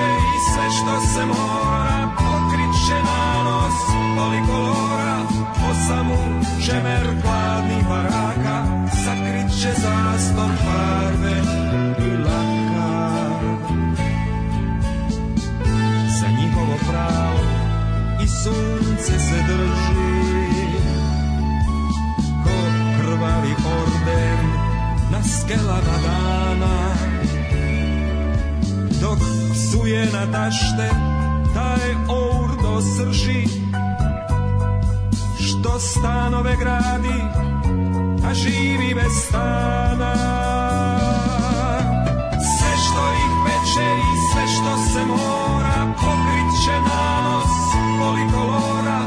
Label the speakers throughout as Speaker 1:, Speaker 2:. Speaker 1: sve što se mora Pokriće na nos polikolora Osamu čemer hladnih baraka Sakriće zastor farbe i laka Za njihovo pravo i sunce se drži Ko krvavi orden na skelama dana dok suje na tašte taj our do srži što stanove gradi a živi bez stana sve što ih peče i sve što se mora pokriće na nos polikolora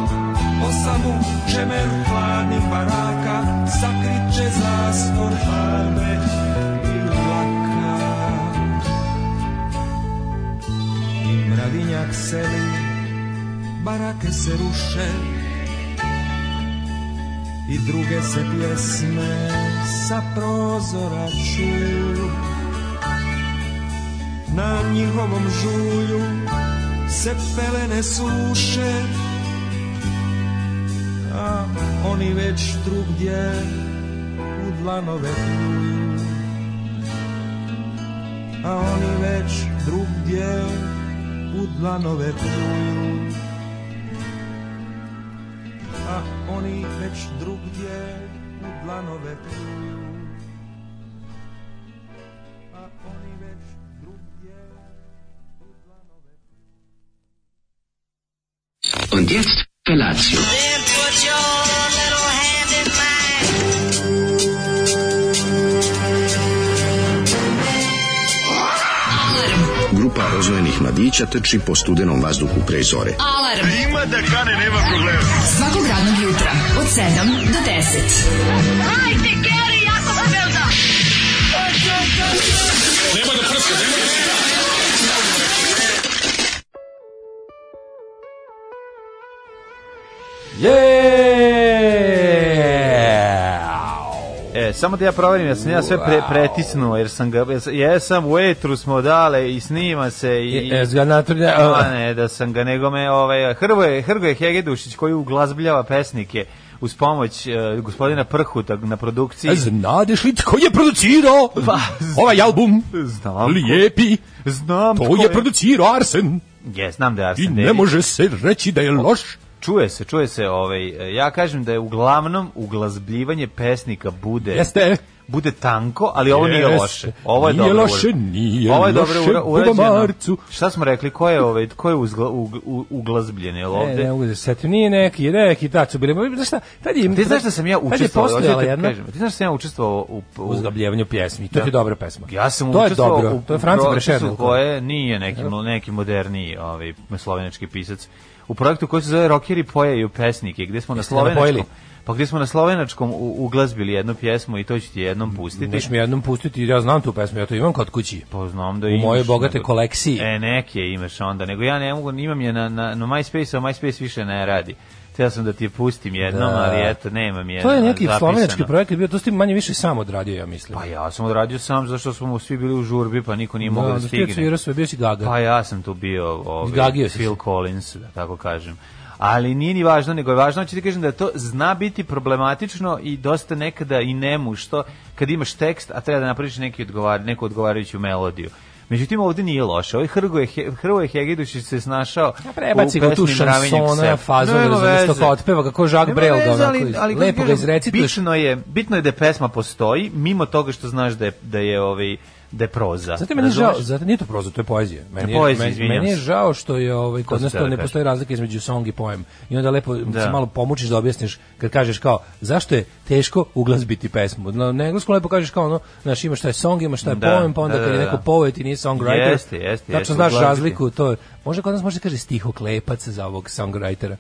Speaker 1: osamu čemer hladnih baraka sakriće zastor farbe i laka Mravinjak seli, barake se ruše I druge se pjesme sa prozora čuju Na njihovom žulju se pelene suše A oni već drugdje u dlanove pluju A oni već drugdje u dlanove pluju A oni već drugdje u dlanove pluju A oni već drugdje u dlanove pluju
Speaker 2: Und jetzt Felatio.
Speaker 3: Then put your little hand in mine.
Speaker 4: Grupa rozvojenih mladića trči po studenom vazduhu pre zore.
Speaker 5: Alarm. A ima da kane, nema problema. Svakog radnog jutra, od 7 do 10. Hajde, Geri, jako se velda.
Speaker 6: E, samo da ja proverim, ja sam ja sve pre, pretisnuo, jer sam ga, jesam, u etru smo dale i snima se i...
Speaker 7: E, ga natrlja,
Speaker 6: A,
Speaker 7: a,
Speaker 6: ne, da sam ga, nego me, ovaj, Hrvoje, Hrvoje Hegedušić koji uglazbljava pesnike uz pomoć e, gospodina Prhuta na produkciji.
Speaker 7: Znadeš e, li tko je producirao
Speaker 6: Pa,
Speaker 7: ovaj album?
Speaker 6: Znam.
Speaker 7: Lijepi.
Speaker 6: Znam
Speaker 7: To
Speaker 6: pa, tko
Speaker 7: je producirao Arsen.
Speaker 6: Je, znam da je Arsen
Speaker 7: I ne
Speaker 6: Dedić.
Speaker 7: može se reći da je loš.
Speaker 6: Čuje se, čuje se, ovaj, e, ja kažem da je uglavnom uglazbljivanje pesnika bude...
Speaker 7: Jeste.
Speaker 6: bude tanko, ali ovo nije
Speaker 7: Jeste.
Speaker 6: loše. Ovo je
Speaker 7: Nije
Speaker 6: dobro.
Speaker 7: loše,
Speaker 6: ura-
Speaker 7: nije
Speaker 6: Ovo je dobro
Speaker 7: loše,
Speaker 6: ura-
Speaker 7: Buba
Speaker 6: urađeno.
Speaker 7: Marcu.
Speaker 6: Šta smo rekli? Ko je ovaj ko je uzgla, ug, u- uglazbljen, jel
Speaker 7: E, ne
Speaker 6: ovde?
Speaker 7: mogu da se setim, nije neki, neki, tad su bili, Ma, znaš šta, tad je...
Speaker 6: Ti znaš da sam ja
Speaker 7: Tad je
Speaker 6: učestvovao,
Speaker 7: postojala
Speaker 6: hoćete da
Speaker 7: jedna
Speaker 6: kažem, ti znaš da sam ja učestvovao u, u
Speaker 7: uzgabljivanje pjesmi, to
Speaker 6: Da.
Speaker 7: je dobra pesma.
Speaker 6: Ja sam
Speaker 7: to je
Speaker 6: učestvovao
Speaker 7: dobro,
Speaker 6: u
Speaker 7: to je Franci
Speaker 6: procesu
Speaker 7: Brešernel.
Speaker 6: koje nije neki, neki moderniji ovaj, slovenački pisac. U projektu koji se zove Rockeri pojaju pesnike, gdje smo na
Speaker 7: Jeste ga napojili?
Speaker 6: slovenačkom Pa gdje smo na slovenačkom u- uglazbili jednu pjesmu i to ću ti jednom pustiti.
Speaker 7: Neš mi jednom pustiti, ja znam tu pesmu, ja to imam kod kući.
Speaker 6: Pa znam da
Speaker 7: U
Speaker 6: imaš.
Speaker 7: mojoj bogate
Speaker 6: nego-
Speaker 7: kolekciji.
Speaker 6: E, neke imaš onda, nego ja ne mogu, imam je na, na, na MySpace, a MySpace više ne radi. Htio sam da ti je pustim jednom,
Speaker 7: Da.
Speaker 6: ali eto, nemam je.
Speaker 7: To je neki
Speaker 6: zapisano.
Speaker 7: slovenački projekat bio, to ste manje više sam odradio, ja mislim.
Speaker 6: Pa ja sam odradio sam, zašto smo svi bili u žurbi, pa niko nije mogao da stigne.
Speaker 7: Svirao sve, bio si gaga.
Speaker 6: Pa ja sam tu bio ovaj,
Speaker 7: Zgagio si
Speaker 6: Phil Collins, da tako kažem. Ali nije ni važno, nego je važno, hoću ti kažem da to zna biti problematično i dosta nekada i nemu, što kad imaš tekst, a treba da napraviš neki odgovar, neku odgovarajuću melodiju. Međutim, ovdje nije loše. Ovaj Hrvoje, He- Hrvoje Hegedušić se snašao
Speaker 7: A prebaci
Speaker 6: u
Speaker 7: ga tu
Speaker 6: pesmi Mravinjak
Speaker 7: šansona,
Speaker 6: Sep.
Speaker 7: fazon,
Speaker 6: Nema
Speaker 7: razumiješ, to
Speaker 6: veze.
Speaker 7: kao otpeva ga, kao Jacques
Speaker 6: Nema
Speaker 7: Brel ga
Speaker 6: veze,
Speaker 7: onako
Speaker 6: ali-
Speaker 7: iz-
Speaker 6: ali kako
Speaker 7: lepo ga
Speaker 6: kažem,
Speaker 7: izrecituješ.
Speaker 6: Bitno je, bitno je da je pesma postoji, mimo toga što znaš da je, da je, ovaj, da je proza.
Speaker 7: Zato je meni žao,
Speaker 6: Razumeš?
Speaker 7: zato nije to proza, to je poezija. Meni je,
Speaker 6: Poezija,
Speaker 7: meni,
Speaker 6: izvinjam
Speaker 7: meni je
Speaker 6: se.
Speaker 7: žao što je ovaj
Speaker 6: To
Speaker 7: kod
Speaker 6: sam
Speaker 7: nas
Speaker 6: teo
Speaker 7: to
Speaker 6: da
Speaker 7: ne
Speaker 6: kažem.
Speaker 7: postoji razlika između song i poem. I onda lepo
Speaker 6: Da.
Speaker 7: se malo pomučiš da objasniš kad kažeš kao zašto je teško uglazbiti pesmu. Na na engleskom lepo kažeš kao ono, znaš ima šta je song, ima šta je
Speaker 6: Da,
Speaker 7: poem, pa onda
Speaker 6: da,
Speaker 7: kad je
Speaker 6: da,
Speaker 7: neko
Speaker 6: da.
Speaker 7: poet i nije songwriter.
Speaker 6: Jeste, jeste,
Speaker 7: Tačno
Speaker 6: jeste,
Speaker 7: znaš
Speaker 6: uglazbiti.
Speaker 7: razliku, to je. Može kod nas može se kaže stihoklepac za ovog songwritera.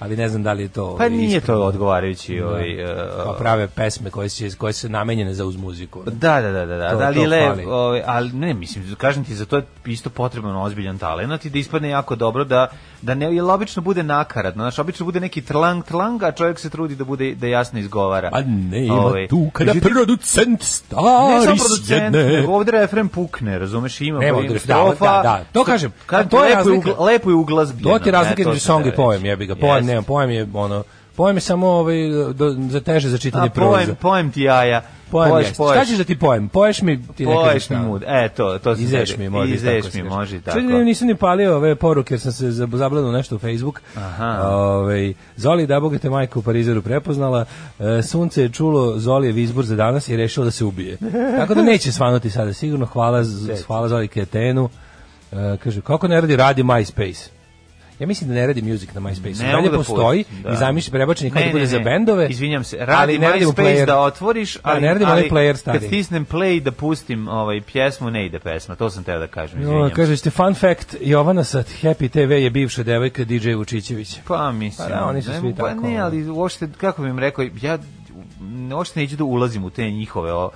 Speaker 7: ali ne znam da li je to...
Speaker 6: Pa
Speaker 7: ovaj,
Speaker 6: nije to
Speaker 7: ispravno.
Speaker 6: odgovarajući ovaj e,
Speaker 7: Kao prave pesme koje, se, koje su namenjene za uz muziku. ono.
Speaker 6: Da, da, da, da, da,
Speaker 7: To-
Speaker 6: da ali
Speaker 7: to
Speaker 6: le,
Speaker 7: fali.
Speaker 6: ovaj, ali ne, mislim, kažem ti, za to je isto potreban ozbiljan talent i da ispadne jako dobro, da, da ne, jer obično bude nakaradno, znaš, obično bude neki trlang, trlang, a čovjek se trudi da bude, da jasno izgovara.
Speaker 7: A nema
Speaker 6: Ovaj,
Speaker 7: Pa tu kada
Speaker 6: međutim,
Speaker 7: producent
Speaker 6: Ne samo
Speaker 7: stari
Speaker 6: producent,
Speaker 7: sjedne.
Speaker 6: nego ovdje refren pukne, razumeš, ima
Speaker 7: Nema
Speaker 6: ima
Speaker 7: ovdje- da,
Speaker 6: strofa,
Speaker 7: da, da, to
Speaker 6: što-
Speaker 7: kažem, pa
Speaker 6: kad-
Speaker 7: to je
Speaker 6: lepo
Speaker 7: razlika.
Speaker 6: ugla- Lepo je uglazbljeno.
Speaker 7: To ti je razlika
Speaker 6: ne, to
Speaker 7: između
Speaker 6: sam
Speaker 7: song i
Speaker 6: teo
Speaker 7: poem,
Speaker 6: reći.
Speaker 7: jebi ga. Poem,
Speaker 6: Jeste.
Speaker 7: nema, poem je ono... Poem je samo ovaj, do, za teže za
Speaker 6: A
Speaker 7: čitanje proza.
Speaker 6: poem, poem ti jaja.
Speaker 7: Poem
Speaker 6: Poješ,
Speaker 7: jeste.
Speaker 6: poješ.
Speaker 7: Šta ćeš da ti poem? Poješ mi ti ne kažeš
Speaker 6: Poješ mi
Speaker 7: šta.
Speaker 6: mud. E, to, to se
Speaker 7: Izeš
Speaker 6: zove.
Speaker 7: mi, može i
Speaker 6: Izeš
Speaker 7: tako
Speaker 6: mi,
Speaker 7: smiješno.
Speaker 6: može i
Speaker 7: Čuj
Speaker 6: tako.
Speaker 7: da nisam ni palio ove poruke, jer sam se zab- zabladao nešto u Facebook.
Speaker 6: Aha.
Speaker 7: Ove, Zoli, da Boga te majka u Parizeru prepoznala, e, sunce je čulo Zolijev izbor za danas i rešilo da se ubije. Tako da neće svanuti sada, sigurno. Hvala, z- hvala Zoli Ketenu. E, kaže, kako ne radi, radi MySpace. Ja mislim da ne radi music na MySpace.
Speaker 6: Ne
Speaker 7: Ne Dalje
Speaker 6: mogu da
Speaker 7: postoji,
Speaker 6: pustim, da.
Speaker 7: da. i zamisli prebačen je kao
Speaker 6: Ne,
Speaker 7: da bude
Speaker 6: ne,
Speaker 7: za
Speaker 6: ne.
Speaker 7: bendove.
Speaker 6: Izvinjam se,
Speaker 7: ali
Speaker 6: radi
Speaker 7: ne radi u
Speaker 6: MySpace
Speaker 7: playeru.
Speaker 6: da otvoriš,
Speaker 7: Da,
Speaker 6: ali,
Speaker 7: ne radi
Speaker 6: ali
Speaker 7: onaj player
Speaker 6: kad
Speaker 7: stari.
Speaker 6: stisnem play da pustim ovaj pjesmu, ne ide pesma, to sam teo da kažem, izvinjam
Speaker 7: No,
Speaker 6: se.
Speaker 7: kaže ste fun fact, Jovana sa Happy TV je bivša devojka DJ Vučićević.
Speaker 6: Pa mislim.
Speaker 7: Pa da, oni su
Speaker 6: ne,
Speaker 7: svi
Speaker 6: pa
Speaker 7: tako,
Speaker 6: ne,
Speaker 7: ono.
Speaker 6: ali uopšte, kako bih im rekao, ja ne- uopšte neću da ulazim u te njihove o,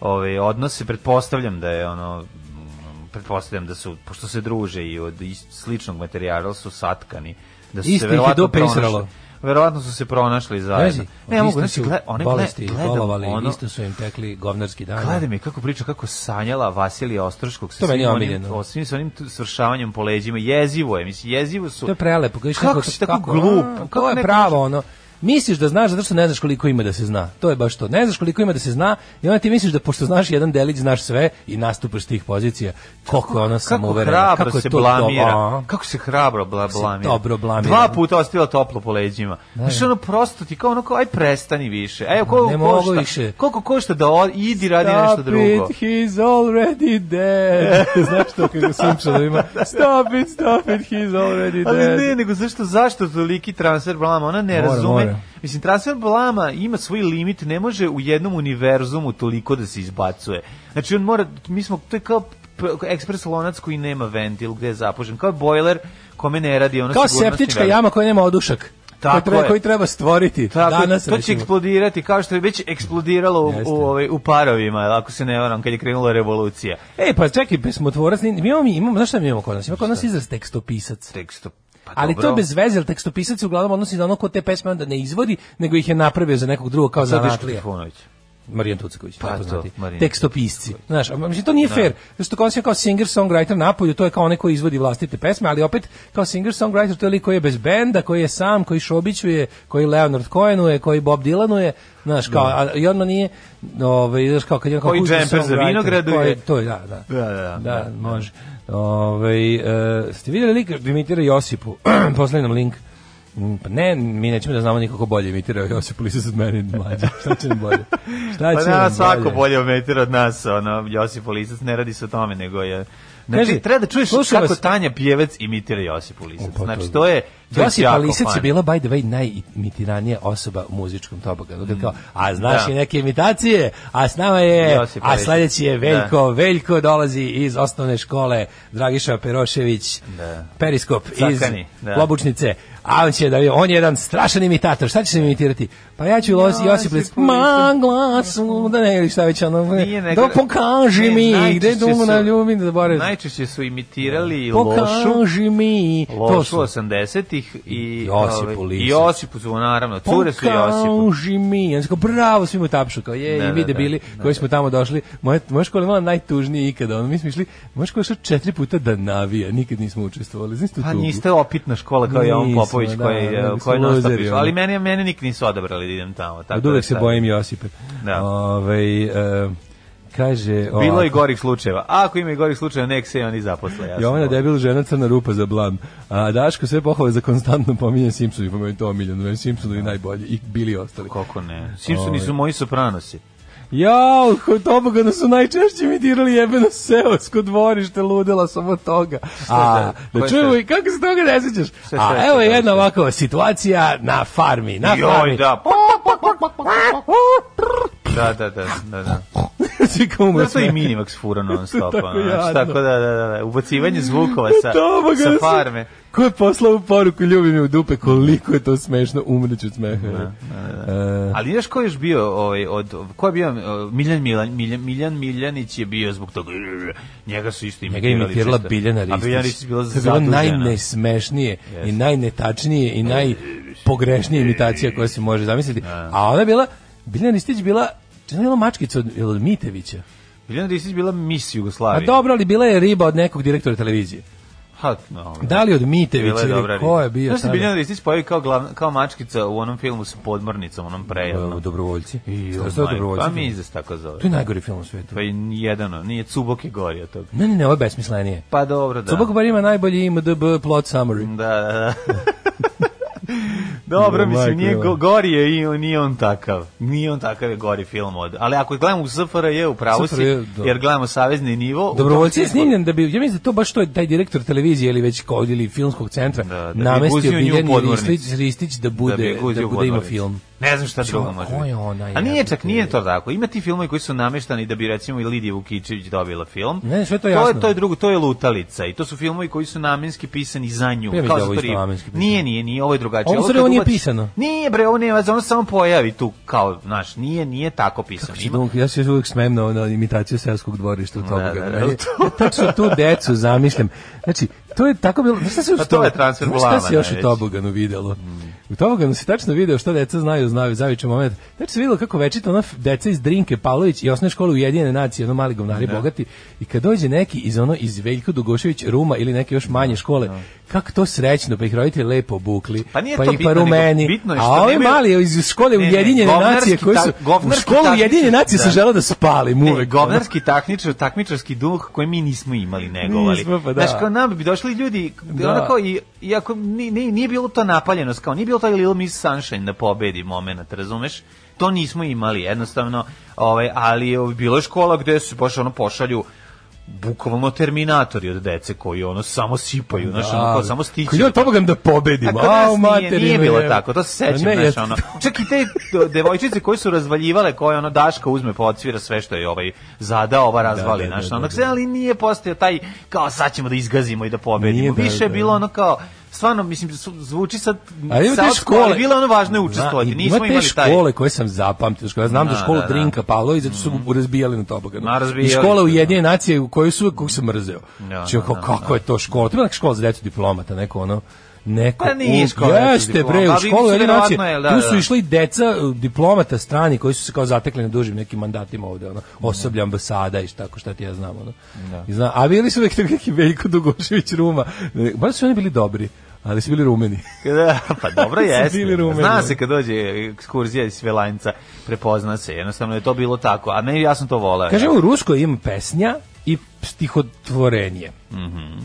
Speaker 6: ove, odnose, pretpostavljam da je ono mm, pretpostavljam da su, pošto se druže i od is- sličnog materijala su satkani, da
Speaker 7: Isto
Speaker 6: su se
Speaker 7: ih je
Speaker 6: verovatno
Speaker 7: dopisralo.
Speaker 6: pronašli. Verovatno su se pronašli zajedno. Ne, mogu, znači, gled, one gled,
Speaker 7: bolesti
Speaker 6: gledam,
Speaker 7: bolovali,
Speaker 6: ono,
Speaker 7: isto su im tekli govnarski dani.
Speaker 6: Gledaj mi kako priča, kako sanjala Vasilija Ostroškog sa
Speaker 7: To meni
Speaker 6: svim
Speaker 7: je
Speaker 6: onim,
Speaker 7: omiljeno.
Speaker 6: o svim sa onim tu svršavanjem po leđima. Jezivo je, mislim, jezivo su.
Speaker 7: To je prelepo. Kako,
Speaker 6: Kako si tako glup? Kako
Speaker 7: Kako je
Speaker 6: neko
Speaker 7: pravo ono? Misliš da znaš zato što ne znaš koliko ima da se zna. To je baš to. Ne znaš koliko ima da se zna i onda ti misliš da pošto znaš jedan delić, znaš sve i nastupaš s tih pozicija. Koliko je ona
Speaker 6: kako
Speaker 7: samouverena.
Speaker 6: hrabro
Speaker 7: Kako je
Speaker 6: se
Speaker 7: to
Speaker 6: blamira.
Speaker 7: dobro.
Speaker 6: Kako se hrabro bla,
Speaker 7: se
Speaker 6: blamira.
Speaker 7: dobro blamira.
Speaker 6: Dva puta ostavila toplo po leđima. Znaš, ono prosto ti kao ono kao, aj prestani više. Evo, koliko
Speaker 7: Ne mogu
Speaker 6: košta,
Speaker 7: više.
Speaker 6: koliko košta da od, idi radi nešto
Speaker 7: Stop
Speaker 6: drugo. E,
Speaker 7: it, he's already dead. Znaš to kako u Simpsonovima? Stop it, stop it, he's already
Speaker 6: Ali
Speaker 7: dead.
Speaker 6: ne, nego zašto, zašto toliki transfer blama? Ona ne
Speaker 7: Mora,
Speaker 6: razume.
Speaker 7: mora.
Speaker 6: Mislim, transfer blama ima svoj limit, ne može u jednom univerzumu toliko da se izbacuje. Znači, on mora, mi smo, to je kao p- ekspres lonac koji nema ventil gde je zapušen, kao bojler kome ne radi ono
Speaker 7: Kao
Speaker 6: sigurnosni
Speaker 7: septička
Speaker 6: velik.
Speaker 7: jama koja nema odušak.
Speaker 6: Tako
Speaker 7: koji, treba,
Speaker 6: je.
Speaker 7: koji treba stvoriti.
Speaker 6: Tako,
Speaker 7: Danas
Speaker 6: to će
Speaker 7: recimo.
Speaker 6: eksplodirati kao što je već eksplodiralo u,
Speaker 7: Jeste.
Speaker 6: u, ovaj, u parovima, ako se ne varam, kad je krenula revolucija.
Speaker 7: Ej, pa čekaj, pesmotvorac, ni- mi imamo, mi imamo, znaš šta mi imamo kod nas? Ima kod nas izraz tekstopisac.
Speaker 6: Tekstu. Pa
Speaker 7: Ali
Speaker 6: dobro.
Speaker 7: to bez veze, jer tekstopisac se uglavnom odnosi na ono ko te pesme onda ne izvodi, nego ih je napravio za nekog drugog kao
Speaker 6: Sad Daško
Speaker 7: zanatlija.
Speaker 6: Trifunović.
Speaker 7: Marijan Tucković,
Speaker 6: Pa
Speaker 7: najpoznatiji.
Speaker 6: to, Marijan
Speaker 7: tekstopisci. Znaš, a mislim, to nije fair, zato što kao si kao singer-songwriter napolju, to je kao onaj koji izvodi vlastite pesme, ali opet kao singer-songwriter to je lik koji je bez benda, koji je sam, koji šobićuje, koji Leonard Cohenuje, koji Bob Dylanuje, znaš, kao, a, i odmah nije, ovaj, znaš, kao kad je kao
Speaker 6: Koji
Speaker 7: who's the
Speaker 6: džemper za
Speaker 7: songwriter,
Speaker 6: vinogradu
Speaker 7: koji-
Speaker 6: je.
Speaker 7: To je, da, da.
Speaker 6: Da, da, da.
Speaker 7: Da, može. Ovaj, e, ste vidjeli lik da imitira Josipu? Poslali nam link. Mm, Pa ne, mi nećemo da znamo nikako bolje imitira Josipu, li se sad meni mlađe. Šta će nam bolje? Šta
Speaker 6: Pa
Speaker 7: će
Speaker 6: da,
Speaker 7: nam
Speaker 6: svako
Speaker 7: bolje?
Speaker 6: bolje ometira od nas, ono, Josip Ulisac ne radi se o tome, nego je... Znači,
Speaker 7: Kaži,
Speaker 6: treba da čuješ
Speaker 7: slušaj
Speaker 6: kako
Speaker 7: vas.
Speaker 6: Tanja Pjevac imitira Josip Ulisac.
Speaker 7: pa to-
Speaker 6: Znači, to je... To je
Speaker 7: Josipa
Speaker 6: jako
Speaker 7: Lisac je
Speaker 6: fan.
Speaker 7: bila, by the way, najimitiranija osoba u muzičkom toboganu. Kad kao, a znaš
Speaker 6: Mm. Da.
Speaker 7: i neke imitacije, a s nama je,
Speaker 6: Josip
Speaker 7: a
Speaker 6: Lisac.
Speaker 7: sledeći je Veljko. Veljko dolazi iz osnovne škole Dragiša Perošević,
Speaker 6: Da.
Speaker 7: Periskop
Speaker 6: Cakani,
Speaker 7: iz
Speaker 6: da.
Speaker 7: Klobučnice. A on će da vidi, on je jedan strašan imitator. Šta ćeš imitirati? Pa ja ću Josip, Josip Lisac,
Speaker 6: Lisac.
Speaker 7: mangla su, da ne, ili šta već ono,
Speaker 6: Nije nego-
Speaker 7: da pokaži
Speaker 6: Ne,
Speaker 7: mi,
Speaker 6: najčešće
Speaker 7: gde domu na
Speaker 6: su-
Speaker 7: ljubim, da zaboravim.
Speaker 6: Najčešće su imitirali lošu,
Speaker 7: Pokaži mi. To
Speaker 6: lošu
Speaker 7: su-
Speaker 6: 80-ih i
Speaker 7: Josipu
Speaker 6: ovaj,
Speaker 7: Lisac.
Speaker 6: i Josipu su, naravno, cure su Josipu.
Speaker 7: Pokaži mi. Ja sam kao, bravo svim u tapšu. Kao, je,
Speaker 6: Da,
Speaker 7: i mi
Speaker 6: da,
Speaker 7: debili
Speaker 6: da, da,
Speaker 7: koji smo tamo došli. Moja, moja škola je imala najtužnije ikada. Ono, mi smo išli, moja škola je išla četiri puta da navija. Nikad nismo učestvovali. Znaš tu
Speaker 6: Pa
Speaker 7: tugu?
Speaker 6: niste opitna škola kao Jovan
Speaker 7: Nismo,
Speaker 6: Popović
Speaker 7: da,
Speaker 6: koji
Speaker 7: da,
Speaker 6: da,
Speaker 7: mi
Speaker 6: koji
Speaker 7: smo
Speaker 6: non stop
Speaker 7: luzeri,
Speaker 6: išao.
Speaker 7: ono.
Speaker 6: ali meni meni nik nisu odabrali da idem tamo, tako.
Speaker 7: Od uvek
Speaker 6: da
Speaker 7: se
Speaker 6: sad-
Speaker 7: bojim Josipe.
Speaker 6: Da.
Speaker 7: Ovaj, e, kaže...
Speaker 6: Bilo
Speaker 7: ovako.
Speaker 6: je i gorih slučajeva. A ako ima i gorih slučajeva, nek se i oni zaposle. Ja sam
Speaker 7: Jovana
Speaker 6: ovo.
Speaker 7: debil žena crna rupa za blam. A Daško sve pohvale za konstantno pominjanje Simpsoni, pa meni to omiljeno, meni Simpsonovi najbolji i bili ostali.
Speaker 6: Kako ne? Simpsoni
Speaker 7: Ovaj.
Speaker 6: su moji sopranosi.
Speaker 7: Jao, kod tobogana su najčešće imitirali jebeno seosko dvorište, ludila sam od toga. A,
Speaker 6: Ko
Speaker 7: da
Speaker 6: je
Speaker 7: čujemo
Speaker 6: šta?
Speaker 7: i kako se toga ne sećaš.
Speaker 6: šta
Speaker 7: A
Speaker 6: je šta
Speaker 7: evo
Speaker 6: je
Speaker 7: jedna
Speaker 6: šta?
Speaker 7: ovakva situacija na farmi, na
Speaker 6: Joj,
Speaker 7: farmi.
Speaker 6: da. Da, da, da, da, da.
Speaker 7: Svi kao umre
Speaker 6: Da to i
Speaker 7: smeh.
Speaker 6: Minimax fura non
Speaker 7: To je
Speaker 6: stop.
Speaker 7: tako
Speaker 6: ono, znači,
Speaker 7: jadno.
Speaker 6: Tako da, da, da, da. Ubacivanje zvukova sa,
Speaker 7: Tobogana
Speaker 6: sa
Speaker 7: su-
Speaker 6: farme.
Speaker 7: Ko je poslao u poruku ljubi me u dupe, koliko je to smešno, umreću od smeha. E,
Speaker 6: Ali znaš ko je još bio ovaj od ko je bio e, Miljan Milan Miljan, Miljan Miljanić je bio zbog toga njega su isto
Speaker 7: Njega je imitirala
Speaker 6: često.
Speaker 7: Biljana Ristić.
Speaker 6: A Biljana Ristić je bila
Speaker 7: To je bilo
Speaker 6: zadužena.
Speaker 7: najnesmešnije i najnetačnije
Speaker 6: E,
Speaker 7: i najpogrešnija imitacija koja se može zamisliti. A ona je bila, Biljana Ristić je bila, čena je bila mačkica od, jel od Mitevića.
Speaker 6: Biljana Ristić je bila Miss
Speaker 7: A
Speaker 6: Jugoslavije.
Speaker 7: dobro, ali bila je riba od nekog direktora televizije.
Speaker 6: Ha, dobro.
Speaker 7: Da li od Mitevića
Speaker 6: Bila je
Speaker 7: ili
Speaker 6: dobra
Speaker 7: ko je
Speaker 6: riba.
Speaker 7: bio
Speaker 6: Znaš da se
Speaker 7: tada?
Speaker 6: Biljana Ristić pojavi kao, glavna, kao mačkica u onom filmu sa podmornicom, onom
Speaker 7: E,
Speaker 6: prejednom.
Speaker 7: Dobrovoljci.
Speaker 6: I,
Speaker 7: Šta
Speaker 6: oh
Speaker 7: je to
Speaker 6: my-
Speaker 7: dobrovoljci?
Speaker 6: Pa mi se tako zove.
Speaker 7: To je najgori film u svijetu.
Speaker 6: Pa i jedan, nije Cubok je gori od toga.
Speaker 7: Ne, ne, ne, ovo je besmislenije.
Speaker 6: Pa dobro, Pa-
Speaker 7: Da.
Speaker 6: da.
Speaker 7: bar ima najbolji IMDB plot summary.
Speaker 6: Da, da, da. Dobro,
Speaker 7: Jo, majko
Speaker 6: mislim, nije,
Speaker 7: mila.
Speaker 6: go- gori je i on- nije on takav. Nije on takav je gori film od. Ali ako gledamo u SFRJ, u pravu si,
Speaker 7: SFRJ, da.
Speaker 6: jer gledamo savezni nivo. u
Speaker 7: Dobrovoljci
Speaker 6: tom
Speaker 7: je
Speaker 6: smislu-
Speaker 7: snimljen da bi, ja mislim da to baš to je taj direktor televizije ili već kod ili filmskog centra
Speaker 6: Da, da bi
Speaker 7: namestio
Speaker 6: guzio nju u
Speaker 7: Biljani
Speaker 6: podmornicu.
Speaker 7: Ristić, Ristić da bude,
Speaker 6: bi je
Speaker 7: da,
Speaker 6: guzio u
Speaker 7: bude ima
Speaker 6: podmornicu.
Speaker 7: film.
Speaker 6: Ne znam šta
Speaker 7: Čo,
Speaker 6: drugo može.
Speaker 7: ko je
Speaker 6: biti.
Speaker 7: ona,
Speaker 6: A nije
Speaker 7: jebote?
Speaker 6: čak, nije to tako. Ima ti filmovi koji su nameštani da bi recimo i Lidija Vukičević dobila film.
Speaker 7: Ne, sve to je jasno.
Speaker 6: To je drugo, to je lutalica i to su filmovi koji su namenski pisani za nju.
Speaker 7: Pa ja mislim da je ovo
Speaker 6: story-
Speaker 7: isto namenski pisano.
Speaker 6: Nije, nije, nije, ovo je drugačije.
Speaker 7: Ovo
Speaker 6: kad
Speaker 7: stvari, ovo nije
Speaker 6: ubaciš-
Speaker 7: pisano.
Speaker 6: Nije bre, ovo nema, veze, ono se samo pojavi tu kao, znaš, nije, nije tako pisano. Ima-
Speaker 7: Znači, ja se još uvijek smem na, na imitaciju selskog dvorišta u toga.
Speaker 6: da, da.
Speaker 7: e, Tačno tu decu zamišljam. Znači, to je tako bilo... Znaš šta se, u
Speaker 6: Pa to je
Speaker 7: Tob-
Speaker 6: transfer
Speaker 7: znaš šta se
Speaker 6: bulama
Speaker 7: još u
Speaker 6: najveći. Mm.
Speaker 7: Toboganu videlo? U Toboganu se tačno video što deca znaju, znaju, zaviče moment. Tačno se videlo kako večito ona f- deca iz Drinke Pavlović i osnovne škole Ujedinjene nacije, ono mali govnari bogati, i kad dođe neki iz ono iz Veljko Dugošević Ruma ili neke još manje škole, kako to srećno, pa ih roditelji lepo obukli,
Speaker 6: Pa nije
Speaker 7: pa
Speaker 6: to
Speaker 7: ih
Speaker 6: bitno,
Speaker 7: pa
Speaker 6: nego
Speaker 7: rumeni,
Speaker 6: bitno je što
Speaker 7: a ovi
Speaker 6: nemaju-
Speaker 7: mali iz škole
Speaker 6: Ne, ne,
Speaker 7: Ujedinjene
Speaker 6: govnarski
Speaker 7: nacije koji su,
Speaker 6: tak-
Speaker 7: u
Speaker 6: govnarski
Speaker 7: školu
Speaker 6: taktički,
Speaker 7: Ujedinjene nacije sam
Speaker 6: da.
Speaker 7: želeo da ono. spalim
Speaker 6: Ne,
Speaker 7: uvek.
Speaker 6: govnarski takmičar, takmičarski duh koji mi nismo imali negovali.
Speaker 7: Nismo, pa da.
Speaker 6: Znaš, kao nam bi došli ljudi,
Speaker 7: Da.
Speaker 6: onako, i, iako ni, ni, nije bilo to napaljenost, kao nije bilo taj Little Miss Sunshine da pobedi moment, razumeš? To nismo imali, jednostavno, ovaj, ali ovaj, bilo je škola gde se baš ono pošalju bukvalno terminatori od dece koji ono samo sipaju, znaš, ono kao samo stići.
Speaker 7: Koji ja tobogam da
Speaker 6: A
Speaker 7: pobedim.
Speaker 6: kod nas
Speaker 7: Au,
Speaker 6: nije,
Speaker 7: materinu,
Speaker 6: nije bilo
Speaker 7: je.
Speaker 6: tako, to se sećam,
Speaker 7: Ne,
Speaker 6: znaš,
Speaker 7: ja-
Speaker 6: ono. Čak i te do- devojčice koje su razvaljivale, koje ono Daška uzme pa odsvira sve što je ovaj zadao, ova razvali,
Speaker 7: da,
Speaker 6: znaš,
Speaker 7: da,
Speaker 6: ono,
Speaker 7: da, da.
Speaker 6: ali nije postao taj, kao sad ćemo da izgazimo i da pobedimo.
Speaker 7: Nije, da,
Speaker 6: Više je
Speaker 7: da.
Speaker 6: bilo ono kao, stvarno, mislim, su- zvuči sad,
Speaker 7: Ali ima te
Speaker 6: saotsko,
Speaker 7: škole.
Speaker 6: ali bilo je ono važno je
Speaker 7: Da,
Speaker 6: učestvovati,
Speaker 7: i-
Speaker 6: nismo
Speaker 7: Ima
Speaker 6: imali
Speaker 7: te
Speaker 6: taj.
Speaker 7: škole koje sam zapamtio. Škole. Ja znam da,
Speaker 6: Da,
Speaker 7: školu
Speaker 6: da, da.
Speaker 7: Drinka palo i zato su mm. razbijali na toboganu.
Speaker 6: Ma, razbijali
Speaker 7: I škola
Speaker 6: su, da.
Speaker 7: Ujedinjene nacije u kojoj su uvek kog sam mrzeo.
Speaker 6: Da,
Speaker 7: Znači,
Speaker 6: da,
Speaker 7: kao,
Speaker 6: da,
Speaker 7: kako je to škola? To je bila neka škola za decu diplomata, neko ono neko
Speaker 6: Pa nije
Speaker 7: u-
Speaker 6: škola za decu
Speaker 7: jeste bre
Speaker 6: diplomata,
Speaker 7: u
Speaker 6: ali
Speaker 7: školu
Speaker 6: su
Speaker 7: jedne
Speaker 6: verovatno,
Speaker 7: nacije
Speaker 6: jel, da,
Speaker 7: tu
Speaker 6: da.
Speaker 7: su išli deca eh, diplomata strani koji su se kao zatekli na dužim nekim mandatima ovde ono
Speaker 6: Mhm.
Speaker 7: osoblje ambasada i šta- tako šta ti ja znam ono I zna, a bili su uvek tako neki Veljko Dugošević Ruma baš su oni bili dobri ali su bili rumeni
Speaker 6: Da, pa dobro
Speaker 7: Su
Speaker 6: jeste.
Speaker 7: bili rumeni. ono.
Speaker 6: Zna se kad dođe ekskurzija iz Svilajnca, prepozna se. Jednostavno je to bilo tako, a ne, ja sam to voleo.
Speaker 7: Kažemo, u Ruskoj ima pesnja i stihotvorenje.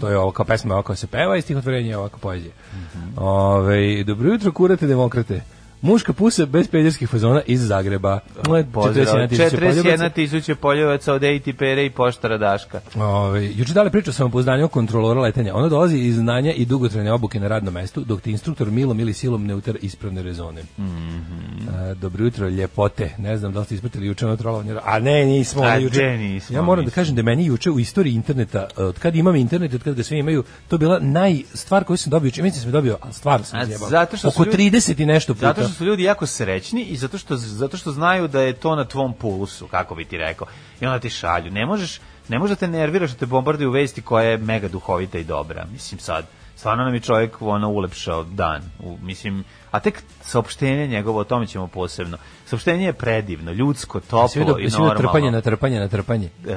Speaker 7: To je ovo kao pesma ovako se peva i stihotvorenje je ovako poezija. Ovaj, dobro jutro, kurate demokrate. Muška pusa bez pederskih fazona iz Zagreba. Moje
Speaker 6: Pozdrav.
Speaker 7: 41.000 poljubaca.
Speaker 6: 41 tisuće poljevaca od ATPR i poštara Daška.
Speaker 7: Ove, juče dale priču o samopouzdanju kontrolora letenja. Ono dolazi iz znanja i dugotrajne obuke na radnom mestu, dok ti instruktor milom ili silom ne utara ispravne rezone.
Speaker 6: Mhm.
Speaker 7: E, dobro jutro, ljepote. Ne znam da li ste ispratili juče ono trolovanje. A ne, nismo.
Speaker 6: A
Speaker 7: ono juče.
Speaker 6: gde nismo,
Speaker 7: ja moram da
Speaker 6: mislim.
Speaker 7: kažem da je meni juče u istoriji interneta, e, od kad imam internet, i od kad ga svi imaju, to je bila najstvar koju sam dobio. Juče, mislim sam je dobio, ali stvarno sam
Speaker 6: A
Speaker 7: zjebao.
Speaker 6: zato što su
Speaker 7: Oko
Speaker 6: ljudi-
Speaker 7: 30 i nešto puta.
Speaker 6: Zato što su ljudi jako srećni i zato što, zato što znaju da je to na tvom pulsu, kako bi ti rekao. I onda ti šalju. Ne možeš, ne možeš da te nerviraš da te bombarduju vesti koja je mega duhovita i dobra. Mislim sad, stvarno nam je čovjek ono ulepšao dan. U, mislim, a tek saopštenje njegovo, o tome ćemo posebno. Saopštenje je predivno, ljudsko, toplo
Speaker 7: Svi do,
Speaker 6: i
Speaker 7: svi do
Speaker 6: normalno.
Speaker 7: trpanje, na trpanje, na trpanje.
Speaker 6: E,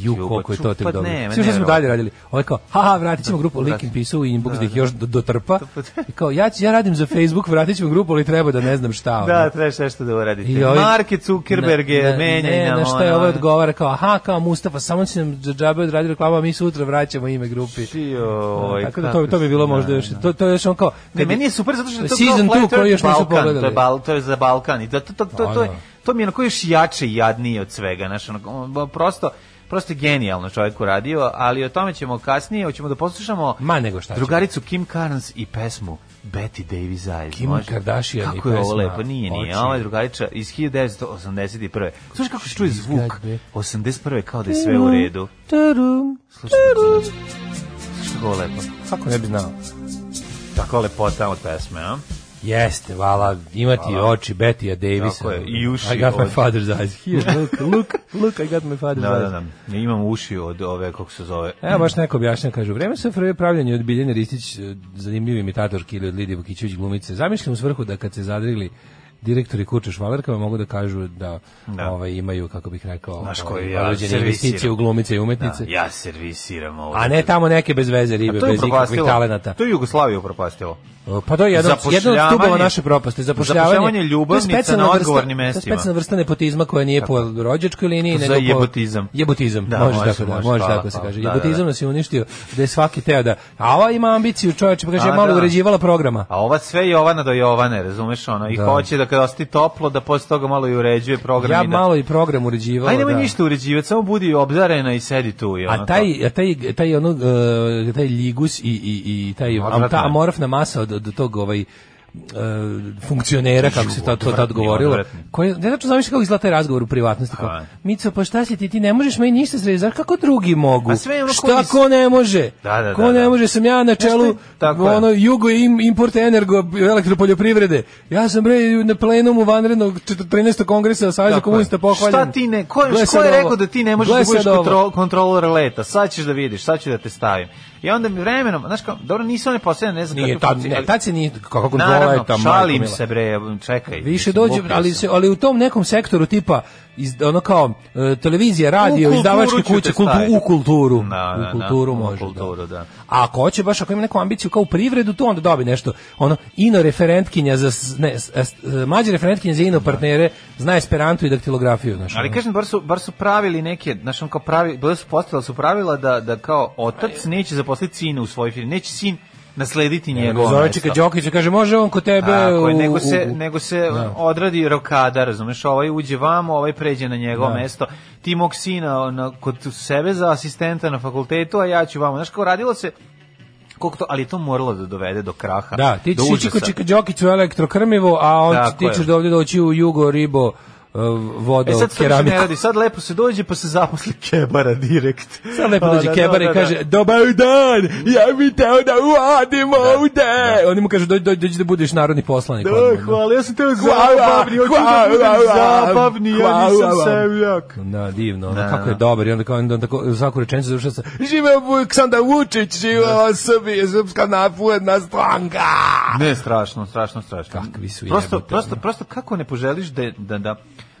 Speaker 7: Ju,
Speaker 6: ljubav,
Speaker 7: koliko je to tek
Speaker 6: pa
Speaker 7: dobro.
Speaker 6: ne,
Speaker 7: Sve što smo
Speaker 6: ne,
Speaker 7: dalje radili. Ovo je kao, haha, vratit ćemo grupu
Speaker 6: Vratit.
Speaker 7: Likin pisao u inbox da ih još do- dotrpa. I kao, ja, ću- ja radim za Facebook, vratit ćemo grupu, ali treba da ne znam šta.
Speaker 6: Da,
Speaker 7: ono.
Speaker 6: trebaš nešto da uradite.
Speaker 7: I ovi-
Speaker 6: Marke Zuckerberg
Speaker 7: Ne,
Speaker 6: je
Speaker 7: ne,
Speaker 6: menja i
Speaker 7: Ne,
Speaker 6: nam
Speaker 7: na šta je ovaj
Speaker 6: ono-
Speaker 7: ovo odgovara, kao, aha, kao Mustafa, samo će nam za džabe odraditi reklamu, a mi sutra vraćamo ime grupi.
Speaker 6: Ti, ovaj,
Speaker 7: Tako da
Speaker 6: kako
Speaker 7: to, to bi bilo
Speaker 6: si-
Speaker 7: možda
Speaker 6: da,
Speaker 7: još,
Speaker 6: da.
Speaker 7: to, to je još on kao...
Speaker 6: Ne, meni je super zato što je to
Speaker 7: Season
Speaker 6: kao
Speaker 7: two
Speaker 6: Flight
Speaker 7: koji još nisu
Speaker 6: Balkan,
Speaker 7: pogledali.
Speaker 6: To je, bal, to je za Balkan i to, to, to, to, to, je-
Speaker 7: Ono.
Speaker 6: to mi je onako još jače i jadnije od svega. Znaš, ono, prosto, prosto je genijalno čovjek uradio, ali o tome ćemo kasnije, hoćemo da poslušamo
Speaker 7: Ma nego šta ćemo.
Speaker 6: drugaricu Kim Carnes i pesmu Betty Davis Eyes.
Speaker 7: Kim
Speaker 6: može?
Speaker 7: Kardashian i
Speaker 6: Kako je ovo
Speaker 7: pesma
Speaker 6: lepo, nije, nije.
Speaker 7: Oči.
Speaker 6: Ovo je drugariča iz 1981. Slušaj kako se čuje zvuk
Speaker 7: Izgadbe.
Speaker 6: 81. kao da je sve u redu.
Speaker 7: Tarum.
Speaker 6: Slušaj, Što ovo lepo?
Speaker 7: Kako ne bi znao?
Speaker 6: Tako lepota od pesme, a?
Speaker 7: Jeste, vala, imati oči Betija Davisa.
Speaker 6: Tako je, i uši
Speaker 7: I got my
Speaker 6: od-
Speaker 7: father's eyes. Here, look, look, look, I got my father's
Speaker 6: Da,
Speaker 7: eyes.
Speaker 6: da, E, da. Ja imam uši od ove, kako se zove.
Speaker 7: Evo baš neko objašnjava, kaže, u vreme se prve pravljanje od Biljane Ristić, e, zanimljive imitatorke ili od Lidije Vukićević glumice, zamišljam u svrhu da kad se zadrigli direktori kuće švalerkama mogu da kažu da,
Speaker 6: Da.
Speaker 7: ovaj, imaju, kako bih rekao,
Speaker 6: Znaš
Speaker 7: ovaj,
Speaker 6: koji ja
Speaker 7: određene
Speaker 6: servisiram.
Speaker 7: investicije u glumice i
Speaker 6: Da,
Speaker 7: umetnice,
Speaker 6: ja servisiram ovo.
Speaker 7: a ne tamo neke bez veze ribe,
Speaker 6: A to je
Speaker 7: bez ikakvih
Speaker 6: upropastilo.
Speaker 7: talenata.
Speaker 6: To je Jugoslaviju upropastilo.
Speaker 7: O, Pa to je jedan, od- jedan od
Speaker 6: Zapošljavanje-
Speaker 7: stubova naše propasti, zapošljavanje,
Speaker 6: zapošljavanje
Speaker 7: To je
Speaker 6: ljubavnica
Speaker 7: specijalna
Speaker 6: na
Speaker 7: vrsta-
Speaker 6: odgovornim
Speaker 7: To je
Speaker 6: mestima.
Speaker 7: specijalna vrsta nepotizma koja nije po rođačkoj liniji,
Speaker 6: To
Speaker 7: nego
Speaker 6: za
Speaker 7: po...
Speaker 6: jebotizam.
Speaker 7: Jebotizam,
Speaker 6: Da,
Speaker 7: može,
Speaker 6: može,
Speaker 7: tako, da,
Speaker 6: može,
Speaker 7: može
Speaker 6: hvala,
Speaker 7: tako se
Speaker 6: hvala.
Speaker 7: kaže.
Speaker 6: Da, da,
Speaker 7: Jebotizam
Speaker 6: da.
Speaker 7: nas je uništio da je svaki teo da... A ova ima ambiciju čoveče, pa kaže,
Speaker 6: A,
Speaker 7: ja malo
Speaker 6: da.
Speaker 7: uređivala programa.
Speaker 6: A ova sve Jovana do Jovane, razumeš ono? I
Speaker 7: Da.
Speaker 6: hoće da kada osti toplo, da posle toga malo i uređuje program.
Speaker 7: Ja
Speaker 6: i da...
Speaker 7: malo i program uređivala.
Speaker 6: Aj, nemoj
Speaker 7: da.
Speaker 6: ništa uređivati, samo budi obdarena i sedi tu. I ono
Speaker 7: A taj, a taj, taj, ono, e, taj ljigus i, i, i taj
Speaker 6: Odvratno
Speaker 7: am- ta
Speaker 6: je.
Speaker 7: amorfna masa od, od tog ovaj e, funkcionera, kako se to, to tad
Speaker 6: odvratni,
Speaker 7: govorilo.
Speaker 6: odvratni.
Speaker 7: Koji, ne znači zamišlja kako izgleda taj razgovor u privatnosti. Kao,
Speaker 6: A.
Speaker 7: Mico, pa šta si ti, ti ne možeš meni ništa srediti, znaš kako drugi mogu?
Speaker 6: A sve je ono
Speaker 7: šta
Speaker 6: koji s-
Speaker 7: ko ne može?
Speaker 6: Da, da,
Speaker 7: ko
Speaker 6: da,
Speaker 7: ne
Speaker 6: da.
Speaker 7: može, sam ja na
Speaker 6: šta je-
Speaker 7: čelu
Speaker 6: tako je.
Speaker 7: ono, jugo im, import energo elektropoljoprivrede. Ja sam bre na plenumu vanrednog 14. kongresa Saveza
Speaker 6: Tako
Speaker 7: komunista
Speaker 6: je.
Speaker 7: pohvaljen.
Speaker 6: Šta ti ne, ko, je-
Speaker 7: Gle
Speaker 6: ko
Speaker 7: sad
Speaker 6: je
Speaker 7: ovo.
Speaker 6: rekao da ti ne možeš
Speaker 7: Gle
Speaker 6: da budeš
Speaker 7: sad ovo.
Speaker 6: kontrol, kontroler leta? Sad ćeš da vidiš, sad ću da te stavim. I onda mi vremenom, znaš kao, dobro, nisu one posljedne, ne znam
Speaker 7: Nije,
Speaker 6: kako
Speaker 7: tad,
Speaker 6: funkci-
Speaker 7: ne,
Speaker 6: pa, ali-
Speaker 7: tad se nije, kako kontrola je
Speaker 6: Naravno,
Speaker 7: ta majko
Speaker 6: šalim
Speaker 7: mila.
Speaker 6: se bre, čekaj.
Speaker 7: Više
Speaker 6: mislim,
Speaker 7: dođe,
Speaker 6: lupio
Speaker 7: ali,
Speaker 6: sam.
Speaker 7: se, ali u tom nekom sektoru tipa iz, ono kao e, televizija, radio,
Speaker 6: kulturu
Speaker 7: izdavačke
Speaker 6: ću te
Speaker 7: kuće, kultu,
Speaker 6: staviti.
Speaker 7: u kulturu.
Speaker 6: Da, da,
Speaker 7: u
Speaker 6: da,
Speaker 7: kulturu
Speaker 6: u
Speaker 7: može.
Speaker 6: kulturu, da.
Speaker 7: A ako hoće baš, ako ima neku ambiciju kao u privredu, to onda dobi nešto. Ono, ino referentkinja za, s- ne, s- s- mlađe referentkinja za ino partnere zna esperanto i daktilografiju. Znaš,
Speaker 6: Ali
Speaker 7: ono.
Speaker 6: kažem, bar su, bar su pravili neke, znaš, on kao pravi, bar su postavili su pravila da, da kao otac neće zaposliti sina u svojoj firmi, neće sin naslediti njegovo
Speaker 7: Zove
Speaker 6: mesto.
Speaker 7: čeka Đokić i kaže, može on kod tebe
Speaker 6: Tako je,
Speaker 7: u-
Speaker 6: nego se,
Speaker 7: u- u-
Speaker 6: nego se odradi rokada, razumeš, ovaj uđe vamo, ovaj pređe na njegovo mesto, ti mog sina na, kod sebe za asistenta na fakultetu, a ja ću vamo, znaš, kao radilo se, koliko to, ali je to moralo da dovede do kraha,
Speaker 7: Da, ti
Speaker 6: do
Speaker 7: ćeš ići
Speaker 6: užasa.
Speaker 7: kod Čika Đokić u elektrokrmivo, a on
Speaker 6: Tako
Speaker 7: ti
Speaker 6: je.
Speaker 7: ćeš da ovdje doći u jugo ribo uh, voda
Speaker 6: E sad
Speaker 7: od
Speaker 6: to više ne
Speaker 7: keramiku.
Speaker 6: radi, sad lepo se dođe pa se zaposli kebara direkt.
Speaker 7: Sad lepo dođe
Speaker 6: A, da,
Speaker 7: kebar
Speaker 6: da,
Speaker 7: i
Speaker 6: da,
Speaker 7: kaže, dobar dan, ja bih teo da uvadim ovde. Oni mu kažu, dođi, dođi, dođi da budeš narodni poslanik.
Speaker 6: Da,
Speaker 7: odmah, da.
Speaker 6: Pa, hvala, ja sam teo
Speaker 7: Hvala,
Speaker 6: zabavni, hoću da
Speaker 7: hvala
Speaker 6: budem
Speaker 7: vam,
Speaker 6: zabavni, ja
Speaker 7: hvala
Speaker 6: nisam
Speaker 7: vam.
Speaker 6: sevljak.
Speaker 7: Da, divno, ono,
Speaker 6: Da,
Speaker 7: kako je
Speaker 6: da.
Speaker 7: dobar. I onda, kao, onda tako, svaku rečenicu završava sa, živeo Aleksandar Vučić, živeo Srbija, srpska napovedna stranka.
Speaker 6: Ne, strašno, strašno, strašno.
Speaker 7: Kakvi su
Speaker 6: prosto,
Speaker 7: jebote,
Speaker 6: prosto,
Speaker 7: ono.
Speaker 6: prosto kako ne poželiš da, da, da,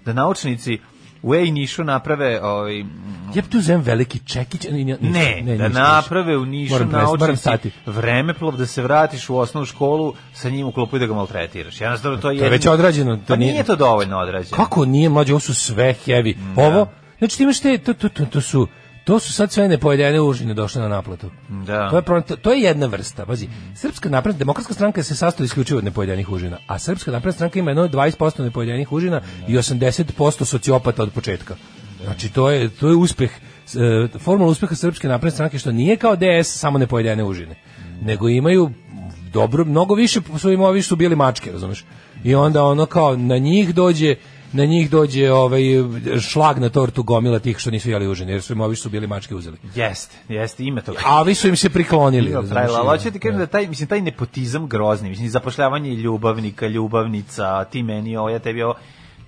Speaker 6: da naučnici u Ej Nišu naprave ovaj, mm,
Speaker 7: Ja bi tu zem veliki čekić. Ne, ne,
Speaker 6: ne,
Speaker 7: ne,
Speaker 6: da
Speaker 7: ništa,
Speaker 6: naprave u Nišu
Speaker 7: Moram prestati, moram
Speaker 6: naučnici
Speaker 7: stati.
Speaker 6: vremeplov da se vratiš u osnovnu školu sa njim u klupu i da ga maltretiraš. Ja znam da to je...
Speaker 7: To je
Speaker 6: jedini-
Speaker 7: već odrađeno, to
Speaker 6: Pa
Speaker 7: nije-
Speaker 6: nije to dovoljno odrađeno.
Speaker 7: Kako nije mlađe, ovo su sve heavy. Ovo, znači ti imaš te, to, to, to, to su, to su sad sve nepojedene užine došle na naplatu.
Speaker 6: Da.
Speaker 7: To je, pro- to, to je jedna vrsta. Pazi, Srpska napredna, demokratska stranka se sastoji isključivo od nepojedenih užina, a Srpska napredna stranka ima jedno 20% nepojedenih užina i 80% sociopata od početka. Znači, to je, to je uspeh, e, formula uspeha Srpske napredne stranke, je što nije kao DS samo nepojedene užine, nego imaju dobro, mnogo više su im ovi što su bili mačke, razumeš? I onda ono kao na njih dođe na njih dođe ovaj šlag na tortu gomila tih što nisu jeli užine, jer su im ovi što su bili mačke uzeli.
Speaker 6: Jeste, jeste, ima toga.
Speaker 7: A ovi su im se priklonili.
Speaker 6: Ima
Speaker 7: razumeš?
Speaker 6: pravila, ali hoću ti kažem
Speaker 7: Da.
Speaker 6: da taj, mislim, taj nepotizam grozni, mislim, zapošljavanje ljubavnika, ljubavnica, ti meni ovo, ja tebi ovo,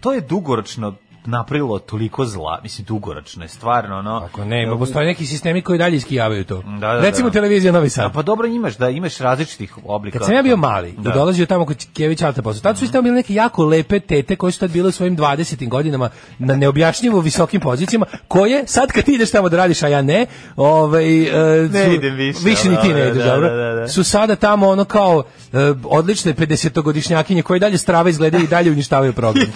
Speaker 6: to je dugoročno napravilo toliko zla, mislim, dugoročno je stvarno, ono...
Speaker 7: Ako ne, ima postoje neki sistemi koji dalje iskijavaju to.
Speaker 6: Da, da,
Speaker 7: Recimo
Speaker 6: da.
Speaker 7: televizija Novi
Speaker 6: A
Speaker 7: Sad.
Speaker 6: pa dobro imaš, da, imaš različitih oblika.
Speaker 7: Kad sam ja bio mali i
Speaker 6: Da.
Speaker 7: dolazio tamo kod Kević Alta posao, tad su isto bile neke jako lepe tete koje su tad bile u svojim 20. godinama na neobjašnjivo visokim pozicijama, koje sad kad ti ideš tamo da radiš, a ja ne, ovaj, e,
Speaker 6: Ne
Speaker 7: su-
Speaker 6: idem više,
Speaker 7: ni ti
Speaker 6: da,
Speaker 7: ne
Speaker 6: da,
Speaker 7: ideš,
Speaker 6: da,
Speaker 7: dobro,
Speaker 6: da, da.
Speaker 7: su sada tamo ono kao e, odlične 50-godišnjakinje koje dalje strava izgledaju i dalje uništavaju program.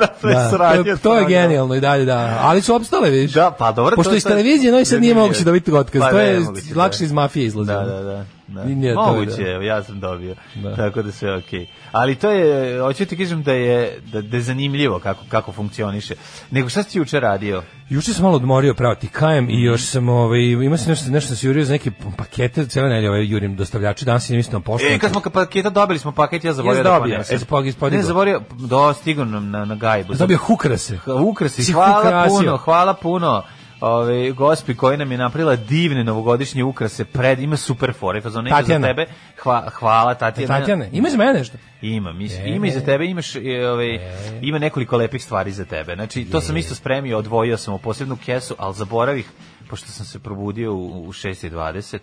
Speaker 6: da, to je
Speaker 7: Da,
Speaker 6: sranje,
Speaker 7: to, je, to je
Speaker 6: sranje.
Speaker 7: genijalno i dalje, da. Ali su opstale, vidiš.
Speaker 6: Da, pa dobro.
Speaker 7: Pošto
Speaker 6: to je
Speaker 7: iz
Speaker 6: sad-
Speaker 7: televizije Novi Sad nije
Speaker 6: zanimljivo.
Speaker 7: moguće dobiti otkaz.
Speaker 6: Pa
Speaker 7: to
Speaker 6: ne,
Speaker 7: je
Speaker 6: moguće, da.
Speaker 7: lakše iz mafije izlazi.
Speaker 6: Da, da, da. da.
Speaker 7: Nije to,
Speaker 6: Moguće,
Speaker 7: da.
Speaker 6: evo, ja sam dobio.
Speaker 7: Da.
Speaker 6: Tako da sve okej. Ali to je, hoću ti kažem da je, da, da je zanimljivo kako, kako funkcioniše. Nego šta si ti juče radio?
Speaker 7: Juče sam malo odmorio pravo ti kajem i još sam ovaj ima se nešto nešto sam se jurio za neke pakete cele nedelje ovaj jurim dostavljači danas idem isto na poštu.
Speaker 6: E, kad smo ka- paketa dobili smo paket, ja zaboravio
Speaker 7: Jes
Speaker 6: da
Speaker 7: dobio,
Speaker 6: ponesem.
Speaker 7: jes pog- podigao.
Speaker 6: Ne, zaboravio, do, stigo nam na, na gajbu.
Speaker 7: dobio hukrase.
Speaker 6: H- Ukrasi,
Speaker 7: Si
Speaker 6: hvala
Speaker 7: ukrasio.
Speaker 6: puno, hvala puno. Ove, gospi koja nam je napravila divne novogodišnje ukrase, pred, ima super fore, fazon, nešto za
Speaker 7: Tatjana.
Speaker 6: tebe. Hva, hvala, Tatjana.
Speaker 7: Tatjana, ima za mene nešto.
Speaker 6: Ima, mislim, ima i za tebe, imaš, e, ovaj, ima nekoliko lepih stvari za tebe. Znači, to sam isto spremio, odvojio sam u posebnu kesu, ali zaboravih, pošto sam se probudio u, u 6.20,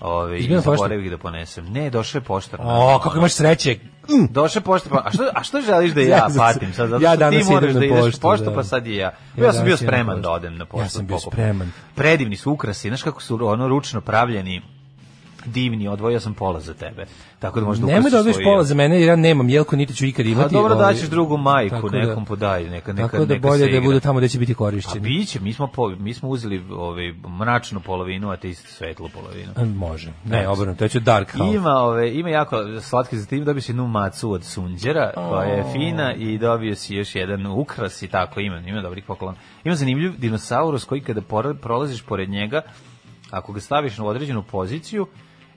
Speaker 6: ovaj, i
Speaker 7: Izbila pošta?
Speaker 6: zaboravih da ponesem. Ne, došao je poštar.
Speaker 7: O, kako imaš sreće.
Speaker 6: Došao je poštar, pa, a što, a što želiš da ja
Speaker 7: Ja sam se-
Speaker 6: patim sad? Zato
Speaker 7: ja
Speaker 6: što ti
Speaker 7: danas idem
Speaker 6: moraš
Speaker 7: na
Speaker 6: da ideš
Speaker 7: poštu,
Speaker 6: poštu, poštu
Speaker 7: da.
Speaker 6: pa sad i ja.
Speaker 7: Ja
Speaker 6: Ja,
Speaker 7: danas
Speaker 6: sam bio
Speaker 7: idem na
Speaker 6: spreman
Speaker 7: poštu.
Speaker 6: da odem na poštu.
Speaker 7: Ja sam bio
Speaker 6: pokupim.
Speaker 7: spreman.
Speaker 6: Predivni su ukrasi, znaš kako su ono ručno pravljeni, divni, odvojio sam pola za tebe. Tako da možda
Speaker 7: Nemoj
Speaker 6: ukrasi
Speaker 7: da odeš
Speaker 6: stoji,
Speaker 7: pola za mene, jer ja nemam jelku, niti ću ikad imati.
Speaker 6: pa dobro
Speaker 7: ovaj,
Speaker 6: daćeš drugu majku,
Speaker 7: tako da-
Speaker 6: nekom podaj, neka neka
Speaker 7: Tako da
Speaker 6: neka
Speaker 7: bolje
Speaker 6: se igra.
Speaker 7: da bude tamo gde će biti
Speaker 6: A
Speaker 7: korišćeni.
Speaker 6: biće, mi smo po, mi smo uzeli ovaj mračnu polovinu, a ti svetlu polovinu.
Speaker 7: E, Može. Ne,
Speaker 6: Eto.
Speaker 7: obrnuto, ja ću Dark House.
Speaker 6: Ima, ove, ima jako slatke za tim, dobio si jednu macu od sunđera, koja je fina i dobio si još jedan ukras i tako, ima, ima dobrih poklona. Ima zanimljiv dinosaurus koji kada pora- prolaziš pored njega, ako ga staviš na određenu poziciju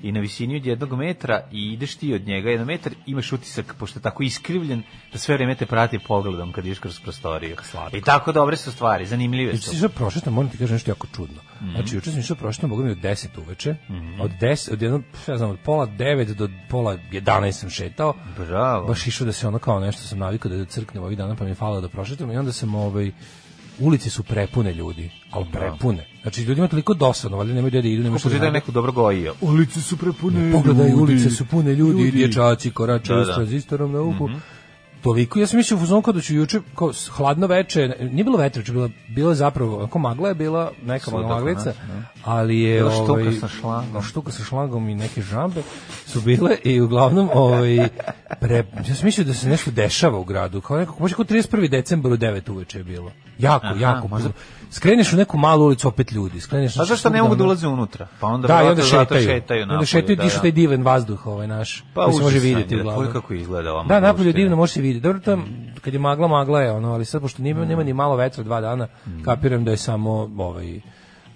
Speaker 6: i na visini od jednog metra i ideš ti od njega jedan metar, imaš utisak, pošto je tako iskrivljen, da sve vreme te prati pogledom kad ideš kroz prostoriju. I tako dobre su stvari, zanimljive
Speaker 7: Juče sam
Speaker 6: su.
Speaker 7: išao prošetno, moram ti kažem nešto jako čudno.
Speaker 6: Mhm.
Speaker 7: Znači, juče sam išao prošetno, mogu mi od 10 uveče, od 10, od jedno, pf, ja znam, od pola 9 do pola 11 sam šetao.
Speaker 6: Bravo.
Speaker 7: Baš išao da se ono kao nešto sam navikao da crknem ovih dana, pa mi je falilo da prošetam i onda sam ovaj, ulice su prepune ljudi, ali prepune. Znači, ljudima je toliko dosadno, valjda nemaju gde da idu, nemaju šta
Speaker 6: Pošto da
Speaker 7: da
Speaker 6: je
Speaker 7: rade.
Speaker 6: neko dobro gojio.
Speaker 8: Ulice su prepune
Speaker 7: Pogledaj, ulice su pune ljudi, dječaci koračaju
Speaker 6: Da, Mhm.
Speaker 7: s
Speaker 6: da.
Speaker 7: tranzistorom na uhu. Toliko, ja sam mislio u fuzonu kao da ću juče, kao s- hladno veče, nije bilo vetre, bilo, bilo je zapravo, ako magla je bila, neka
Speaker 6: Svuda
Speaker 7: magla
Speaker 6: oko
Speaker 7: maglica,
Speaker 6: nas, da.
Speaker 7: ali je...
Speaker 6: Bila štuka
Speaker 7: ovaj,
Speaker 6: sa šlangom.
Speaker 7: Štuka sa šlangom i neke žambe su bile i uglavnom, ovaj, pre, ja sam mislio da se nešto dešava u gradu, kao nekako, možda kao 31. decembar u 9 uveče je bilo. Jako, jako. Možda... Skreneš u neku malu ulicu, opet ljudi. Skreneš
Speaker 6: A
Speaker 7: na
Speaker 6: Pa zašto ne
Speaker 7: štuku,
Speaker 6: mogu da
Speaker 7: ono-
Speaker 6: ulaze unutra? Pa onda,
Speaker 7: da, i onda
Speaker 6: verovatno zato
Speaker 7: šetaju.
Speaker 6: šetaju
Speaker 7: onda
Speaker 6: napolje,
Speaker 7: šetaju,
Speaker 6: da,
Speaker 7: dišu
Speaker 6: da.
Speaker 7: taj divan vazduh ovaj naš. Pa se može
Speaker 6: užasno je,
Speaker 7: vidjeti
Speaker 6: da,
Speaker 7: uglavnom.
Speaker 6: pogledaj kako izgleda ova
Speaker 7: Da, napolje je
Speaker 6: magliština.
Speaker 7: divno, može se vidjeti. Dobro,
Speaker 6: Mm.
Speaker 7: tam, kad je magla, magla je ono, ali sad, pošto nema, nema ni malo vetra dva dana,
Speaker 6: Mm.
Speaker 7: kapiram da je samo ovaj,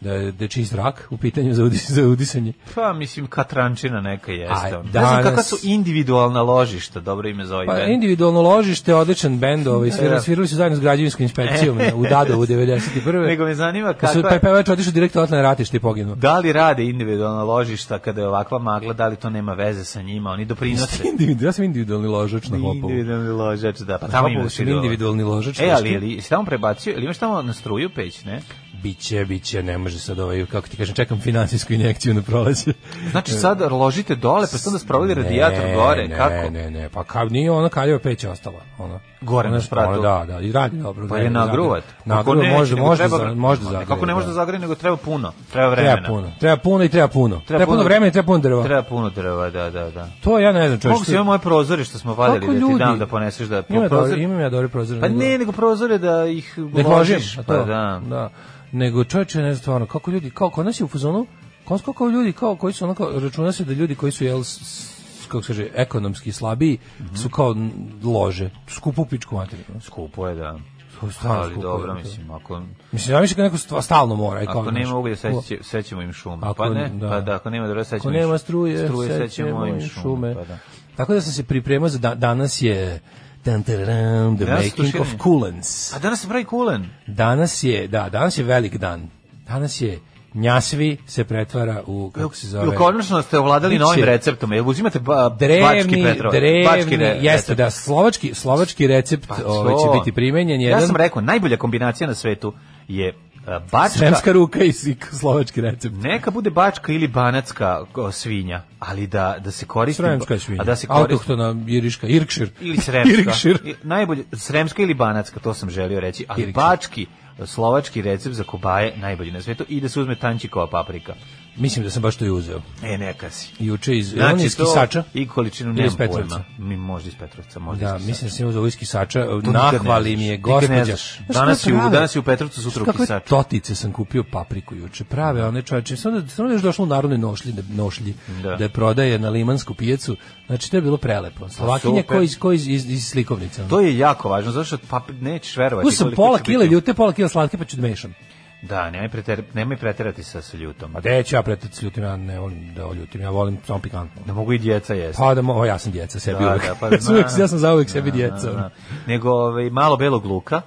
Speaker 7: da je, da je čist zrak u pitanju za, udis, za udisanje.
Speaker 6: Pa, mislim, katrančina neka jeste.
Speaker 7: A,
Speaker 6: ono. Ne znam kakva
Speaker 7: danas-
Speaker 6: su individualna ložišta, dobro ime za ovaj
Speaker 7: Pa
Speaker 6: band.
Speaker 7: individualno ložište, odličan bend, ovaj, svirali,
Speaker 6: Da. E.
Speaker 7: svirali su zajedno s građevinskom inspekcijom u Dadovu 91.
Speaker 6: Nego me zanima
Speaker 7: Da su,
Speaker 6: kakva...
Speaker 7: pa je pevač otišao direktno odatle na ratište i poginuo.
Speaker 6: Da li rade individualna ložišta kada je ovakva magla, da li to nema veze sa njima, oni doprinose.
Speaker 7: Individu- ja sam individualni ložač na hopovu.
Speaker 6: Individualni ložač, da, pa
Speaker 7: Na
Speaker 6: tamo
Speaker 7: Hopovu
Speaker 6: imaš
Speaker 7: sam
Speaker 6: i dole.
Speaker 7: individualni ložač.
Speaker 6: E, ali,
Speaker 7: teški.
Speaker 6: ali, si tamo prebacio, ili imaš tamo na struju peć, ne?
Speaker 7: Biće, biće, ne može sad ovaj, kako ti kažem, čekam finansijsku injekciju na proleće.
Speaker 6: Znači, sad ložite dole, pa sad onda sprovali radijator
Speaker 7: E. Ne,
Speaker 6: gore,
Speaker 7: ne,
Speaker 6: kako?
Speaker 7: Ne, ne, pa kao nije ona kaljeva peć ostala, ona.
Speaker 6: Gore
Speaker 7: Ona
Speaker 6: na
Speaker 7: Ono što-
Speaker 6: spratu.
Speaker 7: ona, Da, da, i radi dobro.
Speaker 6: Pa
Speaker 7: ne,
Speaker 6: je nagruvat.
Speaker 7: Nagruvat,
Speaker 6: Kako
Speaker 7: može,
Speaker 6: nego
Speaker 7: može,
Speaker 6: treba-
Speaker 7: za, može da
Speaker 6: Ma,
Speaker 7: zagrije,
Speaker 6: Kako ne može da
Speaker 7: da.
Speaker 6: zagrije, nego treba puno, treba vremena.
Speaker 7: Treba puno, treba puno i treba puno. Treba, puno vremena i treba puno drva.
Speaker 6: Treba puno drva, da, da, da.
Speaker 7: To ja ne znam, čovječ.
Speaker 6: Mogu si imam moje prozore što smo vadili
Speaker 7: Kako
Speaker 6: da ti
Speaker 7: ljudi?
Speaker 6: dam da poneseš da
Speaker 7: Imam ja
Speaker 6: prozor-
Speaker 7: dobro- imam ja dobre prozore.
Speaker 6: Pa
Speaker 7: nego-
Speaker 6: ne, nego prozore da ih
Speaker 7: da ih ložim,
Speaker 6: ložiš,
Speaker 7: a to,
Speaker 6: pa da.
Speaker 7: da. Nego čovječe, ne znam stvarno, kako ljudi, kao kod nas je u fazonu, kod kako ljudi kao koji su onako računa se da ljudi koji su jel s- s- kako se kaže, ekonomski slabiji
Speaker 6: Mhm.
Speaker 7: su kao n- lože, skupu pičku materiju.
Speaker 6: Skupo je, da.
Speaker 7: Skupo, stvarno
Speaker 6: Ali
Speaker 7: skupo je,
Speaker 6: dobro,
Speaker 7: da.
Speaker 6: mislim, ako,
Speaker 7: Mislim, ja mislim da neko stva- stalno mora. i kao,
Speaker 6: ako
Speaker 7: znaš,
Speaker 6: nema uglja,
Speaker 7: ko-
Speaker 6: seći, sećemo im šumu.
Speaker 7: Ako-
Speaker 6: pa ne,
Speaker 7: da.
Speaker 6: pa da, ako nema drva, sećemo
Speaker 7: Ako
Speaker 6: im
Speaker 7: nema
Speaker 6: šumu.
Speaker 7: struje, sećemo im
Speaker 6: im
Speaker 7: šume.
Speaker 6: Pa da.
Speaker 7: Tako da sam se pripremao za da- danas je tan, tan, tan, the
Speaker 6: Danas je
Speaker 7: making of
Speaker 6: tuširanje.
Speaker 7: coolants.
Speaker 6: A danas se pravi kulen.
Speaker 7: Danas je, da, danas je velik dan. Danas je Njasvi se pretvara u, kako se zove?
Speaker 6: Jel konačno ste ovladali
Speaker 7: Biće-
Speaker 6: novim receptom? Jel uzimate ba, bački
Speaker 7: drevni,
Speaker 6: petrol? bački
Speaker 7: drevni,
Speaker 6: re-
Speaker 7: jeste,
Speaker 6: recept?
Speaker 7: da, slovački, slovački recept
Speaker 6: Pa
Speaker 7: ovaj,
Speaker 6: to.
Speaker 7: će biti primenjen. Jedan,
Speaker 6: Ja sam rekao, najbolja kombinacija na svetu je a, bačka,
Speaker 7: Sremska ruka i si- slovački recept.
Speaker 6: neka bude bačka ili banatska o, svinja, ali da, da se koristi...
Speaker 7: Sremska je svinja.
Speaker 6: A da se koristi...
Speaker 7: Autohtona iriška, Irkšir.
Speaker 6: Ili sremska.
Speaker 7: Irkšir.
Speaker 6: I- Najbolje, sremska ili banatska, to sam želio reći, ali
Speaker 7: Irkšir.
Speaker 6: bački slovački recept za kobaje najbolji na svetu i da se uzme tančikova paprika.
Speaker 7: Mislim da sam baš to i uzeo.
Speaker 6: E, neka si.
Speaker 7: Juče iz, znači, on je iz
Speaker 6: to
Speaker 7: Kisača.
Speaker 6: i količinu
Speaker 7: Ili iz
Speaker 6: nemam
Speaker 7: Petrovca?
Speaker 6: pojma. Mi, možda iz Petrovca, možda iz
Speaker 7: Da,
Speaker 6: Kisača.
Speaker 7: mislim da sam uzeo iz Kisača.
Speaker 6: To nikad ne
Speaker 7: Nahvali
Speaker 6: znaš.
Speaker 7: mi je
Speaker 6: Nikad ne
Speaker 7: gospođa.
Speaker 6: znaš.
Speaker 7: Znaš šta
Speaker 6: Danas je u-
Speaker 7: prave?
Speaker 6: danas je u Petrovcu, sutra u
Speaker 7: Znaš kakve
Speaker 6: Kisaču.
Speaker 7: totice sam kupio papriku juče. Prave one čoveče. Samo da, samo da je još došlo u narodnoj nošlji, da, nošlji, da.
Speaker 6: Da. Pa
Speaker 7: je prodaje na limansku pijecu. Znači, to je bilo prelepo. Slovakinja
Speaker 6: super.
Speaker 7: koji iz, ko iz, iz, iz slikovnice. ono.
Speaker 6: To je jako važno, zato što pa nećeš verovati.
Speaker 7: Uzeo sam
Speaker 6: koliko
Speaker 7: pola
Speaker 6: će biti-
Speaker 7: kile ljute, pola kile slatke, pa ću da mešam.
Speaker 6: Da, nemoj, preter, nemoj preterati sa, sa ljutom.
Speaker 7: A gde ću ja pretati s ljutim? Ja ne volim da oljutim, ja volim samo pikantno.
Speaker 6: Da mogu i djeca jesti.
Speaker 7: Pa da, mo, o, ja sam djeca, sebi
Speaker 6: Da,
Speaker 7: uvek.
Speaker 6: da, pa
Speaker 7: ja, sam uvek-
Speaker 6: znam.
Speaker 7: ja sam zauvek sebi djeca.
Speaker 6: Da,
Speaker 7: ono.
Speaker 6: da. Nego ovaj, malo belog luka,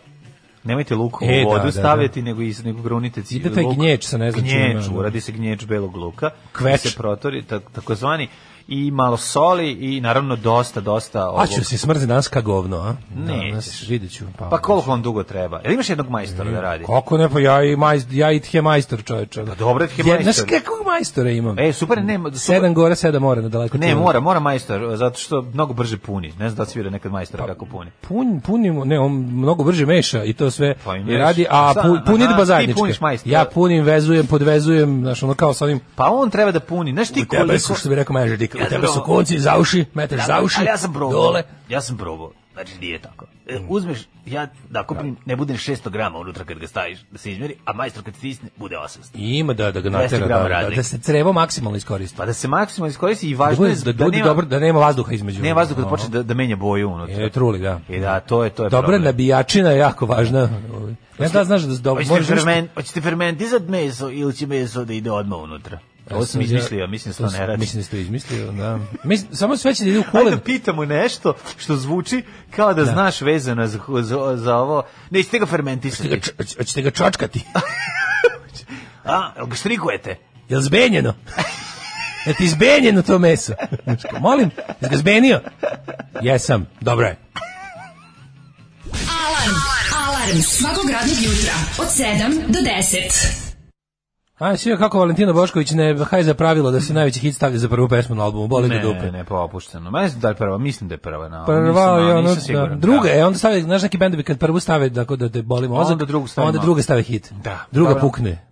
Speaker 6: Nemojte luk u
Speaker 7: E, da,
Speaker 6: vodu
Speaker 7: da,
Speaker 6: stavljati, nego, is, nego grunite ci-
Speaker 7: Ide taj
Speaker 6: luk.
Speaker 7: gnječ sa ne znam čime,
Speaker 6: Gnječ,
Speaker 7: ono.
Speaker 6: uradi se gnječ belog luka.
Speaker 7: Kveč.
Speaker 6: da Se protori, ta- takozvani, i malo soli i naravno dosta, dosta
Speaker 7: A
Speaker 6: ovog.
Speaker 7: ću se smrze danas ka govno, a?
Speaker 6: Nećeš.
Speaker 7: Danas, vidjet ću. Pa,
Speaker 6: Pa koliko vam dugo treba? Jel imaš jednog
Speaker 7: E,
Speaker 6: majstora da radi?
Speaker 7: Kako ne, pa ja i, majst, ja i tje majstor čoveče. Pa
Speaker 6: dobro, tje majstor.
Speaker 7: Znaš kakvog majstora imam?
Speaker 6: E, super, ne, super.
Speaker 7: Sedam gore, sedam more na daleko.
Speaker 6: Ne,
Speaker 7: čuveno.
Speaker 6: mora, mora majstor, zato što mnogo brže puni. Ne znam da li si vidio nekad majstora
Speaker 7: Pa-
Speaker 6: kako puni.
Speaker 7: Pun, punimo, ne, on mnogo brže meša i to sve
Speaker 6: Pa i
Speaker 7: i
Speaker 6: meša.
Speaker 7: radi, a
Speaker 6: Šta,
Speaker 7: pu,
Speaker 6: aha,
Speaker 7: punitba
Speaker 6: ti
Speaker 7: zajednička.
Speaker 6: puniš majstor.
Speaker 7: Ja punim, vezujem, podvezujem, znaš, ono kao sa onim
Speaker 6: Pa on treba da puni. Znaš ti
Speaker 7: U tebe su,
Speaker 6: koliko...
Speaker 7: što bi rekao Mežer Dik, u tebe su
Speaker 6: dobro.
Speaker 7: konci za uši, meteš za uši,
Speaker 6: ali ja sam probao.
Speaker 7: dole.
Speaker 6: Ja sam probao. Znači, nije tako. E, uzmeš, ja da kupim, ne bude 600 grama unutra kad ga staviš da se izmeri, a majstor kad stisne, bude 800.
Speaker 7: I ima da, da ga
Speaker 6: 200
Speaker 7: natera,
Speaker 6: grama
Speaker 7: da, da,
Speaker 6: razlike.
Speaker 7: da se crevo maksimalno iskoristi.
Speaker 6: Pa da se maksimalno iskoristi i
Speaker 7: da,
Speaker 6: važno
Speaker 7: bude,
Speaker 6: Pa je
Speaker 7: da, bude
Speaker 6: nema,
Speaker 7: dobro, da nema vazduha između.
Speaker 6: nema vazduha da
Speaker 7: ono.
Speaker 6: počne da, da menja boju unutra.
Speaker 7: E, truli, da.
Speaker 6: I da, to je, to je
Speaker 7: Dobra
Speaker 6: problem. Pa
Speaker 7: nabijačina je jako važna. Ne znam, znaš da dobro,
Speaker 6: Hoćete,
Speaker 7: možeš...
Speaker 6: ferment, hoćete fermentizat meso ili će meso da ide odmah unutra? Ovo sam izmislio, E, mislim da se to ne radi.
Speaker 7: Mislim da ste izmislio, da. Mislim, samo sve će da ide u
Speaker 6: Ajde
Speaker 7: kulen.
Speaker 6: da pitamo nešto što zvuči kao da, znaš vezano za, za, za ovo. Nećete ga
Speaker 7: Hoćete
Speaker 6: fermentisati.
Speaker 7: ga č- Hoćete ga čačkati?
Speaker 6: A, jel ga štrikujete?
Speaker 7: Jel zbenjeno? Jel ti zbenjeno to meso? Znaš, kao, Molim, jesi ga zbenio? Jesam, dobro je.
Speaker 4: Alarm. Alarm svakog radnog jutra od 7 do 10.
Speaker 7: A, sve kako Valentino Bošković ne haj za pravilo da se najveći hit stavlja za prvu pesmu na albumu, boli ga
Speaker 6: Ne,
Speaker 7: dupe.
Speaker 6: ne, ne, pa opušteno. Ma ne znam da je prva, mislim da je prva. no. Na,
Speaker 7: Prva
Speaker 6: nisam,
Speaker 7: je
Speaker 6: a,
Speaker 7: ono,
Speaker 6: nisam
Speaker 7: da,
Speaker 6: siguran,
Speaker 7: druga
Speaker 6: da.
Speaker 7: je, onda stave, znaš neki bendovi kad prvu stave tako da te boli mozak,
Speaker 6: Onda drugu stave
Speaker 7: onda
Speaker 6: malo.
Speaker 7: druga stave hit.
Speaker 6: Da,
Speaker 7: druga
Speaker 6: dobro.
Speaker 7: pukne.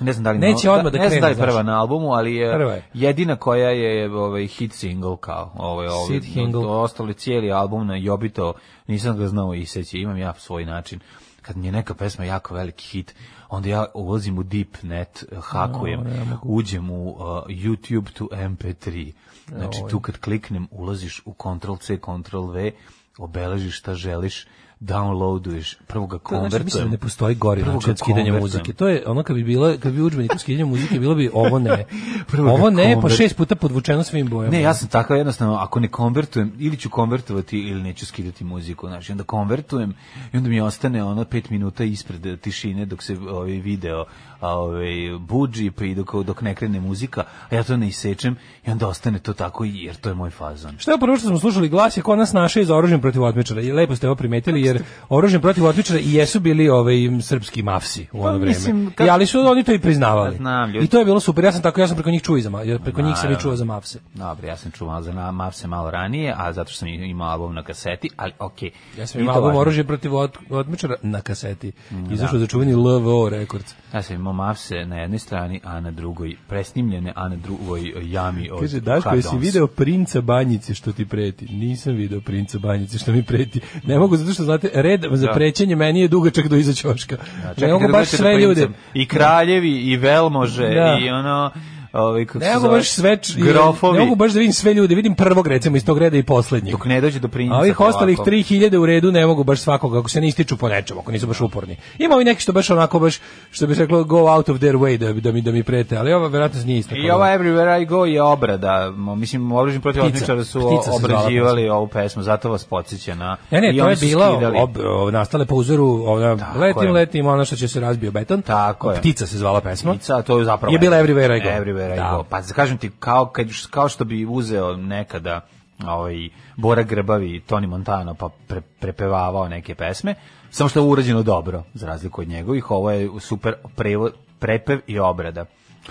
Speaker 6: Ne znam da li
Speaker 7: Neće
Speaker 6: na,
Speaker 7: odmah da
Speaker 6: ne znam da
Speaker 7: krene,
Speaker 6: je prva
Speaker 7: znaš.
Speaker 6: na albumu, ali je,
Speaker 7: Prva je.
Speaker 6: jedina koja je ovaj hit single kao ovaj ovaj.
Speaker 7: Hit single.
Speaker 6: To ostali cijeli album na Jobito, nisam ga znao iseći, imam ja svoj način. Kad mi je neka pesma jako veliki hit, onda ja ulazim u deep net, hakujem, uđem u uh, YouTube to MP3. Znači tu kad kliknem, ulaziš u Ctrl C, Ctrl V, obeležiš šta želiš, downloaduješ, prvo ga
Speaker 7: To znači,
Speaker 6: konvertujem.
Speaker 7: mislim da ne postoji gori
Speaker 6: Prvo
Speaker 7: način
Speaker 6: ga
Speaker 7: od skidanja
Speaker 6: konvertujem.
Speaker 7: muzike. To je ono kad bi bilo, kad bi udžbenik od skidanja muzike bilo bi ovo ne.
Speaker 6: Prvo ga
Speaker 7: ovo ne, pa
Speaker 6: konvert-
Speaker 7: šest puta podvučeno svim bojama.
Speaker 6: Ne, ja sam takav jednostavno, ako ne konvertujem, ili ću konvertovati ili neću skidati muziku, znači onda konvertujem i onda mi ostane ono pet minuta ispred e, tišine dok se ovaj video a, ovaj budži pa i dok, dok ne krene muzika, a ja to ne isečem i onda ostane to tako jer to je moj fazon.
Speaker 7: Šta je prvo što smo slušali glas je kod nas naše iz oružjem protiv otmičara i lepo ste ovo primetili jer oružjem protiv otmičara i jesu bili ovaj srpski mafsi u ono
Speaker 6: Pa mislim,
Speaker 7: vreme.
Speaker 6: kad-
Speaker 7: I ali su oni to i priznavali.
Speaker 6: Ja znam, ljudi.
Speaker 7: I to je bilo super. Ja sam tako ja sam preko njih čuo i za ma- ja preko njih sam i
Speaker 6: Naravno.
Speaker 7: čuo za mafse.
Speaker 6: Dobro, ja sam čuvao za na- Mavse malo ranije, a zato što sam imao album na kaseti, ali okej.
Speaker 7: Ja sam
Speaker 6: Nije to Mm,
Speaker 7: imao album
Speaker 6: važno.
Speaker 7: oružje protiv ot, otmičara na kaseti. Izašao za čuveni LVO Records.
Speaker 6: Ja sam imao Mavse na jednoj strani, a na drugoj presnimljene, a na drugoj e, jami od
Speaker 7: Kaže, Daško,
Speaker 6: Hard
Speaker 7: jesi
Speaker 6: Dons.
Speaker 7: video princa banjice što ti preti? Nisam video princa banjice što mi preti. Ne mogu, zato što, znate, red za
Speaker 6: Da.
Speaker 7: prećenje meni je dugačak do iza ćoška.
Speaker 6: Pa Čekaj
Speaker 7: ne mogu
Speaker 6: da
Speaker 7: baš
Speaker 6: dođete
Speaker 7: sve
Speaker 6: do princa.
Speaker 7: ljude.
Speaker 6: I kraljevi, i velmože,
Speaker 7: Da.
Speaker 6: i ono... Ovaj, kako se
Speaker 7: Ne mogu
Speaker 6: zove,
Speaker 7: baš sve, č-
Speaker 6: grofovi.
Speaker 7: ne mogu baš da vidim sve ljude, vidim prvog recimo iz tog reda i poslednjeg.
Speaker 6: Dok ne dođe do princa.
Speaker 7: A ovih ostalih
Speaker 6: polako.
Speaker 7: 3000 u redu ne mogu baš svakog, ako se ne ističu po nečemu, ako nisu baš uporni. Ima ovi neki što baš onako baš, što bi se reklo, go out of their way da, da, mi, da mi prete, ali ova verovatno nije isto.
Speaker 6: I ova Everywhere I Go je obrada. Mo- Mislim, oružni protiv
Speaker 7: Ptica.
Speaker 6: otmičara su
Speaker 7: Ptica se zvala
Speaker 6: obrađivali ovu pesmu, zato vas podsjeća na...
Speaker 7: E Ne, ne,
Speaker 6: i
Speaker 7: to
Speaker 6: oni
Speaker 7: je
Speaker 6: su
Speaker 7: bilo
Speaker 6: skidali.
Speaker 7: ob, o, nastale po uzoru ona,
Speaker 6: Tako
Speaker 7: letim,
Speaker 6: je.
Speaker 7: letim, ono što će se razbio beton.
Speaker 6: Tako je.
Speaker 7: Ptica se zvala pesma.
Speaker 6: Ptica, to je zapravo...
Speaker 7: Je bila Everywhere I Go.
Speaker 6: Everywhere I
Speaker 7: Da.
Speaker 6: Go. Pa kažem ti, kao, kad, kao što bi uzeo nekada ovaj, Bora Grbavi i Tony Montano pa pre, prepevavao neke pesme, samo što je urađeno dobro, za razliku od njegovih, ovo je super prevo, prepev i obrada.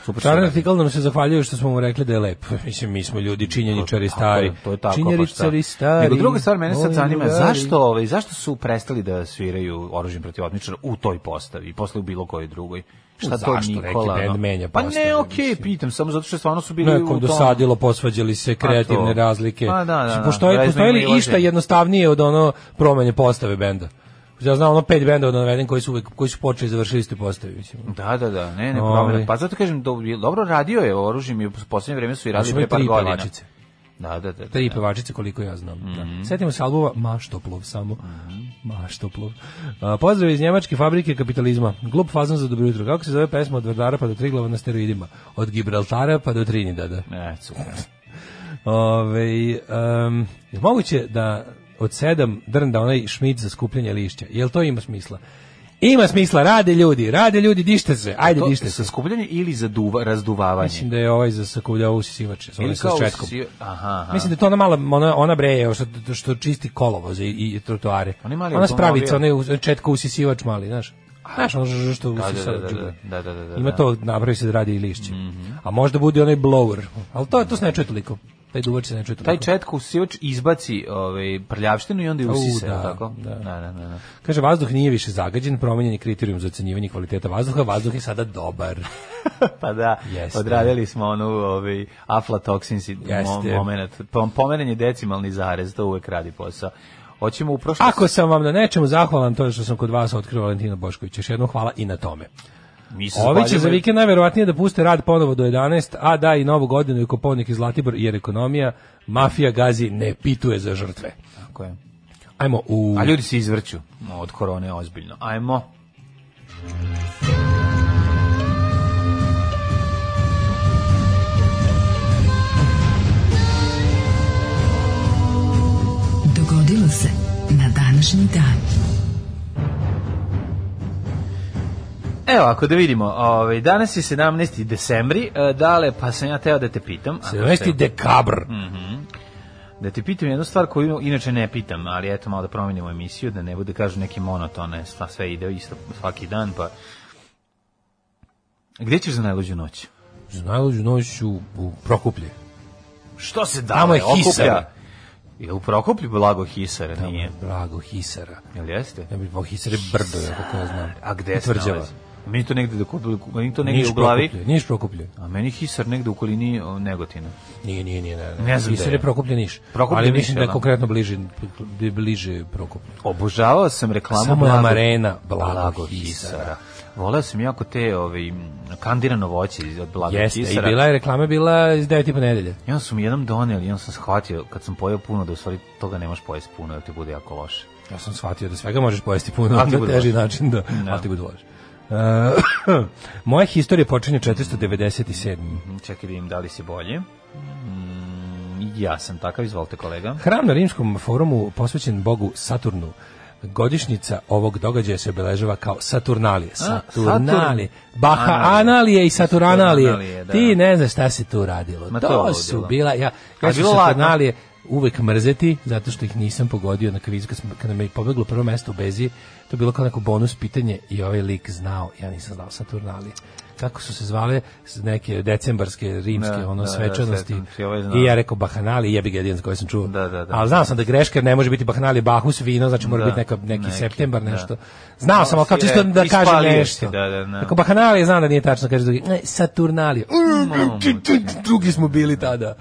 Speaker 6: Super
Speaker 7: Čaran
Speaker 6: su
Speaker 7: artikal nam se zahvaljuje što smo mu rekli da je lep. Mislim, mi smo ljudi činjeničari
Speaker 6: Tako
Speaker 7: stari.
Speaker 6: je, To je tako baš tako.
Speaker 7: Činjeničari stari.
Speaker 6: Nego druga stvar mene sad
Speaker 7: moji
Speaker 6: zanima
Speaker 7: drugari.
Speaker 6: zašto ovaj zašto su prestali da sviraju oružjem protiv otmičara u toj postavi i posle u bilo kojoj drugoj. Šta to
Speaker 7: zašto? Neki
Speaker 6: Nikola?
Speaker 7: bend
Speaker 6: ono?
Speaker 7: menja
Speaker 6: pa
Speaker 7: postavu,
Speaker 6: ne, okej,
Speaker 7: mislim.
Speaker 6: pitam samo zato što stvarno su bili u
Speaker 7: Nekom
Speaker 6: tom. Pa
Speaker 7: dosadilo, posvađali se, kreativne
Speaker 6: to.
Speaker 7: razlike.
Speaker 6: Pa da, da, da.
Speaker 7: Postoji,
Speaker 6: Vezme
Speaker 7: postoji
Speaker 6: i
Speaker 7: li
Speaker 6: prilaženje.
Speaker 7: išta jednostavnije od ono promene postave benda? Ja znam ono pet benda od naveden koji su uvek, koji su počeli i završili istu postavi. Mislim.
Speaker 6: Da, da, da, ne, ne,
Speaker 7: Ovaj.
Speaker 6: problem. Pa zato kažem, do- dobro radio je oružjem i u poslednje vreme su i
Speaker 7: Znači,
Speaker 6: radili
Speaker 7: imaju
Speaker 6: pre par
Speaker 7: tri
Speaker 6: godina.
Speaker 7: pevačice.
Speaker 6: Da, da, da. da. Mhm.
Speaker 7: Tri pevačice koliko ja znam. Da. Setimo se albuma Maštoplov samo. Maštoplov. A, pozdrav iz njemačke fabrike kapitalizma. Glup fazan za dobro jutro. Kako se zove pesma od Vardara pa do Triglava na steroidima? Od Gibraltara pa do Trinidada.
Speaker 6: E, super.
Speaker 7: Ove, um, moguće da od 7 drnda onaj šmid za skupljanje lišća. Jel to ima smisla? Ima smisla, rade ljudi, rade ljudi, dište se, ajde
Speaker 6: To
Speaker 7: dište
Speaker 6: sa
Speaker 7: se.
Speaker 6: skupljanje ili za duva, razduvavanje?
Speaker 7: Mislim da je ovaj za sakuvljao usisivače, sa
Speaker 6: Ili
Speaker 7: onaj sa
Speaker 6: kao
Speaker 7: četkom.
Speaker 6: si- Aha, aha.
Speaker 7: Mislim da je to ona mala ona ona breje što što čisti kolovoze i, i trotoare.
Speaker 6: Oni mali
Speaker 7: ona
Speaker 6: automobili.
Speaker 7: spravica, onaj uz- četka usisivač mali, znaš. Znaš, ono ž- ž- što
Speaker 6: da,
Speaker 7: usisa
Speaker 6: da, da,
Speaker 7: džubre.
Speaker 6: da, da, da, Mhm. da,
Speaker 7: Ima
Speaker 6: da.
Speaker 7: to, napravi se da radi i lišće. A možda bude onaj blower. Ali to, to se ne čuje toliko. Taj duvač se ne čuje toliko.
Speaker 6: Taj četko usivač izbaci ovaj, prljavštinu i onda je usise,
Speaker 7: U, da,
Speaker 6: jel tako?
Speaker 7: da.
Speaker 6: da, da, da. da.
Speaker 7: Kaže, vazduh nije više zagađen, promenjen je kriterijum za ocenjivanje kvaliteta vazduha, vazduh je sada dobar.
Speaker 6: Pa da,
Speaker 7: Jeste.
Speaker 6: odradili smo onu ovaj, aflatoksin si- mo,
Speaker 7: Jeste.
Speaker 6: moment. Pom- Pomeren je decimalni zarez, to uvek radi posao. Hoćemo u prošlost.
Speaker 7: Ako sam vam na nečemu zahvalan, to je što sam kod vas otkrio Valentina Boškovića. Još jednom hvala i na tome.
Speaker 6: Mi se
Speaker 7: Ah, Ovi će
Speaker 6: zahvaljujemo-
Speaker 7: za vikend najverovatnije da puste rad ponovo do 11, a da i novu godinu i Kopovnik iz Zlatibor jer ekonomija, mafija gazi ne pituje za žrtve.
Speaker 6: Tako je.
Speaker 7: Ajmo u...
Speaker 6: A ljudi se izvrću od korone ozbiljno. Ajmo.
Speaker 4: Dogodilo se na današnji dan.
Speaker 6: Evo, ako da vidimo, ovaj, danas je 17. decembri, e, dale, pa sam ja teo da te pitam. ako
Speaker 7: 17.
Speaker 6: se-
Speaker 7: dekabr.
Speaker 6: Hmm. Da te pitam jednu stvar koju inače ne pitam, ali eto malo da promenimo emisiju, da ne bude kažu neke monotone, sva, sve ide isto svaki dan, pa... Gde ćeš za najluđu noć?
Speaker 7: Za najluđu noć u, u Prokuplje.
Speaker 6: Što se da
Speaker 7: Tamo je Hisar.
Speaker 6: Je u Prokoplju blago Hisara,
Speaker 7: Tamo je
Speaker 6: nije?
Speaker 7: Blago Hisara.
Speaker 6: Jel jeste?
Speaker 7: Ja bih po Hisare brdo, ja kako ja znam.
Speaker 6: A gde se
Speaker 7: Tvrđava.
Speaker 6: nalazi? Meni to negde, dok, meni to negde
Speaker 7: Niš
Speaker 6: u glavi,
Speaker 7: Prokuplje, Niš Prokuplje.
Speaker 6: a meni Hisar negde u okolini o, Negotina.
Speaker 7: Nije, nije, nije, ne.
Speaker 6: Ne znam
Speaker 7: Hisar
Speaker 6: gde je.
Speaker 7: je Prokuplje Niš.
Speaker 6: Prokuplje
Speaker 7: Ali
Speaker 6: Niš,
Speaker 7: mislim da je
Speaker 6: jel da?
Speaker 7: konkretno bliže, bliže Prokuplju.
Speaker 6: Obožavao sam reklamu
Speaker 7: Samo je
Speaker 6: Blago-
Speaker 7: Amarena
Speaker 6: Blago
Speaker 7: Blago
Speaker 6: Hisara.
Speaker 7: Hisara.
Speaker 6: Voleo sam jako te ovaj, m, kandirano voće iz- od Blago
Speaker 7: Jeste, i
Speaker 6: Hisara.
Speaker 7: bila je reklama bila iz 9 i po nedelje.
Speaker 6: I onda su mi jednom doneli, i onda sam shvatio, kad sam pojeo puno, da u stvari toga ne možeš pojesti puno, jer ti bude jako loše.
Speaker 7: Ja sam shvatio da svega možeš pojesti puno,
Speaker 6: Ali ti
Speaker 7: ali
Speaker 6: bude
Speaker 7: teži
Speaker 6: loše.
Speaker 7: način da, ali ti bude loše. E, moja historija počinje 497.
Speaker 6: Mm, Čekaj da im da li si bolje. Mm, Ja sam takav, izvolite kolega.
Speaker 7: Hram na rimskom forumu posvećen bogu Saturnu. Godišnjica ovog događaja se obeležava kao Saturnalije. Saturnalije.
Speaker 6: Saturn-
Speaker 7: Baha
Speaker 6: Analije.
Speaker 7: Analije i Saturnalalije.
Speaker 6: Saturnalije, da.
Speaker 7: Ti ne znaš šta se tu radilo.
Speaker 6: Ma to je
Speaker 7: to
Speaker 6: ludilo.
Speaker 7: su bila... Ja,
Speaker 6: A
Speaker 7: ja ću
Speaker 6: bilo ladno?
Speaker 7: Saturnalije uvek mrzeti, zato što ih nisam pogodio na kvizu. Kad, sam, kad me je pobeglo prvo mesto u Beziji, to je bilo kao neko bonus pitanje i ovaj lik znao. Ja nisam znao Saturnalije. Kako su se zvale neke decembarske rimske
Speaker 6: Da,
Speaker 7: ono
Speaker 6: da, da,
Speaker 7: svečanosti.
Speaker 6: svečanosti, ovaj znao.
Speaker 7: I ja rekao Bahanali, jebi ga jedin za koji sam čuo.
Speaker 6: Da, da, da.
Speaker 7: Ali znao sam da greška jer ne može biti Bahanali Bahus vino, znači mora
Speaker 6: Da,
Speaker 7: biti neka, neki,
Speaker 6: neki,
Speaker 7: septembar,
Speaker 6: da.
Speaker 7: nešto. Znao sam, ali kao
Speaker 6: si,
Speaker 7: čisto
Speaker 6: e,
Speaker 7: da kažem
Speaker 6: ispalio si,
Speaker 7: nešto.
Speaker 6: da, da, da.
Speaker 7: Ako Bahanali znam da nije tačno, kaže drugi. Ne, Mm, Saturnali.
Speaker 6: Mm,
Speaker 7: Drugi smo bili tada.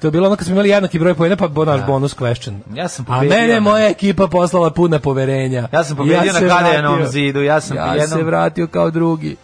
Speaker 7: To je bilo ono kad smo imali jednaki broj pojena, pa bo naš bonus question.
Speaker 6: Ja sam
Speaker 7: A
Speaker 6: pobedio
Speaker 7: mene
Speaker 6: na-
Speaker 7: moja ekipa poslala puna poverenja.
Speaker 6: Ja sam pobedio na
Speaker 7: se
Speaker 6: Kaljanom
Speaker 7: vratio.
Speaker 6: zidu, ja sam
Speaker 7: ja
Speaker 6: jednom-
Speaker 7: se vratio kao drugi.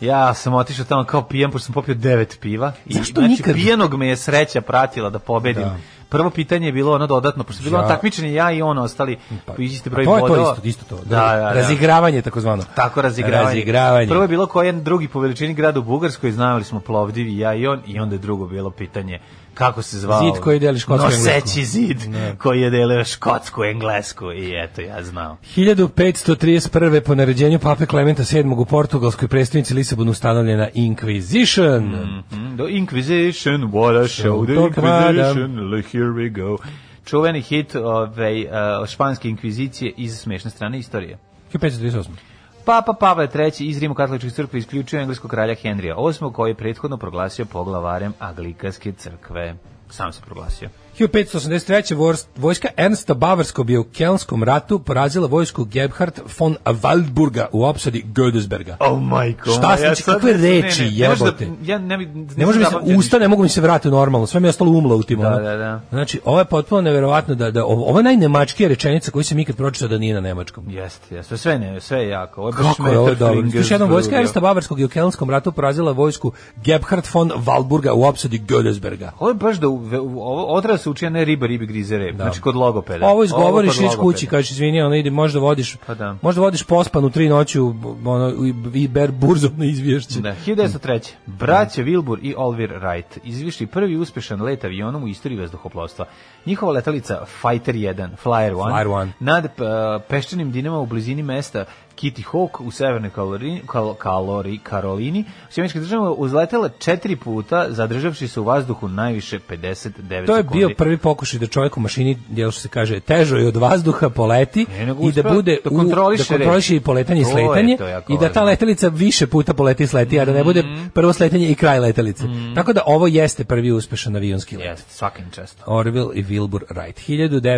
Speaker 6: Ja sam otišao tamo kao pijan, pošto sam popio devet piva. I,
Speaker 7: Zašto
Speaker 6: znači,
Speaker 7: nikad?
Speaker 6: pijanog me je sreća pratila da pobedim.
Speaker 7: Da.
Speaker 6: Prvo pitanje je bilo ono dodatno, pošto je bilo
Speaker 7: Ja.
Speaker 6: ono takmičenje ja i ono ostali
Speaker 7: Pa,
Speaker 6: po isti
Speaker 7: a
Speaker 6: broj
Speaker 7: to je
Speaker 6: bodova.
Speaker 7: to isto, isto to.
Speaker 6: Da, da, da.
Speaker 7: Razigravanje takozvano.
Speaker 6: Tako razigravanje.
Speaker 7: Razigravanje.
Speaker 6: Prvo je bilo koji je drugi po veličini grad u Bugarskoj, znali smo Plovdiv i ja i on, i onda je drugo bilo pitanje kako se zvao.
Speaker 7: Zid koji deli Škotsku i Englesku.
Speaker 6: Noseći zid koji je delio Škotsku, Englesku i eto ja znao.
Speaker 7: 1531. po naređenju pape Klementa VII u portugalskoj predstavnici Lisabonu ustanovljena Inquisition.
Speaker 6: Mhm, The Inquisition, what a show, the
Speaker 7: Show to
Speaker 6: Inquisition, le- here we go. Čuveni hit ove, španske inkvizicije iz smešne strane istorije.
Speaker 7: 1538.
Speaker 6: Papa Pavle III iz Rimokatoličke crkve isključio engleskog kralja Henrija VIII, koji je prethodno proglasio poglavarem Anglikanske crkve. Sam se proglasio.
Speaker 7: 1583. vorst- vojska Ernsta Bavarskog je u Kelskom ratu porazila vojsku Gebhard von Waldburga u opsadi Gödesberga.
Speaker 6: Oh my
Speaker 7: Šta sam ti- kakve reči, jebote.
Speaker 6: Da, ja ne, bi- ne,
Speaker 7: Ne može mi
Speaker 6: zapamtim
Speaker 7: se
Speaker 6: ništa.
Speaker 7: usta, ne mogu mi se vratiti normalno. Sve mi je ostalo umlo u tim.
Speaker 6: Da,
Speaker 7: ono.
Speaker 6: da, da.
Speaker 7: Znači, ovo je potpuno neverovatno da, da ovo, ovo je najnemačkija rečenica koju sam ikad pročitao da nije na nemačkom.
Speaker 6: Jeste, jeste, sve ne, sve je jako. Ovo je baš
Speaker 7: Kako je ovo dobro?
Speaker 6: Schmetterflinger
Speaker 7: Još jednom vojska
Speaker 6: zbrudio.
Speaker 7: Ernsta Bavarskog i u Kelskom ratu porazila vojsku Gebhard von Walburga u opsadi Gödesberga.
Speaker 6: Ovo je baš da u- ve- u- ovo odrao se uči, a ne riba, ribi grize rep. Znači kod logopeda.
Speaker 7: Ovo izgovoriš
Speaker 6: kod
Speaker 7: iz kući,
Speaker 6: logopeda.
Speaker 7: kažeš izvini, ono ide, možda vodiš,
Speaker 6: Pa da.
Speaker 7: možda vodiš pospan u tri noći u, ono, i, i ber burzovno izvješće.
Speaker 6: Da, 1903. Braća Wilbur i Olvir Wright izvišli prvi uspešan let avionom u istoriji vazduhoplovstva. Njihova letalica Fighter 1, Flyer 1,
Speaker 7: Flyer 1.
Speaker 6: nad p- peščanim dinama u blizini mesta Kitty Hawk u Severnoj Kalori, Kal- Kalori, Karolini u Sjemeničke države uzletela četiri puta, zadržavši se u vazduhu najviše 59 sekundi.
Speaker 7: To je bio prvi pokušaj da čovjek u mašini, jel što se kaže, težo je od vazduha poleti
Speaker 6: Ne,
Speaker 7: i
Speaker 6: nego
Speaker 7: da
Speaker 6: uspeo
Speaker 7: bude
Speaker 6: da
Speaker 7: u-
Speaker 6: kontroliše
Speaker 7: da kontroliše
Speaker 6: red.
Speaker 7: i poletanje i
Speaker 6: To je,
Speaker 7: sletanje
Speaker 6: to je jako
Speaker 7: i da ta
Speaker 6: važno. Mhm.
Speaker 7: letelica više puta poleti i sleti, a da ne bude prvo sletanje i kraj letelice. Tako da ovo jeste prvi uspešan avionski let.
Speaker 6: Jeste, svakim čestom.
Speaker 7: Orville i Wilbur Wright.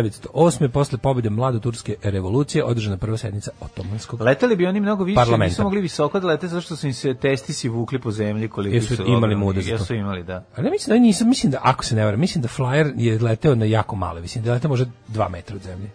Speaker 7: 1908. posle pobjede mladoturske revolucije održana prva sednica otomanskog
Speaker 6: Leteli bi oni mnogo više,
Speaker 7: Parlamenta.
Speaker 6: nisu mogli visoko da lete zato što su im se testisi vukli po zemlji koliko
Speaker 7: Jesu
Speaker 6: su
Speaker 7: imali
Speaker 6: ogromni.
Speaker 7: mudrost.
Speaker 6: Jesu imali, da.
Speaker 7: Ali ja mislim da nisam, mislim da, ako se ne varam, mislim da Flyer je leteo na jako male visine, da je leteo možda dva metra od zemlje.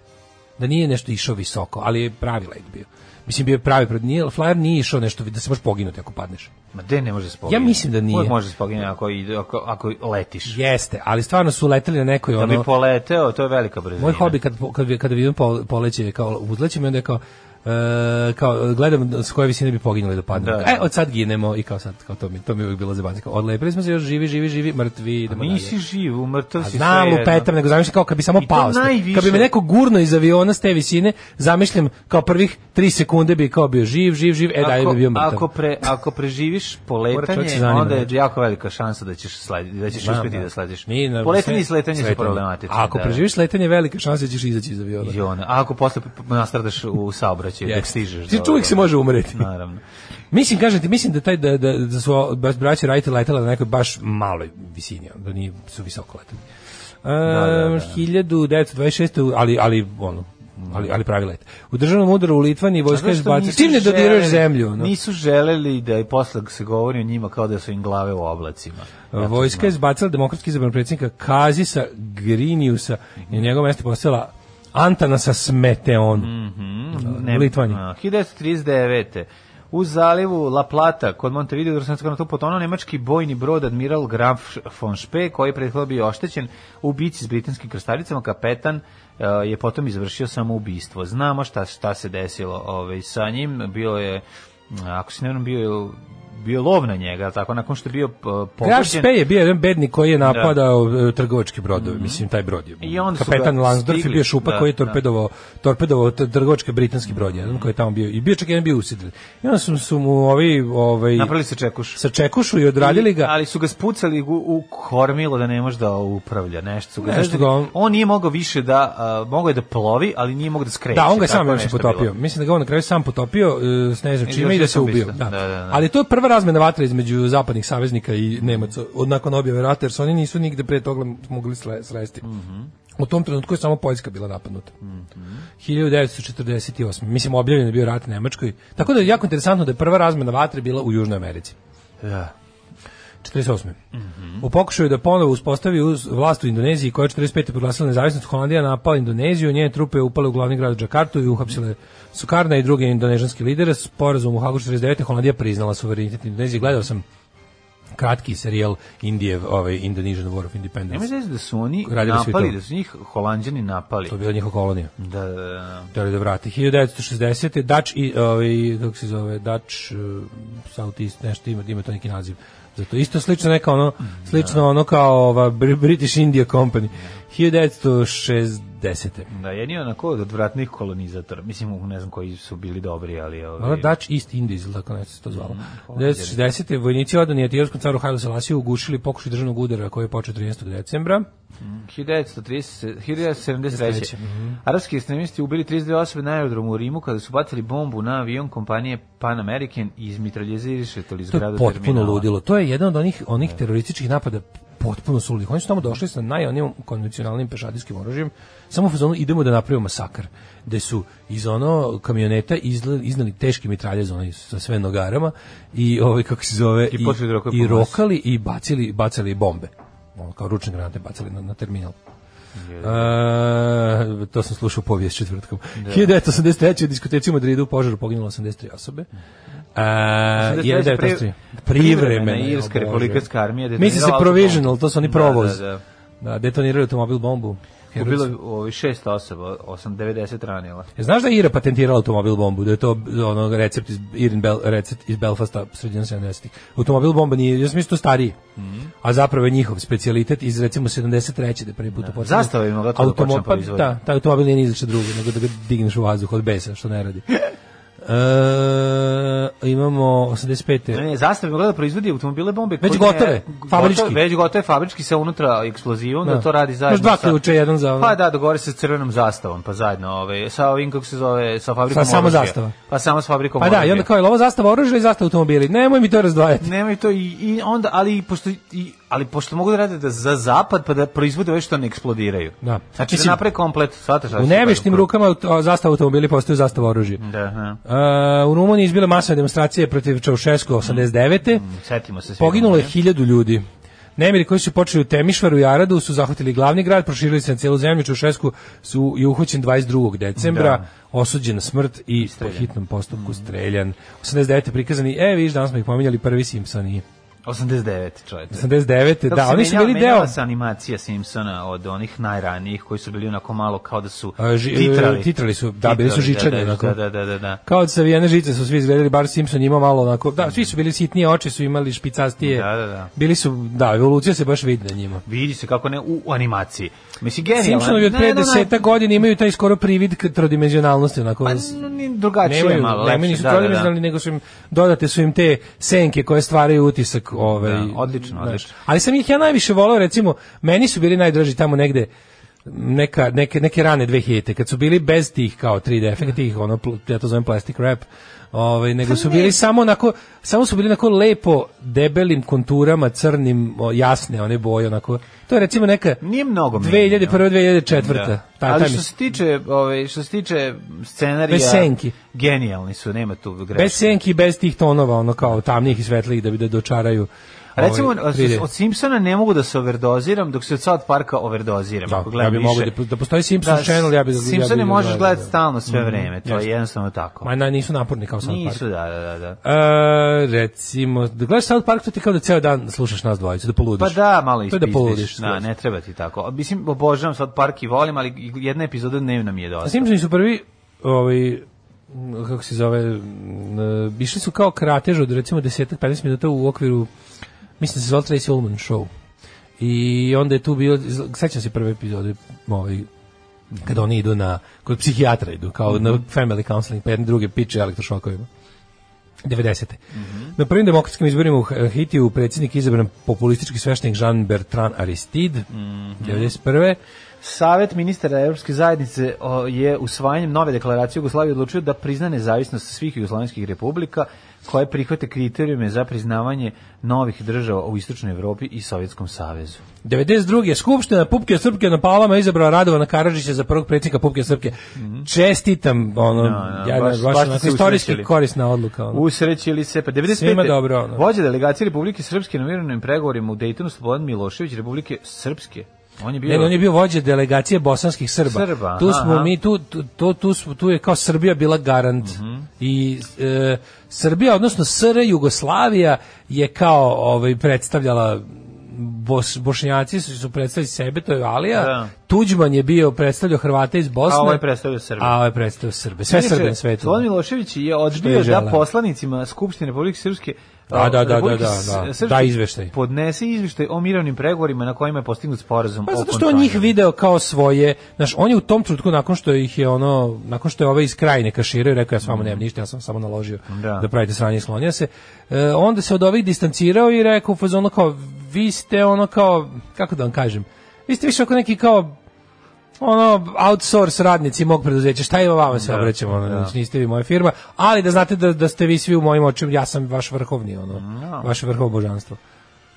Speaker 7: Da nije nešto išao visoko, ali je pravi let bio. Mislim, bio je pravi, prod- nije, Flyer nije išao nešto, da se možeš poginuti ako padneš.
Speaker 6: Ma gde ne može spoginuti?
Speaker 7: Ja mislim da nije.
Speaker 6: Uvijek može spoginuti ako, ide- ako, ako letiš.
Speaker 7: Jeste, ali stvarno su leteli na nekoj
Speaker 6: Da bi
Speaker 7: ono...
Speaker 6: poleteo, to je velika brzina.
Speaker 7: Moj hobi kad, po- kad, kad vidim pol- poleće je kao uzlećem i onda je kao, e, kao gledam s koje visine bi poginuli da padnemo.
Speaker 6: Da.
Speaker 7: E, od sad ginemo i kao sad, kao to mi, to mi je uvijek bilo zabavno. Kao, Odlepili smo se još živi, živi, živi, mrtvi, idemo dalje.
Speaker 6: Nisi živ, umrtav si
Speaker 7: Znam,
Speaker 6: svejedno.
Speaker 7: lupetam, nego zamišljam kao kad bi samo
Speaker 6: I to
Speaker 7: pao. s tim.
Speaker 6: najviše-
Speaker 7: Kad bi me neko gurno iz aviona s te visine, zamišljam kao prvih tri sekunde bi kao bio živ, živ, živ, e daj bi bio mrtav.
Speaker 6: ako, pre, ako preživiš
Speaker 7: Mora čovjek se
Speaker 6: poletanje,
Speaker 7: zanima,
Speaker 6: onda je
Speaker 7: znači.
Speaker 6: jako velika šansa da ćeš, sledi, da ćeš
Speaker 7: Znam,
Speaker 6: uspjeti
Speaker 7: da.
Speaker 6: da slediš.
Speaker 7: Mi na-
Speaker 6: Poletanje
Speaker 7: sve-
Speaker 6: i sletanje su
Speaker 7: sletanje.
Speaker 6: problematični.
Speaker 7: A ako
Speaker 6: da.
Speaker 7: preživiš sletanje, velika šansa da ćeš izaći iz aviona.
Speaker 6: I ono, a ako posle p- nastradaš u saobraćaju, dok
Speaker 7: Jeste.
Speaker 6: stižeš.
Speaker 7: Ti-
Speaker 6: do-
Speaker 7: Uvijek se može umreti.
Speaker 6: Naravno.
Speaker 7: Mislim, kažem ti, mislim da, taj, da, da, da su o- baš braće Wright letela na nekoj baš maloj visini, ono, da nije, su visoko letali. E,
Speaker 6: da, da.
Speaker 7: 1926. ali, ali ono, ali, ali pravi let. U državnom udaru u Litvani vojska je
Speaker 6: Zato što
Speaker 7: zbacila.
Speaker 6: nisu
Speaker 7: Čim ne dodiruješ
Speaker 6: želeli-
Speaker 7: zemlju? Ono?
Speaker 6: Nisu želeli da i posle se govori o njima kao da su im glave u oblacima. Zato
Speaker 7: Ehm, Vojska je zbacila demokratski izabran predsjednika Kazisa Griniusa i na njegovo mesto postavila Antanasa Smeteon.
Speaker 6: Mm. Ne,
Speaker 7: Litvani.
Speaker 6: a, 1939. U zalivu La Plata, kod Montevideo, Drosnackona tu potonuo nemački bojni brod admiral Graf von Spee, koji je prethodno bio oštećen u bici s britanskim krstaricama. Kapetan e, je potom izvršio samoubistvo. Znamo šta, šta se desilo ovaj, sa njim. Bio je, ako se ne vjerujem, bio je bio lov na njega, jel tako, nakon što je bio p- pogođen. Mhm.
Speaker 7: Graf Spee je bio jedan bednik koji je napadao e, trgovačke brodove, mislim taj brod je.
Speaker 6: I onda su
Speaker 7: Kapetan
Speaker 6: ga
Speaker 7: Lansdorf je
Speaker 6: stigli.
Speaker 7: bio šupa
Speaker 6: Da,
Speaker 7: koji je
Speaker 6: da.
Speaker 7: torpedovao, torpedovao t- trgovačke britanski brod, jedan koji je tamo bio i bio čak jedan bio usidren. I onda su, su mu ovi ovaj
Speaker 6: Napravili se čekuš.
Speaker 7: sa čekušu i odradili ga.
Speaker 6: Ali su ga spucali u, u kormilo da ne može da upravlja nešto. Su ga,
Speaker 7: Nešto
Speaker 6: znaš,
Speaker 7: ga on-
Speaker 6: on nije mogao više da, a, mogao je da plovi, ali nije mogao da skreće.
Speaker 7: Da, on ga je
Speaker 6: Tako
Speaker 7: sam još
Speaker 6: nešto
Speaker 7: potopio.
Speaker 6: bilo.
Speaker 7: Mislim da ga on na kraju sam potopio, e, s ne znam čime, i da
Speaker 6: izvršio
Speaker 7: se ubio.
Speaker 6: samoubistvo.
Speaker 7: Da.
Speaker 6: Da, da, da.
Speaker 7: Ali to je prva razmena vatra između zapadnih saveznika i Nemaca, od nakon objave rata, jer se oni nisu nigde pre toga mogli sle- sresti.
Speaker 6: Mhm.
Speaker 7: U tom trenutku je samo Poljska bila napadnuta. 1948. Mislim, objavljen je bio rat Nemačkoj. Tako da je jako interesantno da je prva razmena vatre bila u Južnoj Americi.
Speaker 6: Da.
Speaker 7: 48. U pokušaju da ponovo uspostavi uz vlast u Indoneziji koja je 45. proglasila nezavisnost Holandija napala Indoneziju, njene trupe upale u glavni grad Džakartu i uhapsile Sukarna i druge indonežanske lidere. Sporazum u Hagu 49. Holandija priznala suverenitet Indonezije. Gledao sam kratki serijal Indijev, ovaj Indonesian War of
Speaker 6: Nema
Speaker 7: Independence.
Speaker 6: znači da su oni
Speaker 7: Radili su i
Speaker 6: napali,
Speaker 7: to.
Speaker 6: da su njih holanđani napali.
Speaker 7: To je bila njihova kolonija.
Speaker 6: Da, da, da.
Speaker 7: Hteli da vrati. 1960. Dutch i, ovaj, kako se zove, Dutch uh, South East, nešto ima, ima to neki naziv. Zato isto slično neka ono, slično ono kao ova Br- British India Company. 1960.
Speaker 6: Da, jedni onako od odvratnih kolonizatora. Mislim, ne znam koji su bili dobri, ali...
Speaker 7: Ona
Speaker 6: Ovaj,
Speaker 7: Dutch East Indies, ili tako nešto se to zvalo. 1960. Vojnici odani etiopskom caru Haile Selasiju ugušili pokušaj državnog udara koji je počeo 13. decembra.
Speaker 6: 1930 1973.
Speaker 7: mhm.
Speaker 6: Arapski ekstremisti ubili 32 osobe na aerodromu u Rimu kada su bacili bombu na avion kompanije Pan American i izmitraljeziriše to iz
Speaker 7: To
Speaker 6: grada
Speaker 7: je potpuno
Speaker 6: terminala.
Speaker 7: ludilo. To je jedan od onih onih terorističkih napada potpuno suludih. Oni su tamo došli sa najonim konvencionalnim pešadijskim oružjem, samo u fazonu idemo da napravimo masakr. Da su iz ono kamioneta izle- iznali teški mitraljez oni sa sve nogarama i ovaj kako se zove
Speaker 6: I počeli da rokaju
Speaker 7: i
Speaker 6: po masu.
Speaker 7: rokali i bacili bacali bombe. Ono, kao ručne granate bacali na, na terminal. E, to sam slušao povijest četvrtkom. 1983. u diskoteci u Madridu u požaru poginulo 83 osobe. E,
Speaker 6: 1983
Speaker 7: 1983.
Speaker 6: Privremena
Speaker 7: Privremena.
Speaker 6: Irska
Speaker 7: o Bože.
Speaker 6: republikanska armija
Speaker 7: Misli se
Speaker 6: detonirala
Speaker 7: provisional, to su oni
Speaker 6: autobom.
Speaker 7: provoz.
Speaker 6: Da, da, da.
Speaker 7: Da, detonirali automobil bombu. Herojci.
Speaker 6: Ubilo je ovi šest osoba, 8, 90 ranila.
Speaker 7: E, Znaš da je Ira patentirala automobil bombu, da je to ono recept iz Irin Bel, recept iz Belfasta sredinom 70-ih. Automobil bomba nije, ja sam mislio stari. A zapravo je njihov specijalitet iz recimo 73. da je prvi put da. počne.
Speaker 6: Zastava je mogla to da počne proizvoditi.
Speaker 7: Da, taj automobil nije ni za šta drugo, nego da ga digneš u vazduh od besa, što ne radi. E, imamo 85.
Speaker 6: Ne, ne, zastava je mogla da proizvodi automobile bombe.
Speaker 7: Već
Speaker 6: koje-
Speaker 7: gotove, fabrički.
Speaker 6: Gotove, već gotove fabrički sa unutra eksplozivom, da, to radi zajedno.
Speaker 7: Imaš dva
Speaker 6: sa-
Speaker 7: ključa, jedan za... ono-
Speaker 6: Pa da, dogovori se s crvenom zastavom, pa zajedno, ovaj, sa ovim, kako se zove, sa fabrikom
Speaker 7: Sa samo
Speaker 6: oružja.
Speaker 7: zastava.
Speaker 6: Pa samo s fabrikom
Speaker 7: Pa da, i
Speaker 6: oružja.
Speaker 7: onda kao je li ovo zastava oružja ili zastava automobili? Nemoj mi to razdvajati.
Speaker 6: Nemoj to i, i onda, ali i pošto, i, ali pošto mogu da rade da za zapad, pa da proizvode ove što ne eksplodiraju.
Speaker 7: Da.
Speaker 6: Znači
Speaker 7: Mislim,
Speaker 6: da naprave komplet, shvataš? šta
Speaker 7: U
Speaker 6: ću
Speaker 7: neveštim
Speaker 6: da-
Speaker 7: rukama auto- zastava automobili postaju zastava oružja.
Speaker 6: Da, da.
Speaker 7: E, u Rumuniji izbile masovne demonstracije protiv Čaušesku 89.
Speaker 6: Setimo Mm, se. svi.
Speaker 7: Poginulo je hiljadu ljudi. Nemiri koji su počeli u Temišvaru i Aradu su zahvatili glavni grad, proširili se na cijelu zemlju. Čaušesku su je uhoćen 22. decembra, osuđen na smrt i po hitnom
Speaker 6: Mm.
Speaker 7: postupku streljan. 89. prikazani, e, viš, danas smo ih pominjali, prvi Simpsoni.
Speaker 6: 89, čovječe.
Speaker 7: 89.
Speaker 6: Kako
Speaker 7: da,
Speaker 6: se
Speaker 7: oni su
Speaker 6: menjala-
Speaker 7: bili deo...
Speaker 6: menjala se animacija Simpsona od onih najranijih koji su bili onako malo kao da su
Speaker 7: A, ži-
Speaker 6: titrali.
Speaker 7: e, titrali su, da, bili su
Speaker 6: Titrali,
Speaker 7: žičani,
Speaker 6: da,
Speaker 7: onako.
Speaker 6: Da, da, da, da, da.
Speaker 7: Kao od savijene žice su svi izgledali, bar Simpson ima malo onako, da, svi su bili sitnije, oči su imali špicastije.
Speaker 6: Da, da, da.
Speaker 7: Bili su, da, evolucija se baš vidi na njima.
Speaker 6: Vidi se kako ne u, u animaciji. Mislim, genijalno.
Speaker 7: Simpsonovi od
Speaker 6: Ne,
Speaker 7: pre
Speaker 6: ne, ne,
Speaker 7: deseta godina imaju taj skoro privid k- trodimenzionalnosti, onako.
Speaker 6: Pa,
Speaker 7: s-
Speaker 6: n- n- drugačije
Speaker 7: nemaju,
Speaker 6: malo.
Speaker 7: nemaju,
Speaker 6: lepše,
Speaker 7: nisu
Speaker 6: da, da, da.
Speaker 7: trodimenzionalni, nego su im, dodate su im te senke koje stvaraju utisak. Ovaj,
Speaker 6: Da, odlično, odlično.
Speaker 7: Ali sam ih ja najviše volao, recimo, meni su bili najdraži tamo negde neka, neke, neke rane 2000 kad su bili bez tih kao 3D efekta, tih, ono, pl- ja to zovem plastic wrap, ovaj,
Speaker 6: Pa
Speaker 7: nego su bili samo onako, samo su bili onako lepo debelim konturama, crnim, o, jasne one boje, onako. To je recimo neka...
Speaker 6: Nije mnogo menjeno.
Speaker 7: 2001. 2004.
Speaker 6: Da.
Speaker 7: Ta,
Speaker 6: Ali
Speaker 7: taj
Speaker 6: što
Speaker 7: mis-
Speaker 6: se tiče, ovaj što se tiče scenarija,
Speaker 7: Bez senki.
Speaker 6: genijalni su, nema tu greške.
Speaker 7: bez senki, bez tih tonova, ono kao tamnijih i svetlih da bi da dočaraju.
Speaker 6: A Recimo,
Speaker 7: ovaj,
Speaker 6: od-
Speaker 7: 3D.
Speaker 6: od Simpsona ne mogu da se overdoziram, dok se od South Parka overdoziram.
Speaker 7: Da,
Speaker 6: ako gledam
Speaker 7: ja bi mogao
Speaker 6: više.
Speaker 7: da- da postoji Simpsons channel, ja bi- ja bi-
Speaker 6: Simpsone
Speaker 7: ja bi
Speaker 6: možeš
Speaker 7: gledao,
Speaker 6: gledati
Speaker 7: da.
Speaker 6: stalno sve vreme, to je jednostavno tako.
Speaker 7: Ma na, nisu naporni kao South Park.
Speaker 6: Nisu, da, da, da, da.
Speaker 7: E, recimo, da gledaš South Park, to ti kao da ceo dan slušaš nas dvojicu, da
Speaker 6: Pa
Speaker 7: poludiš.
Speaker 6: da, malo
Speaker 7: To je
Speaker 6: ispizdiš.
Speaker 7: da poludiš.
Speaker 6: da, ne treba ti tako. A, Mislim, obožavam sad park i volim, ali jedna epizoda dnevno mi je dosta.
Speaker 7: Pa Simpsoni su prvi, ovaj, m, kako se zove, m, e, išli su kao kratež od recimo 10-15 minuta u okviru, mislim da se zvala Tracy Ullman Show. I onda je tu bio, sećam se prve epizode, ovaj, kada oni idu na, kod psihijatra idu, kao na family counseling, pa jedne druge piče elektrošokovima. 90. Na prvim demokratskim izborima u Ha- Haitiju predsjednik je izabran populistički sveštenik Jean Bertrand Aristide, 91.
Speaker 6: Savet ministara Evropske zajednice o, je usvajanjem nove deklaracije Jugoslavije odlučio da prizna nezavisnost svih jugoslovenskih republika koje prihvate kriterijume za priznavanje novih država u Istočnoj Evropi i Sovjetskom savezu.
Speaker 7: 92. Skupština Pupke Srpke na Palama izabrala Radovana Karadžića za prvog predsjednika Pupke Srpke. Čestitam, ono,
Speaker 6: no,
Speaker 7: ja
Speaker 6: Mhm.
Speaker 7: baš,
Speaker 6: baš- baš
Speaker 7: onako
Speaker 6: ste se
Speaker 7: istorijski
Speaker 6: usrećili.
Speaker 7: korisna odluka. Ono.
Speaker 6: Usrećili se, pa 95.
Speaker 7: Svima dobro, ono.
Speaker 6: Vođa delegacije Republike Srpske na mirovnim pregovorima u Dejtonu Slobodan Milošević Republike Srpske. On je bio...
Speaker 7: Ne, ne, on je bio vođa delegacije bosanskih Srba.
Speaker 6: Srba,
Speaker 7: tu smo
Speaker 6: aha.
Speaker 7: mi tu tu tu, tu, smo- tu je kao Srbija bila garant.
Speaker 6: Mhm.
Speaker 7: I e, Srbija odnosno SR Jugoslavija je kao ovaj predstavljala Bos, bošnjaci su, su predstavljali sebe, to je Alija.
Speaker 6: Da.
Speaker 7: Tuđman je bio predstavljao Hrvate iz Bosne.
Speaker 6: A ovaj je predstavljao Srbe.
Speaker 7: A ovaj je predstavljao Srbe. Sve
Speaker 6: Inače,
Speaker 7: Srbe na svetu.
Speaker 6: Slobodan Milošević je
Speaker 7: Što je
Speaker 6: odbio da
Speaker 7: želeo.
Speaker 6: poslanicima Skupštine Republike Srpske
Speaker 7: Da,
Speaker 6: a,
Speaker 7: da, da, da,
Speaker 6: Republike
Speaker 7: da,
Speaker 6: S-
Speaker 7: da.
Speaker 6: Srpske
Speaker 7: Da, izveštaj.
Speaker 6: Podnese izveštaj o mirovnim pregovorima na kojima je postignut sporazum
Speaker 7: Pa
Speaker 6: o
Speaker 7: zato što on
Speaker 6: okončanju.
Speaker 7: njih video kao svoje, znaš, on je u tom trenutku nakon što ih je ono, nakon što je ovaj iz krajine kaširao i rekao ja s vama nemam ništa, ja sam samo naložio
Speaker 6: Da.
Speaker 7: da, pravite sranje i sklonio se, e, onda se od ovih distancirao i rekao u fazonu kao, vi ste ono kao, kako da vam kažem, vi ste više ako neki kao ono outsource radnici mog preduzeća šta je vama se obraćamo ono, znači niste vi moja firma ali da znate da, da ste vi svi u mojim očima ja sam vaš vrhovni ono vaše vrhovno božanstvo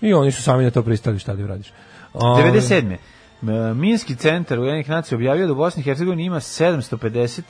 Speaker 7: i oni su sami na to pristali šta da im radiš Ovaj,
Speaker 6: 97. M, Minski centar Ujedinjenih nacija objavio da u Bosni i Hercegovini ima 750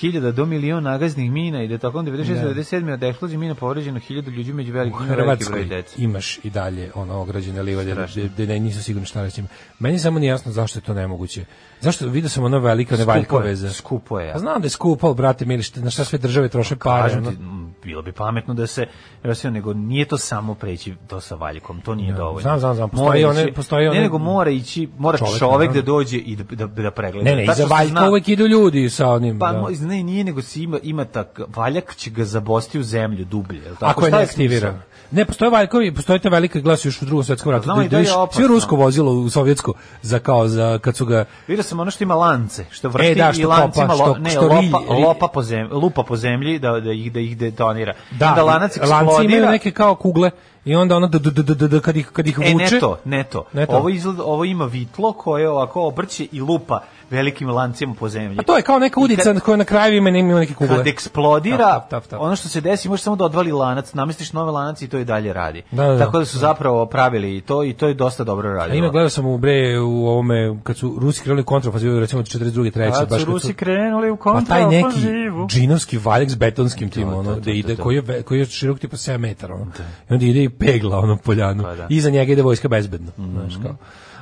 Speaker 6: hiljada do milion nagaznih mina i da je tokom 96-97 od eksplozije mina povređeno hiljadu ljudi među velikim veliki broj
Speaker 7: Hrvatskoj
Speaker 6: dece.
Speaker 7: imaš i dalje ono ograđene livade gde, gde nisu sigurni šta reći. Meni samo nije jasno zašto je to nemoguće. Zašto vidio sam ono velike
Speaker 6: Skupo je,
Speaker 7: nevaljkove veze. Pa
Speaker 6: skupo je.
Speaker 7: A znam da je skupo, ali, brate, mili, šta- na šta sve države troše pare.
Speaker 6: Kažem
Speaker 7: ono.
Speaker 6: ti, mm, bilo bi pametno da se rasio, nego nije to samo preći to sa valjkom, to nije dovoljno.
Speaker 7: znam, znam, znam,
Speaker 6: Mora
Speaker 7: postoji
Speaker 6: ići-
Speaker 7: one- postoji
Speaker 6: Ne,
Speaker 7: one-
Speaker 6: nego mora ići, mora
Speaker 7: Čovek,
Speaker 6: čovek,
Speaker 7: naravno.
Speaker 6: da dođe i da, da, da pregleda.
Speaker 7: ono? Ne, ne,
Speaker 6: Zato
Speaker 7: iza
Speaker 6: što
Speaker 7: valjka
Speaker 6: zna-
Speaker 7: uvek idu ljudi sa onim.
Speaker 6: Pa
Speaker 7: da.
Speaker 6: mo- ne, nije nego si ima, ima tak, valjak će ga zabosti u zemlju dublje. jel Tako,
Speaker 7: Ako je
Speaker 6: Šta
Speaker 7: neaktiviran. Ne, postoje valjkovi, postoje te velike glas još u drugom svetskom ratu.
Speaker 6: Znamo i
Speaker 7: Da,
Speaker 6: da je
Speaker 7: ideš-
Speaker 6: opasno.
Speaker 7: sve rusko vozilo u sovjetsko za kao za kad su ga
Speaker 6: Vidio sam ono što ima lance, što vrti
Speaker 7: E, da,
Speaker 6: i
Speaker 7: što
Speaker 6: lancima,
Speaker 7: kopa,
Speaker 6: lo-
Speaker 7: što-
Speaker 6: ne,
Speaker 7: što
Speaker 6: lopa,
Speaker 7: rilje-
Speaker 6: lopa po zemlji, lupa po zemlji da, da, ih, da ih detonira.
Speaker 7: da,
Speaker 6: Onda lanac
Speaker 7: lanci imaju
Speaker 6: eksplodira.
Speaker 7: neke kao kugle i onda ono da, da, da, da, da, kad ih kad ih
Speaker 6: E,
Speaker 7: vuče.
Speaker 6: ne to, ne to.
Speaker 7: Ne to.
Speaker 6: Ovo, izgleda, ovo ima vitlo koje ovako obrće i lupa velikim lancima po zemlji.
Speaker 7: A to je kao neka udica
Speaker 6: I kad-
Speaker 7: koja na kraju ima ima neke kugle.
Speaker 6: Kad eksplodira,
Speaker 7: Tap, tap, tap, tap.
Speaker 6: ono što se desi, može samo da odvali lanac, namestiš nove lanac i to i dalje radi.
Speaker 7: Da, da, da.
Speaker 6: Tako da su zapravo pravili i to i to je dosta dobro
Speaker 7: A
Speaker 6: radilo.
Speaker 7: ima gledao sam u bre u ovome kad su Rusi krenuli kontrafazivu recimo od 42. 3.
Speaker 6: Kad
Speaker 7: baš
Speaker 6: su Rusi
Speaker 7: kad su-
Speaker 6: krenuli u
Speaker 7: pa taj neki
Speaker 6: kontraofanzivu.
Speaker 7: džinovski valjak s betonskim tim,
Speaker 6: To, to,
Speaker 7: ono,
Speaker 6: to,
Speaker 7: da ide,
Speaker 6: to, to.
Speaker 7: koji je, ve- koji je širok tipa 7 metara, ono. I onda ide i pegla, ono, poljanu.
Speaker 6: Pa da. Mhm.
Speaker 7: Iza njega ide vojska bezbedno, znaš kao.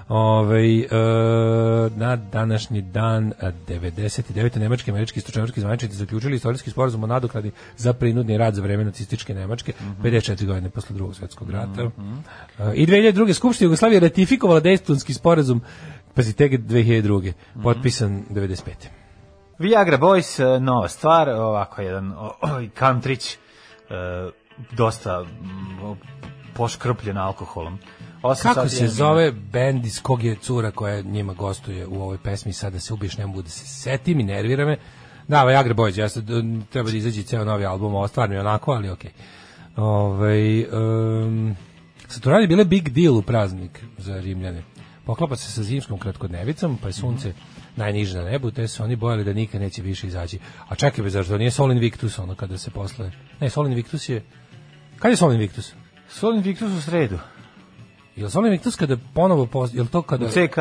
Speaker 7: Ovaj, e, na današnji dan e, 99. nemački i američki istočnoevropski zvaničnici zaključili istorijski sporazum o nadoknadi za prinudni rad za vreme nacističke Nemačke
Speaker 6: Mhm.
Speaker 7: 54 godine posle drugog svjetskog rata. E, I 2002. Skupština Jugoslavije ratifikovala Dejtonski sporazum Pazi, tek 2002.
Speaker 6: Mhm.
Speaker 7: Potpisan 95.
Speaker 6: Viagra Boys, e, nova stvar, ovako jedan o, o, i kantrić, e, dosta mm, o, poškrpljen alkoholom. Osam
Speaker 7: Kako
Speaker 6: sati
Speaker 7: se
Speaker 6: jedan
Speaker 7: zove bend iz kog je cura koja njima gostuje u ovoj pesmi sada se ubiješ, ne mogu da se setim i nervira me. Da, ovaj Agri Boys, ja sad, um, treba da izađe ceo novi album, ovo stvarno je onako, ali okej. Ovaj um, Saturnalije bile big deal u praznik za Rimljane. Poklapa se sa zimskom kratkodnevicom,
Speaker 6: Mhm.
Speaker 7: pa je sunce najniže na nebu, te su oni bojali da nikad neće više izaći. A čekaj, be, zašto nije Sol Invictus ono kada se posle... Ne, Sol Invictus je... Kad je Sol Invictus?
Speaker 6: minut. Sol Invictus u sredu,
Speaker 7: Jel Sol Invictus kada ponovo post, jel to kada
Speaker 6: u CK,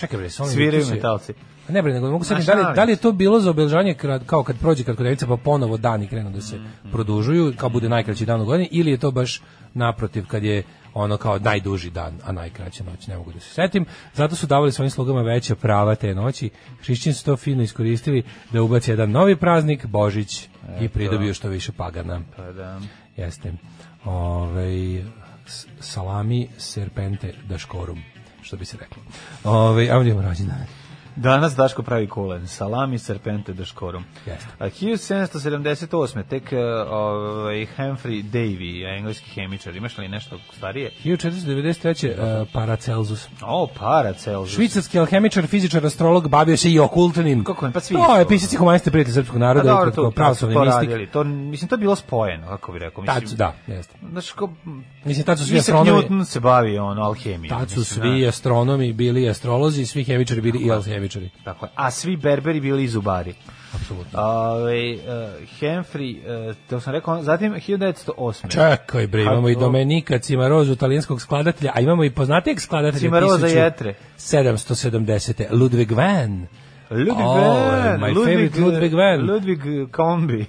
Speaker 7: Čekaj bre, Sol
Speaker 6: sviraju
Speaker 7: Invictus je-
Speaker 6: metalci.
Speaker 7: A Ne bre, nego ne mogu se
Speaker 6: Ma
Speaker 7: da li
Speaker 6: šalim
Speaker 7: da li je to bilo za obeležavanje krad- kao kad prođe kratkodevica pa ponovo dani krenu da
Speaker 6: Mm,
Speaker 7: se produžuju, kao bude najkraći dan u godini ili je to baš naprotiv kad je ono kao najduži dan, a najkraća noć, ne mogu da se setim. Zato su davali svojim slugama veća prava te noći. Hrišćani su to fino iskoristili da ubace jedan novi praznik, Božić, i pridobio što više pagana.
Speaker 6: Pa da.
Speaker 7: Jeste. Ovaj s- salami serpente daškorum, što bi se reklo. Ovaj a ovdje imamo rođendan.
Speaker 6: Danas Daško pravi kulen, salami, serpente, deškorum.
Speaker 7: Jeste.
Speaker 6: A 1778. tek e, ovaj, Humphrey Davy, engleski hemičar. Imaš li nešto starije?
Speaker 7: 1493. Uh, Paracelsus.
Speaker 6: O, Paracelsus.
Speaker 7: Švicarski alhemičar, fizičar, astrolog, bavio se i okultnim.
Speaker 6: Kako ne, pa svi
Speaker 7: To je
Speaker 6: su.
Speaker 7: pisac i humanista prijatelj srpskog
Speaker 6: Pa
Speaker 7: naroda,
Speaker 6: dobro,
Speaker 7: ukratko,
Speaker 6: to, to su
Speaker 7: pravoslavni
Speaker 6: to
Speaker 7: mistik.
Speaker 6: radili. To, mislim, to je bilo spojeno, kako bi rekao. Mislim,
Speaker 7: Tad su, da, jeste.
Speaker 6: Znaš, ko,
Speaker 7: Mislim, tad su svi
Speaker 6: Isaac
Speaker 7: astronomi-
Speaker 6: Newton se bavi ono, alhemijom.
Speaker 7: Tad su
Speaker 6: mislim,
Speaker 7: svi
Speaker 6: da.
Speaker 7: astronomi bili i astrolozi, svi hemičari bili i alhemičari.
Speaker 6: Tako, je. a svi berberi bili i zubari.
Speaker 7: Apsolutno.
Speaker 6: Ove, uh, Humphrey, uh, to sam rekao, zatim 1908.
Speaker 7: Čekaj bre, imamo i
Speaker 6: Kako?
Speaker 7: Domenika Cimarozu, talijanskog skladatelja, a imamo i poznatijeg skladatelja
Speaker 6: Cimaroza Jetre.
Speaker 7: 770. Ludwig van.
Speaker 6: Ludwig
Speaker 7: Oh,
Speaker 6: Van,
Speaker 7: my favorite Ludwig Van.
Speaker 6: Ludwig Kombi.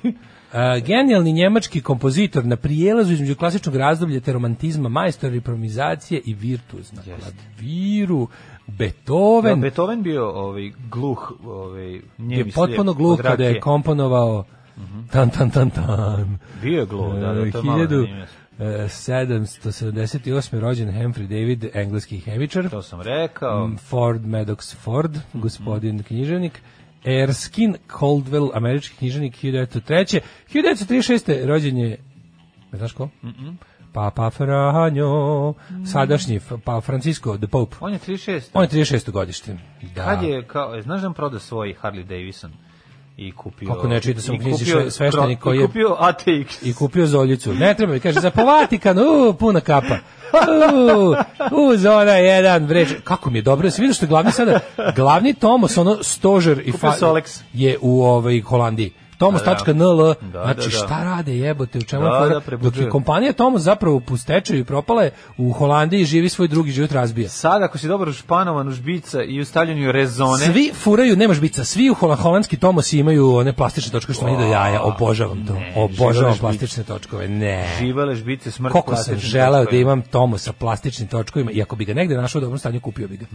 Speaker 7: A, genijalni njemački kompozitor na prijelazu između klasičnog razdoblja te romantizma, majstor improvizacije i virtuozna.
Speaker 6: Jeste.
Speaker 7: Klaviru,
Speaker 6: Jel
Speaker 7: Beethoven,
Speaker 6: Beethoven bio ovaj gluh, ovaj
Speaker 7: je
Speaker 6: njemi
Speaker 7: potpuno gluh kada je komponovao tan tan tan tan. E,
Speaker 6: Bio je gluh, Mhm. da,
Speaker 7: Eh,
Speaker 6: da, to je malo zanimljivo.
Speaker 7: 1778. rođen Humphrey David, engleski hemičar.
Speaker 6: To sam rekao.
Speaker 7: Mm. Ford Maddox Ford,
Speaker 6: Mhm.
Speaker 7: gospodin književnik. Erskine Caldwell, američki književnik 1903. 1936. rođen je, ne znaš ko? Papa
Speaker 6: Mm.
Speaker 7: Franjo, sadašnji f- pa Francisco the Pope.
Speaker 6: On je 36.
Speaker 7: On je 36. godište. Da.
Speaker 6: Kad je kao, e, znaš da on prodao svoj Harley Davidson i kupio
Speaker 7: Kako ne, čitao sam u
Speaker 6: i
Speaker 7: knjizi
Speaker 6: kupio
Speaker 7: sve- sveštenik
Speaker 6: kro-
Speaker 7: koji
Speaker 6: i
Speaker 7: je-
Speaker 6: kupio ATX.
Speaker 7: i kupio zoljicu. Ne treba mi, kaže, za po Vatikanu, u, puna kapa. U, u, zona jedan, breč. Kako mi je dobro, jesi vidio što je glavni sada, glavni Tomos, ono, stožer i
Speaker 6: Kupio Solex.
Speaker 7: je u ovaj, Holandiji. Tomos.nl,
Speaker 6: Da,
Speaker 7: znači
Speaker 6: da, da.
Speaker 7: šta rade jebote, u čemu
Speaker 6: Da,
Speaker 7: je fora?
Speaker 6: da,
Speaker 7: dok
Speaker 6: prebuđuje.
Speaker 7: je kompanija Tomos zapravo u stečaju i propala je u Holandiji i živi svoj drugi život razbija.
Speaker 6: Sad, ako si dobro španovan u žbica i u stavljanju rezone,
Speaker 7: Svi furaju, nemaš bica, svi u hola- holandski tomosi imaju one plastične točke što mi do jaja, obožavam to,
Speaker 6: ne, živele
Speaker 7: obožavam
Speaker 6: žbice.
Speaker 7: plastične točkove, ne.
Speaker 6: živele žbice smrt.
Speaker 7: Koliko sam
Speaker 6: plastičnih
Speaker 7: želeo da
Speaker 6: točkova.
Speaker 7: imam tomu sa plastičnim točkovima i ako bi ga negde našao u dobrom stanju kupio bi ga.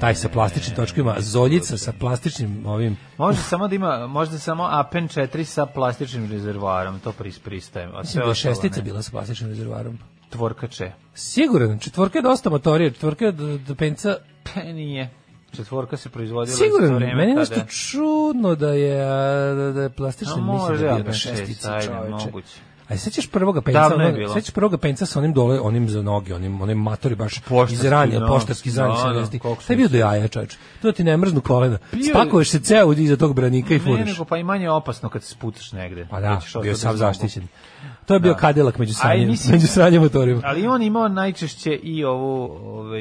Speaker 7: Taj sa plastičnim točkovima, zoljica sa plastičnim ovim
Speaker 6: Može samo da ima, možda samo Apen 4 4 sa plastičnim rezervoarom, to pris, pristajem. A sve
Speaker 7: Da je
Speaker 6: ostalo
Speaker 7: šestica
Speaker 6: ne.
Speaker 7: bila sa plastičnim rezervarom.
Speaker 6: Tvorkače.
Speaker 7: Siguran, četvorka je dosta motorija, četvorka je do, do penca.
Speaker 6: Pa nije. Četvorka se proizvodila
Speaker 7: Siguran,
Speaker 6: isto vreme.
Speaker 7: meni je nešto
Speaker 6: tada. čudno
Speaker 7: čudno da je, a, da, da je plastični,
Speaker 6: A
Speaker 7: mislim
Speaker 6: može,
Speaker 7: da je bio
Speaker 6: ali
Speaker 7: na
Speaker 6: šest,
Speaker 7: šestici,
Speaker 6: ajde,
Speaker 7: čoveče.
Speaker 6: moguće.
Speaker 7: Aj sećaš prvoga penca,
Speaker 6: Davno je
Speaker 7: onog-
Speaker 6: bilo.
Speaker 7: sećaš prvoga penca sa onim dole, onim za noge, onim onim matori baš
Speaker 6: Poštarski,
Speaker 7: izranio,
Speaker 6: da.
Speaker 7: poštarski
Speaker 6: Da,
Speaker 7: zranio
Speaker 6: da,
Speaker 7: sa vesti.
Speaker 6: koliko
Speaker 7: Taj
Speaker 6: sam
Speaker 7: bio do jaja, čoveče. To ti ne mrznu kolena.
Speaker 6: je-
Speaker 7: Spakuješ se ceo iza tog branika i
Speaker 6: Ne,
Speaker 7: furiš.
Speaker 6: nego pa i manje opasno kad se sputaš negde.
Speaker 7: Pa da,
Speaker 6: Kad ćeš
Speaker 7: bio
Speaker 6: ostati
Speaker 7: sam
Speaker 6: bez
Speaker 7: zaštićen. To je bio kadilak među
Speaker 6: Aj,
Speaker 7: sranjem,
Speaker 6: mislim-
Speaker 7: među sranjem motorima.
Speaker 6: nogu. Ali on imao najčešće i ovu, ovaj,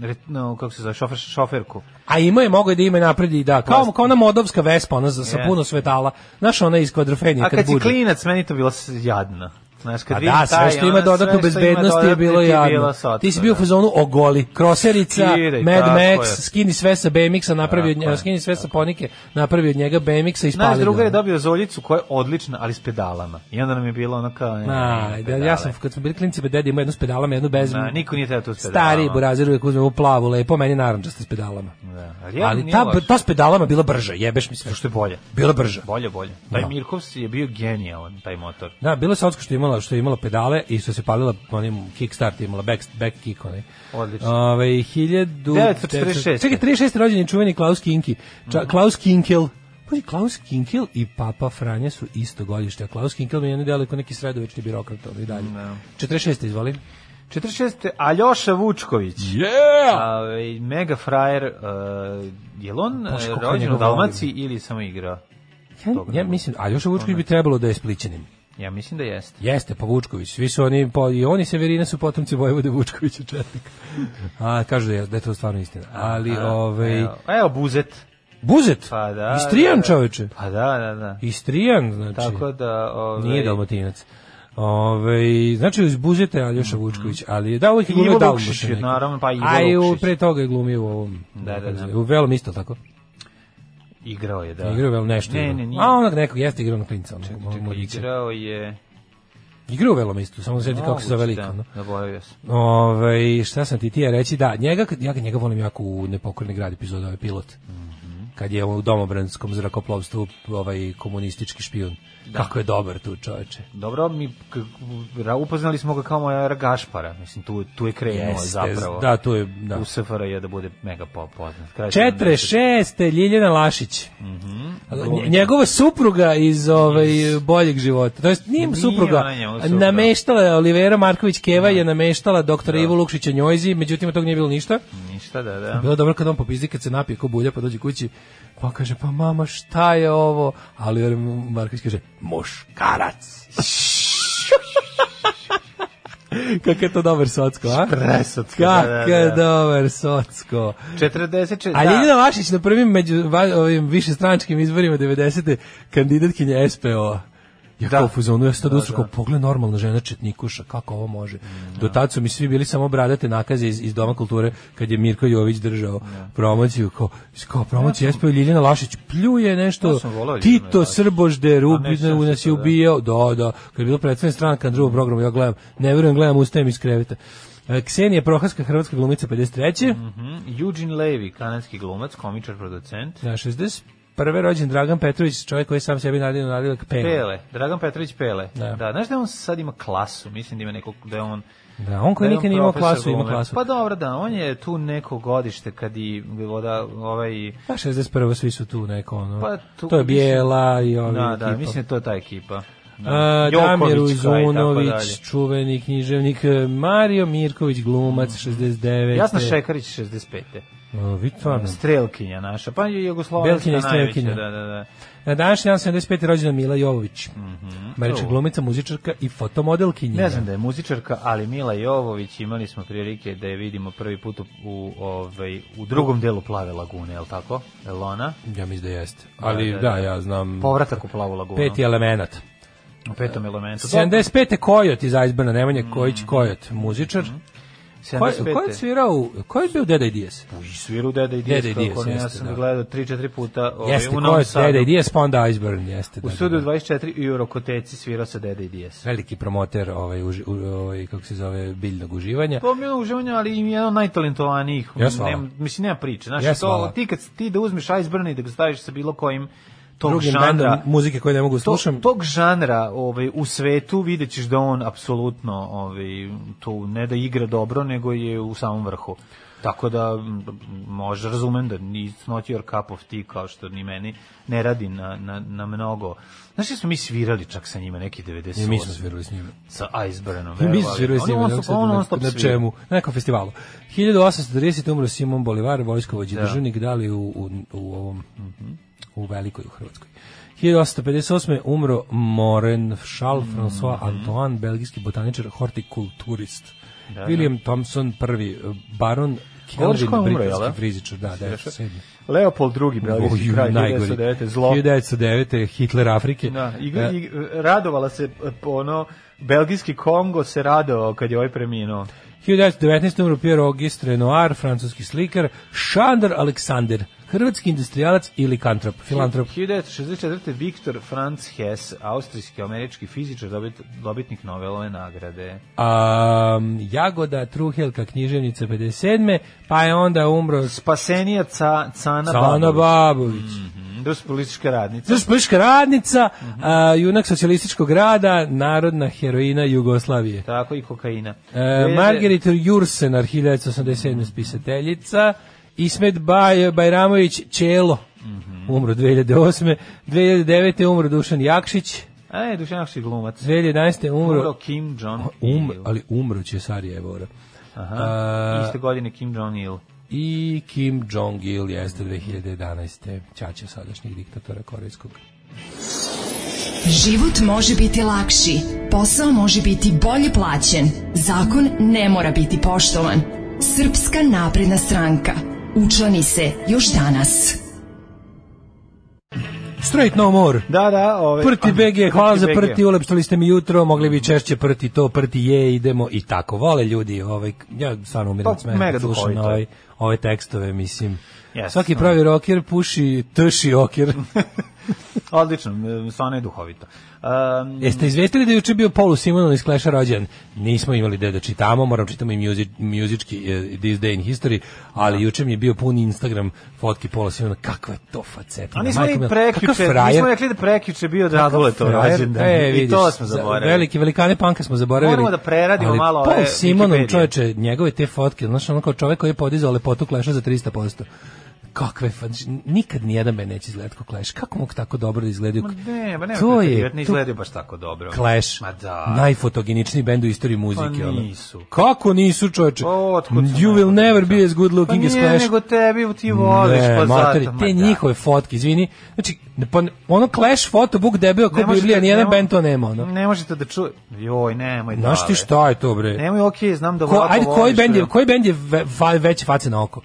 Speaker 6: re- no, kako se zove, šofer, šoferku.
Speaker 7: A ima je mogao je da ima napred i da, kao,
Speaker 6: Plastik.
Speaker 7: kao ona modovska vespa, ona za, sa
Speaker 6: Je.
Speaker 7: puno svetala. Znaš, ona iz kvadrofenije
Speaker 6: A
Speaker 7: kad
Speaker 6: kad si
Speaker 7: buđe.
Speaker 6: klinac, meni to bilo s- jadno. Znaš, kad
Speaker 7: A
Speaker 6: vidim
Speaker 7: da,
Speaker 6: taj,
Speaker 7: sve što
Speaker 6: ono,
Speaker 7: ima
Speaker 6: sve
Speaker 7: dodatnu
Speaker 6: što ima
Speaker 7: bezbednost je
Speaker 6: dodatno
Speaker 7: bilo
Speaker 6: ti je
Speaker 7: jadno.
Speaker 6: bilo sotno,
Speaker 7: Ti si bio u
Speaker 6: da.
Speaker 7: fazonu ogoli. Kroserica,
Speaker 6: Skidaj,
Speaker 7: Mad
Speaker 6: tako
Speaker 7: Max,
Speaker 6: je.
Speaker 7: skini sve sa BMX-a, napravi od
Speaker 6: Tako
Speaker 7: njega,
Speaker 6: je.
Speaker 7: skini sve sa ponike, napravi od njega BMX-a i spali.
Speaker 6: Naš druga
Speaker 7: ga.
Speaker 6: je dobio zoljicu koja je odlična, ali s pedalama. I onda nam je bilo ono kao... Ne,
Speaker 7: Na,
Speaker 6: ne,
Speaker 7: da,
Speaker 6: pedale.
Speaker 7: ja sam, kad smo bili klinci, pa deda ima jednu s pedalama, jednu bez...
Speaker 6: Na, niko nije teo tu s pedalama.
Speaker 7: Stari burazir uvijek uzme u plavu, lepo, meni narančasta s pedalama.
Speaker 6: Da.
Speaker 7: Ali ta, ta s pedalama bila brža, jebeš mi sve.
Speaker 6: Što je bolje.
Speaker 7: Bila brža.
Speaker 6: Bolje, bolje. Taj
Speaker 7: Da.
Speaker 6: Mirkovs je bio genijalan, taj motor.
Speaker 7: Da, bilo je socko što je imala, što je imala pedale i što se palila onim kickstart je imala back back kick onaj.
Speaker 6: Odlično.
Speaker 7: Ove 1946.
Speaker 6: 946.
Speaker 7: Čekaj, 36. rođen je čuveni Klaus Kinki. Ča,
Speaker 6: Mhm.
Speaker 7: Klaus Kinkel. Pazi, Klaus Kinkel i Papa Franje su isto godište. a Klaus Kinkel mi je ne delo kao neki sredovečni birokrat ono i dalje. 46. izvoli.
Speaker 6: 46. Aljoša Vučković.
Speaker 7: Yeah!
Speaker 6: Ovaj, mega frajer. Uh, je li on
Speaker 7: Bože,
Speaker 6: eh,
Speaker 7: kako
Speaker 6: rođen u
Speaker 7: njega
Speaker 6: Dalmaciji ili samo igrao?
Speaker 7: Ja, ja mislim, a Ljoša Vučković
Speaker 6: Ono.
Speaker 7: bi trebalo da je splićanin.
Speaker 6: Ja mislim da jeste.
Speaker 7: Jeste, pa Vučković. Svi su oni, pa i oni Severina su potomci Vojvode Vučkovića četnika. A, kažu da je, da je to stvarno istina. Ali, ovaj...
Speaker 6: Evo, evo Buzet.
Speaker 7: Buzet?
Speaker 6: Pa da.
Speaker 7: Istrijan
Speaker 6: da, da.
Speaker 7: čoveče.
Speaker 6: Pa da, da, da.
Speaker 7: Istrijan, znači.
Speaker 6: Tako da... Ovaj,
Speaker 7: Nije dalmatinac. Ove, znači uz Buzeta je Aljoša Vučković, ali da uvijek je
Speaker 6: Mhm. Ivo
Speaker 7: glumio
Speaker 6: Lukšić
Speaker 7: Dalmuša
Speaker 6: je,
Speaker 7: neki.
Speaker 6: naravno, pa Ivo
Speaker 7: A i u-
Speaker 6: Lukšić.
Speaker 7: pre toga je glumio u ovom.
Speaker 6: Da, da, da.
Speaker 7: U Velom isto tako.
Speaker 6: Igrao je, da.
Speaker 7: Da. Igrao je Velom nešto.
Speaker 6: Ne,
Speaker 7: igrao.
Speaker 6: ne, nije.
Speaker 7: A onak nekog jeste igrao na klinca. onog
Speaker 6: Čekaj,
Speaker 7: mladića.
Speaker 6: igrao je...
Speaker 7: Igrao u Velom isto, samo sjeti kako se zove
Speaker 6: Moguće,
Speaker 7: lik.
Speaker 6: Da,
Speaker 7: ono.
Speaker 6: zaboravio sam.
Speaker 7: Ove, šta sam ti ti ja reći, da, njega, kad- ja njega volim jako u Nepokorni grad epizoda, ovaj pilot. Kad je u domobranskom zrakoplovstvu ovaj komunistički špijun. Kako je dobar tu čoveče.
Speaker 6: Dobro, mi k- ra- upoznali smo ga kao moja Gašpara. Mislim, tu, tu je krenuo
Speaker 7: Jeste,
Speaker 6: zapravo.
Speaker 7: Da, to je, da.
Speaker 6: U SFR je da bude mega po- poznat. Kraj Mhm.
Speaker 7: 46. Ljiljana Lašić. Nje- Njegova supruga iz ovaj boljeg života. To jest nije,
Speaker 6: Nije
Speaker 7: supruga.
Speaker 6: ona njegova supruga.
Speaker 7: Nameštala je Olivera Marković Keva je nameštala doktora Ivu Lukšića Njojzi, međutim od toga nije bilo ništa.
Speaker 6: 70-ih. Ništa, da, da.
Speaker 7: Bilo je dobro kad on popizdi, kad se napije ko bulja, pa dođe kući, pa kaže, pa mama, šta je ovo? Ali Vera Marković kaže, muškarac. Kako je to dobar socko, a?
Speaker 6: Presotska, da, da,
Speaker 7: Kako je
Speaker 6: da.
Speaker 7: dobar socko.
Speaker 6: 44,
Speaker 7: A Ljiljana
Speaker 6: da.
Speaker 7: Vašić na prvim među va- ovim višestranačkim izborima 90. kandidatkinja SPO. Ja kao u fuzonu, ja sam tad usro kao, pogled normalna žena četnikuša, kako ovo može. Do tad su mi svi bili samo bradate nakaze iz, iz Doma kulture, kad je Mirko Jović držao promociju, kao, kao promocija SPO, Ljiljana Lašić pljuje nešto,
Speaker 6: Ja sam volao Ljiljanu
Speaker 7: Tito
Speaker 6: Lašić.
Speaker 7: Srbožde,
Speaker 6: A ne,
Speaker 7: Rubin
Speaker 6: sjećam
Speaker 7: nas
Speaker 6: se
Speaker 7: je
Speaker 6: to, da.
Speaker 7: ubijao, da, da, kad je bilo predstavljena stranka na drugom programu, ja gledam, ne verujem, gledam, ustajem iz kreveta. E, Ksenija Prohaska, hrvatska glumica 53.
Speaker 6: Mhm. Eugene Levy, kanadski glumac, komičar, producent.
Speaker 7: Na 60 prve rođen Dragan Petrović, čovjek koji sam sebi nadio nadilak Pele.
Speaker 6: Pele, Dragan Petrović Pele.
Speaker 7: Da.
Speaker 6: Da. znaš da on sad ima klasu, mislim da ima nekog, da je on...
Speaker 7: Da, on koji
Speaker 6: da je
Speaker 7: nikad nije imao
Speaker 6: profesor
Speaker 7: klasu, ima
Speaker 6: glume.
Speaker 7: klasu.
Speaker 6: Pa dobro, da, on je tu neko godište kad i voda, ovaj...
Speaker 7: Pa 61. svi su tu neko ono.
Speaker 6: Pa tu-
Speaker 7: to je Bijela i ovi
Speaker 6: Da, da,
Speaker 7: ekipa. E,
Speaker 6: mislim da je to ta ekipa. Da.
Speaker 7: A,
Speaker 6: Joković,
Speaker 7: Damir
Speaker 6: Kaj, tako dalje.
Speaker 7: Uzunović, čuveni književnik, e, Mario Mirković, glumac, 69.
Speaker 6: Mm. Jasna Šekarić 65.
Speaker 7: O, vidi stvarno.
Speaker 6: Strelkinja naša, pa je jugoslovenska
Speaker 7: Belkinja i
Speaker 6: najveća,
Speaker 7: Strelkinja.
Speaker 6: da, da, da.
Speaker 7: Na današnji dan 75. rođena Mila Jovović. Američka
Speaker 6: O.
Speaker 7: glumica, muzičarka i fotomodelkinja.
Speaker 6: Mhm. Ne znam da je muzičarka, ali Mila Jovović imali smo prilike da je vidimo prvi put u, u, ovaj, u drugom delu Plave lagune, je li tako? Je li ona?
Speaker 7: Ja mislim da jeste. Ali da,
Speaker 6: da, Pa, ono. da.
Speaker 7: ja znam.
Speaker 6: Povratak u Plavu lagunu.
Speaker 7: Mm. Peti elemenat.
Speaker 6: U petom elementu.
Speaker 7: 75. Kojot iz Aizbrna, Nemanja
Speaker 6: Mm.
Speaker 7: Kojić Kojot, muzičar.
Speaker 6: Mm-hmm.
Speaker 7: Ko, ko je
Speaker 6: 75.
Speaker 7: svirao, u- ko je bio Deda i Dijes?
Speaker 6: I sviru Deda i
Speaker 7: Deda i
Speaker 6: Dijes,
Speaker 7: Dijes,
Speaker 6: kako ne, ja
Speaker 7: jeste,
Speaker 6: sam
Speaker 7: da.
Speaker 6: ga gledao 3-4 puta ovaj,
Speaker 7: Jeste,
Speaker 6: u
Speaker 7: ko
Speaker 6: Novom
Speaker 7: je
Speaker 6: Sadu.
Speaker 7: Deda i Dijes, pa onda Aizbrn, jeste.
Speaker 6: U
Speaker 7: da,
Speaker 6: studiju
Speaker 7: da.
Speaker 6: 24 i u Rokoteci svirao se Deda i Dijes.
Speaker 7: Veliki promoter ovaj, uži- u- ovaj, kako se zove, biljnog uživanja.
Speaker 6: To mi je ono uživanje, ali im je jedan od najtalentovanijih.
Speaker 7: Jes, hvala.
Speaker 6: Nema- mislim, nema priče. Znaš,
Speaker 7: Jes,
Speaker 6: to,
Speaker 7: hvala.
Speaker 6: ti, kad, ti da uzmeš Iceburn i da ga staviš sa bilo kojim tog
Speaker 7: drugim
Speaker 6: žanra-
Speaker 7: bendom muzike koje ne mogu da
Speaker 6: To,
Speaker 7: slušam.
Speaker 6: tog žanra ovaj, u svetu vidjet ćeš da on apsolutno ovaj, tu ne da igra dobro, nego je u samom vrhu. Tako da m, možda razumem da ni it's not your cup of tea kao što ni meni ne radi na, na, na mnogo. Znaš, jesmo mi svirali čak sa njima neki 98.
Speaker 7: I mi smo svirali s njima.
Speaker 6: Sa Icebergom.
Speaker 7: I mi smo svirali s njima.
Speaker 6: On,
Speaker 7: ne znam
Speaker 6: on,
Speaker 7: sad
Speaker 6: on,
Speaker 7: na-
Speaker 6: on, stop
Speaker 7: na
Speaker 6: svira.
Speaker 7: čemu? Na nekom festivalu. 1830. umro Simon Bolivar, vojskovođi da. državnik, da li u, u, u ovom, u Velikoj, u Hrvatskoj. 1858. umro Moren Charles
Speaker 6: Mhm.
Speaker 7: François Antoine, belgijski botaničar, hortikulturist. William Thompson, prvi e, baron,
Speaker 6: Govoriš
Speaker 7: Kelvin,
Speaker 6: ko E, je umro, jel
Speaker 7: britanski
Speaker 6: da?
Speaker 7: frizičar, da, 97.
Speaker 6: Leopold II, belgijski
Speaker 7: Oju,
Speaker 6: kralj,
Speaker 7: najgori.
Speaker 6: 1909. Zlo.
Speaker 7: 1909. Hitler Afrike.
Speaker 6: Da, i,
Speaker 7: E,
Speaker 6: i, radovala se e, ono belgijski Kongo se radovao kad je ovaj preminuo.
Speaker 7: 1919. umro Pierre Auguste Renoir, francuski slikar, Šandor Aleksander, hrvatski industrijalac i likantrop, filantrop.
Speaker 6: 1964. Viktor Franz Hess, austrijski američki fizičar, dobit, dobitnik Nobelove nagrade.
Speaker 7: Um, Jagoda, Truhelka, književnica 57. Pa je onda umro
Speaker 6: Spasenija Pa ca, Cana Mhm,
Speaker 7: Sana
Speaker 6: Babović.
Speaker 7: Babović.
Speaker 6: Rus politička radnica.
Speaker 7: Znaš, politička radnica, a, junak socijalističkog rada, narodna heroina Jugoslavije.
Speaker 6: Tako i kokaina.
Speaker 7: E, Margaret Jursenar, 1987. spisateljica, Ismet Baj, Bajramović Čelo, umro 2008. 2009. umro Dušan Jakšić,
Speaker 6: A ne, Dušan Jakšić E, glumac.
Speaker 7: 2011.
Speaker 6: Umro
Speaker 7: umro
Speaker 6: Kim Jong
Speaker 7: Um, e-
Speaker 6: Il.
Speaker 7: ali umro će Sarija Evora.
Speaker 6: Aha, iste godine Kim Jong Il.
Speaker 7: I Kim Jong-il jeste 2011. Ćaća sadašnjih diktatora korejskog.
Speaker 4: Život može biti lakši, posao može biti bolje plaćen, zakon ne mora biti poštovan. Srpska napredna stranka. Učlani se još danas.
Speaker 7: Straight no more!
Speaker 6: Da, da, ove...
Speaker 7: Prti BG, hvala za
Speaker 6: BG.
Speaker 7: prti, ulepšali ste mi jutro, mogli bi češće prti to, prti je, idemo i tako. Vole ljudi, ovaj, ja stvarno umiram
Speaker 6: Pa,
Speaker 7: od smeha
Speaker 6: mega
Speaker 7: kad slušam
Speaker 6: duhovito je.
Speaker 7: ovaj, ove tekstove, mislim.
Speaker 6: Jes,
Speaker 7: Svaki
Speaker 6: ono.
Speaker 7: pravi roker puši trši oker.
Speaker 6: Odlično, e, stvarno je duhovito. Um,
Speaker 7: Jeste izvestili da je juče bio Paul Simonon iz Clash-a rođen? Nismo imali gde da čitamo, moram čitamo i music, muzički eh, This Day in History, ali juče mi je bio pun Instagram fotki Paula Simona. Kakva je to facetina?
Speaker 6: A nismo
Speaker 7: majko
Speaker 6: ni
Speaker 7: mila,
Speaker 6: prekjuče,
Speaker 7: kakav frajer.
Speaker 6: nismo rekli da prekjuče bio Radule to
Speaker 7: Frajer,
Speaker 6: rođendan.
Speaker 7: e,
Speaker 6: I
Speaker 7: vidiš,
Speaker 6: to smo
Speaker 7: za-
Speaker 6: zaboravili.
Speaker 7: Veliki velikane panka smo zaboravili.
Speaker 6: Moramo da preradimo
Speaker 7: ali
Speaker 6: malo e,
Speaker 7: Paul
Speaker 6: ove
Speaker 7: Simonom,
Speaker 6: Wikipedije.
Speaker 7: čoveče, njegove te fotke, znaš, ono kao čovek koji je podizao lepotu kleša za 300%. Kakve, fa- nikad nijedan me neće izgledati kao kleš. Kako mogu tako dobro da izgledaju?
Speaker 6: Ma ne, ma ne,
Speaker 7: to je,
Speaker 6: pretjerivati, ne
Speaker 7: to-
Speaker 6: izgledaju baš tako dobro.
Speaker 7: Clash,
Speaker 6: Ma da. pa
Speaker 7: najfotogeničniji bend u istoriji muzike. ono.
Speaker 6: nisu.
Speaker 7: Kako nisu, čoveče?
Speaker 6: O, otkud su
Speaker 7: You will
Speaker 6: najfotogeničniji?
Speaker 7: never be as good
Speaker 6: Pa
Speaker 7: looking as
Speaker 6: nije
Speaker 7: Clash.
Speaker 6: nego tebi, ti voliš,
Speaker 7: Ne,
Speaker 6: pa
Speaker 7: matori,
Speaker 6: zato. ma
Speaker 7: te
Speaker 6: da.
Speaker 7: njihove fotke, izvini. Znači, pa, ono Clash fotobook debeo
Speaker 6: Ne
Speaker 7: ko
Speaker 6: možete-
Speaker 7: Biblija,
Speaker 6: ne
Speaker 7: nijedan
Speaker 6: mo-
Speaker 7: band to nema, ono.
Speaker 6: Ne možete da ču... Joj, nemoj da.
Speaker 7: Znaš ti šta je to, bre?
Speaker 6: Nemoj, okej, znam da
Speaker 7: Ko,
Speaker 6: Vlada
Speaker 7: ajde, koji
Speaker 6: voliš,
Speaker 7: bend je,
Speaker 6: bre.
Speaker 7: koji bend je ve, fa, veće face na oko?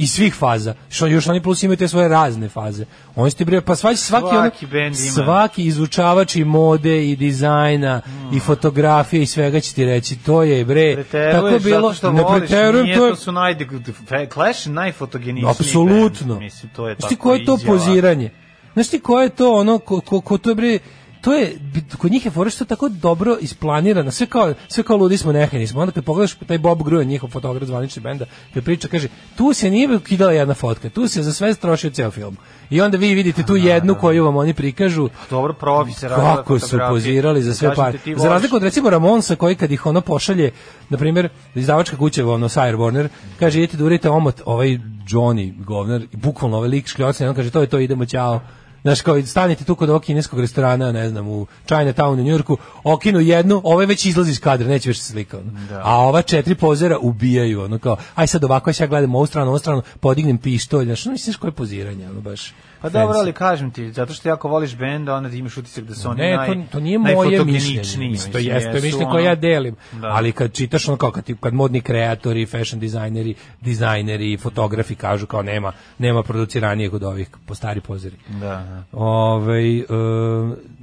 Speaker 7: Iz svih faza. Što još oni plus imaju te svoje razne faze. Oni su ti bre, pa svaki, svaki,
Speaker 6: Svaki
Speaker 7: ono,
Speaker 6: bend ima.
Speaker 7: svaki izvučavač i mode i dizajna i fotografije i svega će ti reći. To je bre, tako je
Speaker 6: Preteruješ
Speaker 7: bilo,
Speaker 6: zato što
Speaker 7: ne
Speaker 6: voliš,
Speaker 7: preterujem,
Speaker 6: nije,
Speaker 7: to je,
Speaker 6: su najde, Clash je najfotogeničniji.
Speaker 7: apsolutno.
Speaker 6: bend. Mislim, to je
Speaker 7: Znaš
Speaker 6: tako
Speaker 7: ti koje je to
Speaker 6: izjava.
Speaker 7: poziranje? Znaš ti koje je to ono, ko, ko, ko to je bre, to je, kod njih je fora što je tako dobro isplanirano, sve kao, sve kao ludi smo nehajni smo, onda kad pogledaš taj Bob Gruen, njihov fotograf zvanični benda, kad priča, kaže, tu se nije ukidala jedna fotka, tu se za sve strošio ceo film. I onda vi vidite tu jednu koju vam oni prikažu,
Speaker 6: Dobro, profi se radila
Speaker 7: kako su
Speaker 6: fotografije.
Speaker 7: pozirali za sve
Speaker 6: Kažete,
Speaker 7: par.
Speaker 6: ti
Speaker 7: Za
Speaker 6: voliš-
Speaker 7: razliku od recimo Ramonsa koji kad ih ono pošalje, na primjer, izdavačka kuća ono Sire Warner, kaže idite da uradite omot, ovaj Johnny govnar, i bukvalno ovaj lik škljocen, on kaže to je to, idemo ćao. Znaš, kao stanite tu kod ovog kineskog restorana, ne znam, u Chinatownu u Njurku, okinu jednu, ovaj već izlazi iz kadra, neće više se slika. ono. A ova četiri pozera ubijaju, ono kao, aj sad ovako, ja sad gledam ovu stranu, ovu stranu, podignem pištolj, znaš, ono misliš koje poziranje, ono baš.
Speaker 6: Pa dobro,
Speaker 7: fancy.
Speaker 6: ali kažem ti, zato što jako voliš benda, onda ti imaš utisak da su oni
Speaker 7: Ne,
Speaker 6: naj,
Speaker 7: to, to nije moje mišljenje.
Speaker 6: najfotogeničniji,
Speaker 7: Mislim, to
Speaker 6: mislim,
Speaker 7: jeste
Speaker 6: jesu
Speaker 7: mišljenje
Speaker 6: ono-
Speaker 7: koje ja delim.
Speaker 6: Da.
Speaker 7: Ali kad čitaš ono kao kad, ti- kad modni kreatori, fashion dizajneri, dizajneri, fotografi kažu kao nema, nema produciranije kod ovih po stari pozeri.
Speaker 6: Da, da.
Speaker 7: Ovaj, em,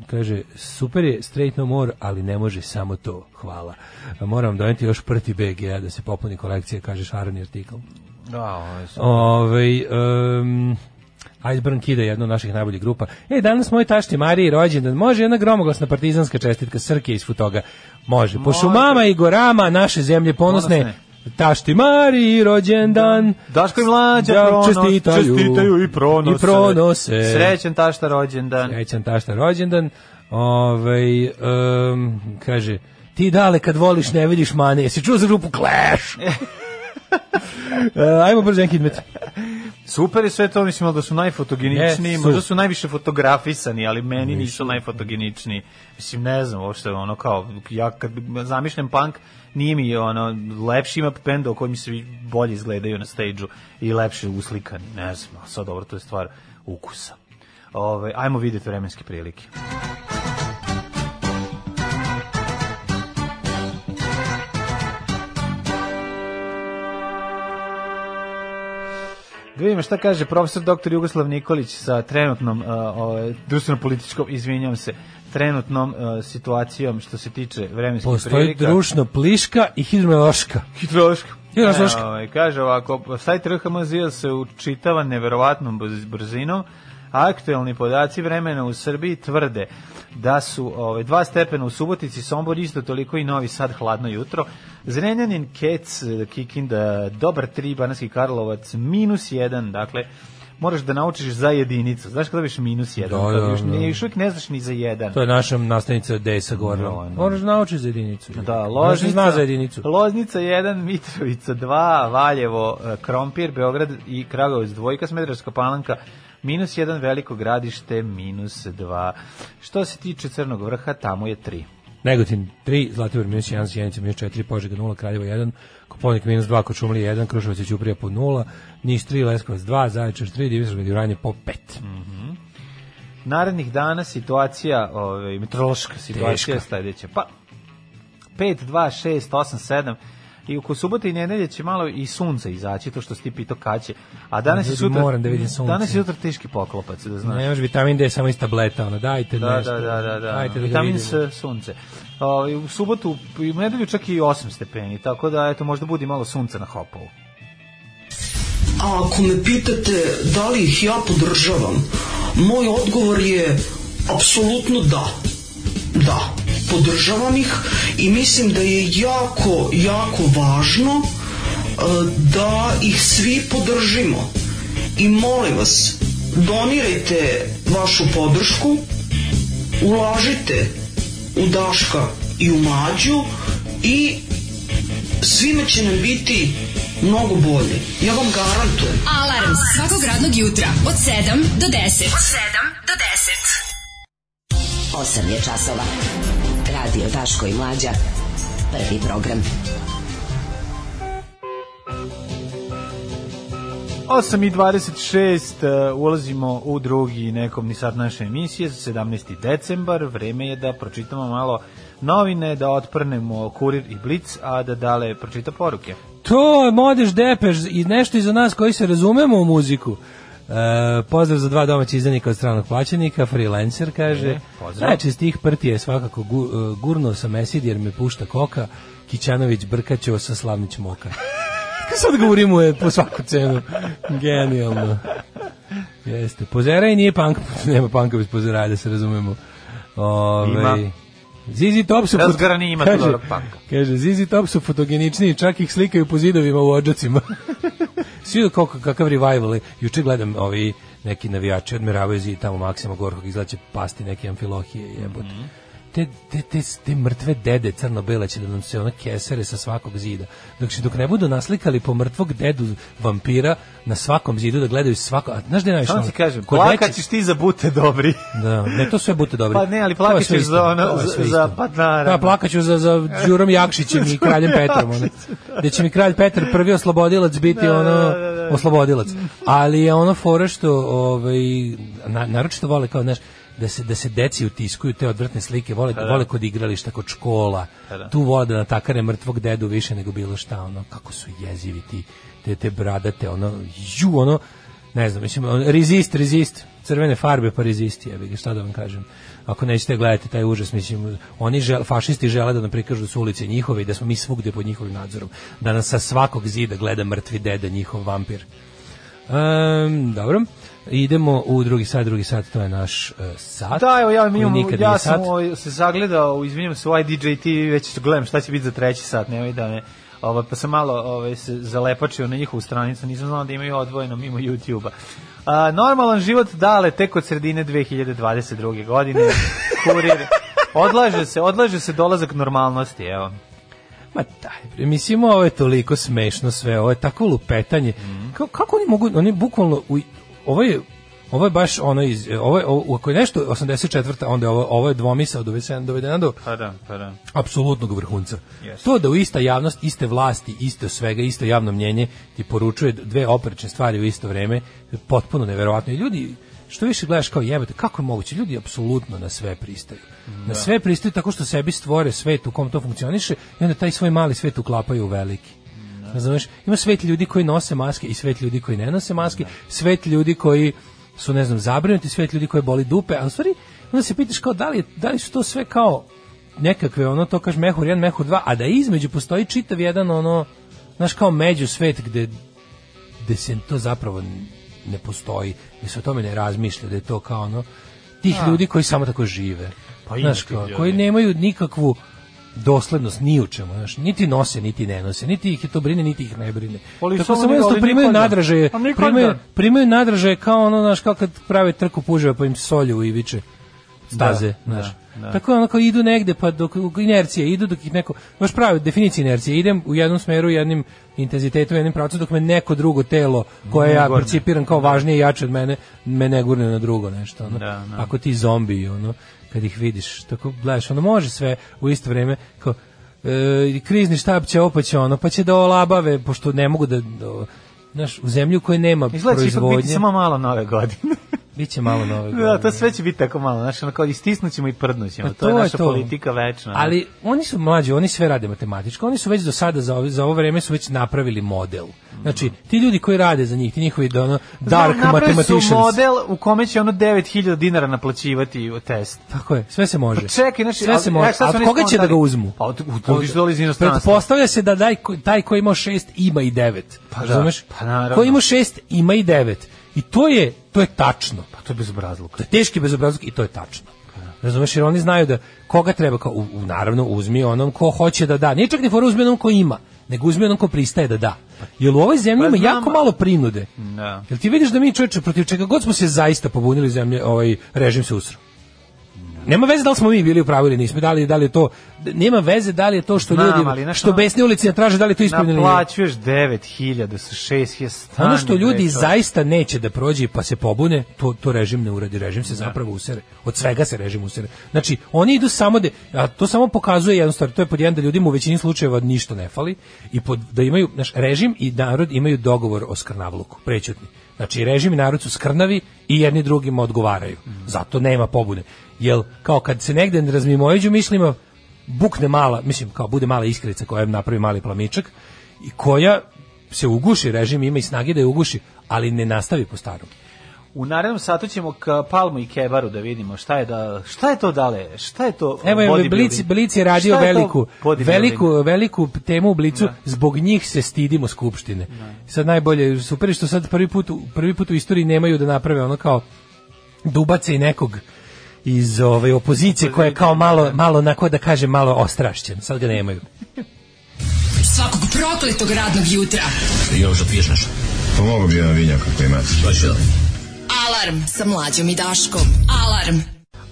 Speaker 7: kaže, super je Straight No More, ali ne može samo to, hvala. Moram doneti još prti BG-a da se popuni kolekcija, kaže šarani artikl.
Speaker 6: Da, ovo su-
Speaker 7: Ove, um, Ovaj, Iceburn Kida je jedna od naših najboljih grupa. E, danas moj tašti Mariji rođendan. Može jedna gromoglasna partizanska čestitka Srke iz Futoga. Može. Pošumama i gorama naše zemlje ponosne,
Speaker 6: Ponosne.
Speaker 7: Tašti Mari, rođendan.
Speaker 6: Daško i mlađa
Speaker 7: Da,
Speaker 6: pronos,
Speaker 7: čestitaju.
Speaker 6: čestitaju i pronose.
Speaker 7: I pronose.
Speaker 6: Srećan tašta rođendan.
Speaker 7: Srećan tašta rođendan. Ovaj em, kaže, ti dale kad voliš ne vidiš mane. Jesi čuo za grupu Clash? E, ajmo brzo jedan kidmet.
Speaker 6: Super je sve to, mislim da su najfotogeničniji,
Speaker 7: Jesu.
Speaker 6: možda su najviše fotografisani, ali meni nisu najfotogeničniji. Mislim, ne znam, uopšte, ono kao, ja kad zamišljam punk, nije mi ono, lepši ima benda u kojem se bolje izgledaju na stage-u i lepše uslikani, ne znam, a sad dobro, to je stvar ukusa. Ove, ajmo vidjeti vremenske prilike. Da vidimo šta kaže profesor dr. Jugoslav Nikolić sa trenutnom uh, ovaj, društveno-političkom, izvinjam se, trenutnom uh, situacijom što se tiče vremenskih
Speaker 7: Postoji
Speaker 6: prilika.
Speaker 7: drušno pliška i hidrološka.
Speaker 6: Hidrološka.
Speaker 7: Hidrološka.
Speaker 6: E, ovaj, kaže ovako, sajt RHMZ se učitava neverovatnom brz- brzinom, Aktuelni podaci vremena u Srbiji tvrde da su ovaj, dva stepena u Subotici, Sombor isto toliko i Novi Sad hladno jutro. Zrenjanin, Kec, Kikinda, dobar tri, Banarski Karlovac, minus jedan, dakle, moraš da naučiš za jedinicu. Znaš kada biš minus jedan?
Speaker 7: Da,
Speaker 6: kad
Speaker 7: da,
Speaker 6: još,
Speaker 7: da.
Speaker 6: još uvijek ne znaš ni za jedan.
Speaker 7: To je naša nastavnica Desa govorila.
Speaker 6: Da, da.
Speaker 7: Moraš naučiti za jedinicu.
Speaker 6: Da,
Speaker 7: Moraš da
Speaker 6: Loznica,
Speaker 7: zna za jedinicu.
Speaker 6: Loznica 1, Mitrovica 2, Valjevo, eh, Krompir, Beograd i Kragovac dvojka, Smederevska palanka minus 1, Veliko gradište minus 2. Što se tiče Crnog vrha, tamo je 3.
Speaker 7: Negotin 3, Zlatibor minus 1, Sjenica minus 4, Požega 0, Kraljevo 1, Koponik minus 2, Kočumlija 1, Kruševac i Ćuprija po 0, Niš 3, Leskovac 2, Zaječar 3, Divizor Medjuranje po 5.
Speaker 6: Narednih dana situacija, ovaj, meteorološka situacija je
Speaker 7: Teška.
Speaker 6: sledeća. Pa, 5, 2, 6, 8, 7, I oko subote i nedelje će malo i sunce izaći, to što si ti pitao kad će. A danas je
Speaker 7: Ljudi,
Speaker 6: sutra...
Speaker 7: moram da vidim sunce.
Speaker 6: Danas je sutra teški poklopac, da znaš.
Speaker 7: Ne može vitamin D samo iz tableta, ono, dajte
Speaker 6: da,
Speaker 7: nešto.
Speaker 6: da, da, da, da.
Speaker 7: Dajte da ga
Speaker 6: Vitamin
Speaker 7: vidimo.
Speaker 6: S, sunce. Ovaj, u subotu i u nedelju čak i 8 stepeni, tako da eto možda budi malo sunca na hopovu.
Speaker 9: A ako me pitate da li ih ja podržavam, moj odgovor je apsolutno da. Da, podržavam ih i mislim da je jako, jako važno e, da ih svi podržimo. I molim vas, donirajte vašu podršku, ulažite u Daška i u Mađu i svima će nam biti mnogo bolje. Ja vam garantujem.
Speaker 4: Alarm svakog radnog jutra od 7 do 10. Od 7 do 10. 8 je časova. Radio Daško i Mlađa. Prvi program.
Speaker 6: 8 i 26 uh, ulazimo u drugi nekom ni sad naše emisije za 17. decembar. Vreme je da pročitamo malo novine, da otprnemo kurir i blic, a da dale pročita poruke.
Speaker 7: To je modeš depeš i nešto iza nas koji se razumemo u muziku. E, pozdrav za dva domaća izdanika od stranog plaćenika, freelancer kaže.
Speaker 6: E, pozdrav.
Speaker 7: Znači, iz tih partija je svakako gu, e, gurnuo sam Esid jer me pušta koka, Kićanović brkaćeo sa Slavnić Moka. Kako sad govorimo je po svaku cenu. Genijalno. Jeste. Pozeraj nije punk, nema punka bez pozeraja, da se razumemo. Ove,
Speaker 6: Ima.
Speaker 7: Zizi Top su...
Speaker 6: Razgarani ima tu
Speaker 7: Kaže-
Speaker 6: dobrog punka.
Speaker 7: Kaže, Zizi Top su fotogeničniji, čak ih slikaju po zidovima u odžacima. Svi vidio koliko, kakav revival je. Juče gledam ovi neki navijači, odmeravaju zid tamo Maksima Gorkog, izgleda će pasti neke amfilohije, jebote.
Speaker 6: Mhm.
Speaker 7: Te, te, te, te mrtve dede crno-bele će da nam se ona kesere sa svakog zida. Dok, će- dok ne budu naslikali po mrtvog dedu vampira na svakom zidu da gledaju svako... A znaš gde je najviše?
Speaker 6: Samo
Speaker 7: ono?
Speaker 6: ti kažem,
Speaker 7: Kod većih-
Speaker 6: plakaćeš ti za bute dobri.
Speaker 7: da, ne, to sve bute dobro.
Speaker 6: Pa ne, ali plakaćeš za ono- za- za- pa naravno.
Speaker 7: Da, plakaću za, za Đurom Jakšićem i kraljem Petrom. Ono. Da će mi kralj Petar prvi oslobodilac biti ono, oslobodilac. Ali je ono fora što, ovaj, na, naročito vole kao, znaš, da se, da se deci utiskuju te odvrtne slike, vole, vole kod igrališta, kod škola, tu vole Pa da natakare mrtvog dedu više nego bilo šta, ono, kako su jezivi ti, te, te bradate, ono, ju, ono, ne znam, mislim, on- rezist, rezist, crvene farbe pa rezist, jebi ga, šta da vam kažem. Ako nećete gledati taj užas, mislim, oni žel, fašisti žele da nam prikažu da su ulice njihove i da smo mi svugde pod njihovim nadzorom. Da nas sa svakog zida gleda mrtvi deda, njihov vampir. Ehm, dobro, idemo u drugi sat, drugi sat, to je naš eh, sat.
Speaker 6: Da, evo ja, mi
Speaker 7: koji
Speaker 6: imamo,
Speaker 7: nikad
Speaker 6: ja
Speaker 7: nije
Speaker 6: sam
Speaker 7: sat.
Speaker 6: ovaj, se zagledao, izvinjam se, u IDJ TV, već gledam šta će biti za treći sat, nemoj da me Ovo, pa sam malo ovaj, se zalepačio na njihovu stranicu, nisam znao da imaju odvojeno mimo YouTube-a. A, normalan život dale tek od sredine 2022. godine. Kurir. Odlaže se, odlaže se dolazak normalnosti, evo.
Speaker 7: Ma taj, mislim, ovo je toliko smešno sve, ovo je tako lupetanje. Kako, kako oni mogu, oni bukvalno, u, ovo je Ovo je baš ono iz ovo je, ovo, ako je nešto 84. onda je ovo ovo je dvomisao doveden dovedena do
Speaker 6: Pa da, pa da.
Speaker 7: apsolutnog vrhunca.
Speaker 6: Yes.
Speaker 7: To da u ista javnost, iste vlasti, isto svega, isto javno mnjenje ti poručuje dve oprečne stvari u isto vreme, je potpuno neverovatno. I ljudi, što više gledaš kao jebate, kako je moguće? Ljudi apsolutno na sve pristaju. Na sve pristaju tako što sebi stvore svet u kom to funkcioniše i onda taj svoj mali svet uklapaju u veliki. Razumeš? Ima svet ljudi koji nose maske i svet ljudi koji ne nose maske, svet ljudi koji su, ne znam, zabrinuti, svet ljudi koji boli dupe, a u stvari, onda se pitaš kao da li, je- da li su to sve kao nekakve, ono, to kaže mehur 1, mehur 2, a da između postoji čitav jedan, ono, znaš, kao među svet gde, gde se to zapravo ne postoji, gde se o tome ne razmišlja, da je to kao, ono, tih ljudi koji samo tako žive.
Speaker 6: Pa ima
Speaker 7: znaš,
Speaker 6: tih
Speaker 7: kao,
Speaker 6: ljudi.
Speaker 7: koji nemaju nikakvu doslednost ni u čemu, znaš, niti nose, niti ne nose, niti ih je to brine, niti ih ne brine.
Speaker 6: Ali
Speaker 7: Tako
Speaker 6: samo
Speaker 7: samo
Speaker 6: ni-
Speaker 7: jednostavno
Speaker 6: ali
Speaker 7: primaju
Speaker 6: nikada.
Speaker 7: nadražaje,
Speaker 6: Pa nikada.
Speaker 7: primaju, primaju nadražaje kao ono, znaš, kao kad prave trku puževa pa im solju i viče staze,
Speaker 6: Da,
Speaker 7: znaš.
Speaker 6: da, da.
Speaker 7: Tako je ono kao idu negde, pa dok u- inercije idu, dok ih neko, baš pravi definicija inercije, idem u jednom smeru, jednim intenzitetom, jednim pravcu, dok me neko drugo telo koje
Speaker 6: Ne
Speaker 7: ja
Speaker 6: gurne.
Speaker 7: percipiram kao važnije i jače od mene, me ne gurne na drugo nešto. Ono.
Speaker 6: Da, da.
Speaker 7: Ako ti zombi, ono, kad ih vidiš, tako gledaš, ono može sve u isto vreme, kao, e, krizni štab će opet će ono, pa će da olabave, pošto ne mogu da, da znaš, u zemlju koje nema
Speaker 6: Izgleda će ipak biti
Speaker 7: proizvodnje,
Speaker 6: samo malo nove godine.
Speaker 7: bit će malo nove
Speaker 6: da, to
Speaker 7: godine.
Speaker 6: sve će biti tako malo, znači ono kao istisnućemo i prdnućemo.
Speaker 7: Pa
Speaker 6: to, je naša politika večna.
Speaker 7: Ali oni su mlađi, oni sve rade matematički, oni su već do sada za ovo, za ovo vreme su već napravili model. Znači, ti ljudi koji rade za njih, ti njihovi da ono, dark
Speaker 6: Napravili
Speaker 7: mathematicians.
Speaker 6: su model u kome će ono 9000 dinara naplaćivati test.
Speaker 7: Tako je, sve se može.
Speaker 6: Pa čekaj, znači,
Speaker 7: sve
Speaker 6: ali-
Speaker 7: se može.
Speaker 6: e, sad
Speaker 7: A od
Speaker 6: su oni
Speaker 7: koga će da ga
Speaker 6: skontali?
Speaker 7: uzmu?
Speaker 6: Pa od- od ljudi što dolaze iz inostranstva.
Speaker 7: Pretpostavlja se da daj, ko- taj ko je imao šest ima i devet.
Speaker 6: Pa da,
Speaker 7: Razumeš?
Speaker 6: pa naravno.
Speaker 7: Ko je imao šest ima i devet. I to je, to je tačno.
Speaker 6: Pa to je bezobrazluk.
Speaker 7: To je teški bezobrazluk i to je tačno. Razumeš, jer oni znaju da koga treba, kao, u, u- naravno uzmi onom ko hoće da da. Nije čak ni fora uzmi onom ko ima, nego uzmi onom ko pristaje da da. Jer u ovoj zemlji
Speaker 6: Pa
Speaker 7: ima
Speaker 6: znam,
Speaker 7: jako malo prinude.
Speaker 6: Da.
Speaker 7: Jel ti vidiš da mi čoveče protiv čega god smo se zaista pobunili zemlje, ovaj režim se usro. Nema veze da li smo mi bili u pravu ili nismo, da li, da li je to, nema veze da li je to što
Speaker 6: Znam,
Speaker 7: ljudi,
Speaker 6: ali, znaš,
Speaker 7: što
Speaker 6: ono-
Speaker 7: besne ulici ne traže, da li je to ispravljeno ili nije.
Speaker 6: Naplaćuješ 9000 sa 6000 stani.
Speaker 7: Ono što ljudi
Speaker 6: bre, to-
Speaker 7: zaista neće da prođe pa se pobune, to, to režim ne uradi. Režim se zapravo usere. Od svega se režim usere. Znači, oni idu samo da, a to samo pokazuje jednu stvar, to je pod jedan da ljudima u većini slučajeva ništa ne fali i pod, da imaju, znaš, režim i narod imaju dogovor o skrnavluku, prećutni. Znači, režim i narod su skrnavi i jedni drugima odgovaraju.
Speaker 6: Mhm.
Speaker 7: Zato nema pobune. Jel, kao kad se negde ne razmimojeđu mišljima, bukne mala, mislim, kao bude mala iskrica koja im napravi mali plamičak i koja se uguši režim, ima i snage da je uguši, ali ne nastavi po starom.
Speaker 6: U narednom satu ćemo ka Palmu i Kebaru da vidimo šta je da šta je to dale, šta je to
Speaker 7: Evo je
Speaker 6: bodybuilding?
Speaker 7: Blic, Blic je radio
Speaker 6: Šta je to
Speaker 7: veliku,
Speaker 6: bodybuilding?
Speaker 7: veliku, veliku temu u Blicu, zbog njih se stidimo Skupštine. Sad najbolje, super je što sad prvi put, u- prvi put u istoriji nemaju da naprave ono kao dubace i nekog iz ove opozicije koja je kao malo, malo onako da kažem malo ostrašćen. Sad ga nemaju.
Speaker 4: Svakog prokletog radnog jutra.
Speaker 10: Pomogu bi vam vinjak ako imate.
Speaker 4: Alarm sa mlađom i Daškom. Alarm.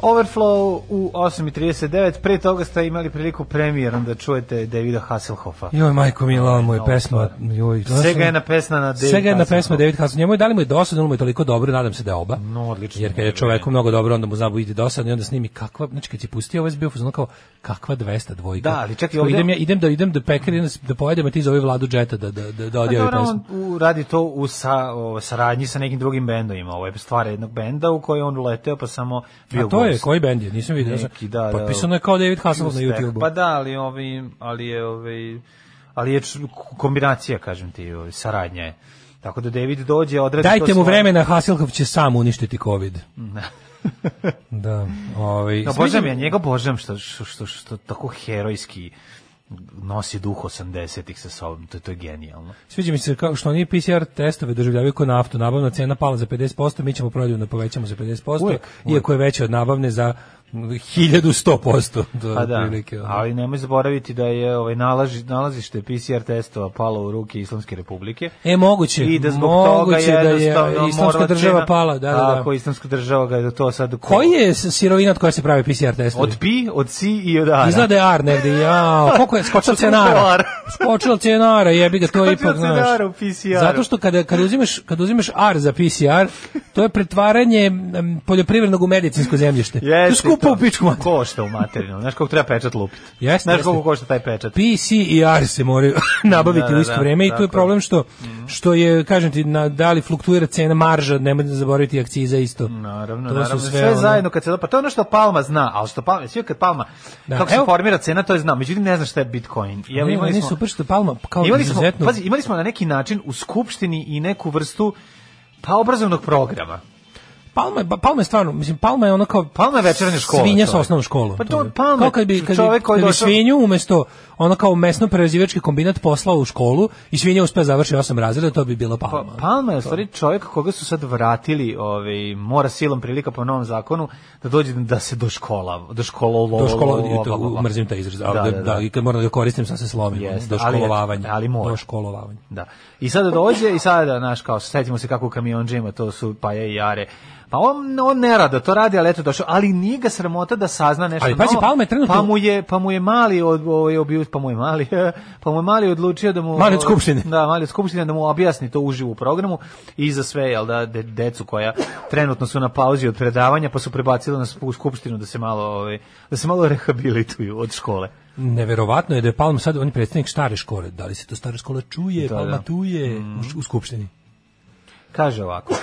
Speaker 6: Overflow u 8.39, pre toga ste imali priliku premijerom da čujete Davida Hasselhoffa.
Speaker 7: Joj, majko mila, moja pesma. Joj, ono-
Speaker 6: Svega jedna pesma na David
Speaker 7: Svega jedna
Speaker 6: Hasselhoff.
Speaker 7: pesma David Hasselhoff. Njemu je da li mu je dosadno, ili mu je toliko dobro, nadam se da je oba.
Speaker 6: No, odlično.
Speaker 7: Jer kad je čoveku mnogo dobro, onda mu zna biti dosadno i onda snimi kakva, znači kad je pustio ovaj bio fuzon kao kakva 200 dvojka.
Speaker 6: Da, ali čak i
Speaker 7: Kao,
Speaker 6: ovde-
Speaker 7: idem ja idem da idem do pekare da, s- da pojedem a ti zove Vladu Džeta da da da, da
Speaker 6: Pa
Speaker 7: odjavi
Speaker 6: dobro,
Speaker 7: pesmu.
Speaker 6: on u- radi to u sa, o, saradnji sa nekim drugim bendovima. Ovo je stvar jednog benda u koji je on uleteo pa samo bio
Speaker 7: A to je
Speaker 6: gost.
Speaker 7: koji bend je? Nisam video.
Speaker 6: Neki, da, da.
Speaker 7: Potpisano je kao David Hasselhoff na
Speaker 6: Ustek.
Speaker 7: YouTubeu.
Speaker 6: Pa da, ali, ovi, ali je, ovi, ali je č- kombinacija, kažem ti, ovi, saradnja je. Tako da David dođe, odradi to
Speaker 7: Dajte mu
Speaker 6: svoje-
Speaker 7: vremena, Hasselhoff će sam uništiti COVID. da. Ovaj
Speaker 6: No,
Speaker 7: sviđa
Speaker 6: božem
Speaker 7: mi-
Speaker 6: ja njega, božem što, što, što, što tako herojski nosi duh 80-ih sa sobom. To, to je genijalno.
Speaker 7: Sviđa mi se kako što oni PCR testove doživljavaju kao naftu. Nabavna cena pala za 50%, mi ćemo prodaju da povećamo za 50%,
Speaker 6: Uvek, uvek.
Speaker 7: iako je veća od nabavne za 1100%. Do
Speaker 6: Pa da,
Speaker 7: prilike, ono.
Speaker 6: ali nemoj zaboraviti da je ovaj nalaži, nalazište PCR testova palo u ruke Islamske republike.
Speaker 7: E, moguće.
Speaker 6: I da zbog toga
Speaker 7: moguće da je
Speaker 6: jednostavno
Speaker 7: islamska
Speaker 6: morala
Speaker 7: država
Speaker 6: cena-
Speaker 7: pala. Da, da,
Speaker 6: Tako,
Speaker 7: da.
Speaker 6: islamska država ga je to sad...
Speaker 7: Koji je s- sirovina od koje se pravi PCR testovi?
Speaker 6: Od pi, od si i od ara.
Speaker 7: Izgleda je ar negde, jao, koliko je, skočila
Speaker 6: Skočila
Speaker 7: cenara.
Speaker 6: ara.
Speaker 7: Skočila cenara, jebi ga, to je
Speaker 6: Skočila
Speaker 7: ipak, znaš.
Speaker 6: cenara u PCR-u.
Speaker 7: Zato što kada, kada, uzimaš, kada uzimaš ar za PCR, to je pretvaranje m, poljoprivrednog u medicinsko zemljište. to je
Speaker 6: Jeste
Speaker 7: skupo u pičku mater.
Speaker 6: Košta u materinu. Znaš kako treba pečat lupiti.
Speaker 7: Jeste,
Speaker 6: Znaš
Speaker 7: jeste.
Speaker 6: koliko košta taj pečat.
Speaker 7: PC i AR se moraju nabaviti
Speaker 6: Da, da,
Speaker 7: u isto
Speaker 6: da,
Speaker 7: vreme i tu je
Speaker 6: tako. Mhm.
Speaker 7: problem što što je kažem ti na, da li fluktuira cena marža nemojte zaboraviti akciza isto
Speaker 6: Naravno,
Speaker 7: To su
Speaker 6: naravno.
Speaker 7: sve
Speaker 6: Sve,
Speaker 7: ono-
Speaker 6: zajedno kad se pa to je ono što Palma zna, ali što Palma, sve kad Palma
Speaker 7: Da,
Speaker 6: kako se
Speaker 7: evo-
Speaker 6: formira cena, to je zna. Međutim ne zna šta je Bitcoin. I evo
Speaker 7: Ne,
Speaker 6: imali
Speaker 7: meni je
Speaker 6: smo
Speaker 7: super što je Palma kao
Speaker 6: Pa, imali smo,
Speaker 7: izuzetno
Speaker 6: pazi, imali smo na neki način u skupštini i neku vrstu pa obrazovnog programa.
Speaker 7: Palma je, Palma je stvarno mislim Palma je ono kao
Speaker 6: Palma je večernja škola,
Speaker 7: svinja sa
Speaker 6: čovek.
Speaker 7: osnovnom školom
Speaker 6: Pa to je
Speaker 7: je.
Speaker 6: Palma,
Speaker 7: kao kad bi kad bi,
Speaker 6: čovek koji
Speaker 7: kad bi
Speaker 6: došao-
Speaker 7: svinju umesto ono kao mesno prerađivački kombinat poslao u školu i svinja uspela završi osam razreda to bi bila
Speaker 6: Pa,
Speaker 7: Palma
Speaker 6: Palma je u stvari čovjek koga su sad vratili, ovaj, mora silom prilika po novom zakonu da dođe da se doškola, doškolo
Speaker 7: do škola to, mrzim taj izraz ali da, da, i kad moram da ga koristim sam se slomim ono,
Speaker 6: Jeste,
Speaker 7: do
Speaker 6: ali je-
Speaker 7: školovavanja
Speaker 6: ali mora.
Speaker 7: do školovavanja
Speaker 6: Da. I sada dođe i sada, znaš, kao, setimo se kako u kamionđima, to su paje i jare. Pa on, on ne rada, to radi, ali eto došao, ali nije ga sramota da sazna nešto
Speaker 7: Ali pazi,
Speaker 6: novo,
Speaker 7: Palma je trenutno-
Speaker 6: Pa mu je, pa mu je mali, od, ovaj, obju- pa mu je mali, pa mu je mali odlučio da mu...
Speaker 7: Mali od skupštine.
Speaker 6: Da, mali od skupštine, da mu objasni to uživo u programu i za sve, jel da, de, decu koja trenutno su na pauzi od predavanja, pa su prebacili nas u skupštinu da se malo, ovaj, da se malo rehabilituju od škole.
Speaker 7: Neverovatno je da je Palma sad on je predstavnik stare škole. Da li se to stara škola čuje,
Speaker 6: Da,
Speaker 7: Palma
Speaker 6: da. Mm.
Speaker 7: tuje u, š- u skupštini?
Speaker 6: Kaže ovako.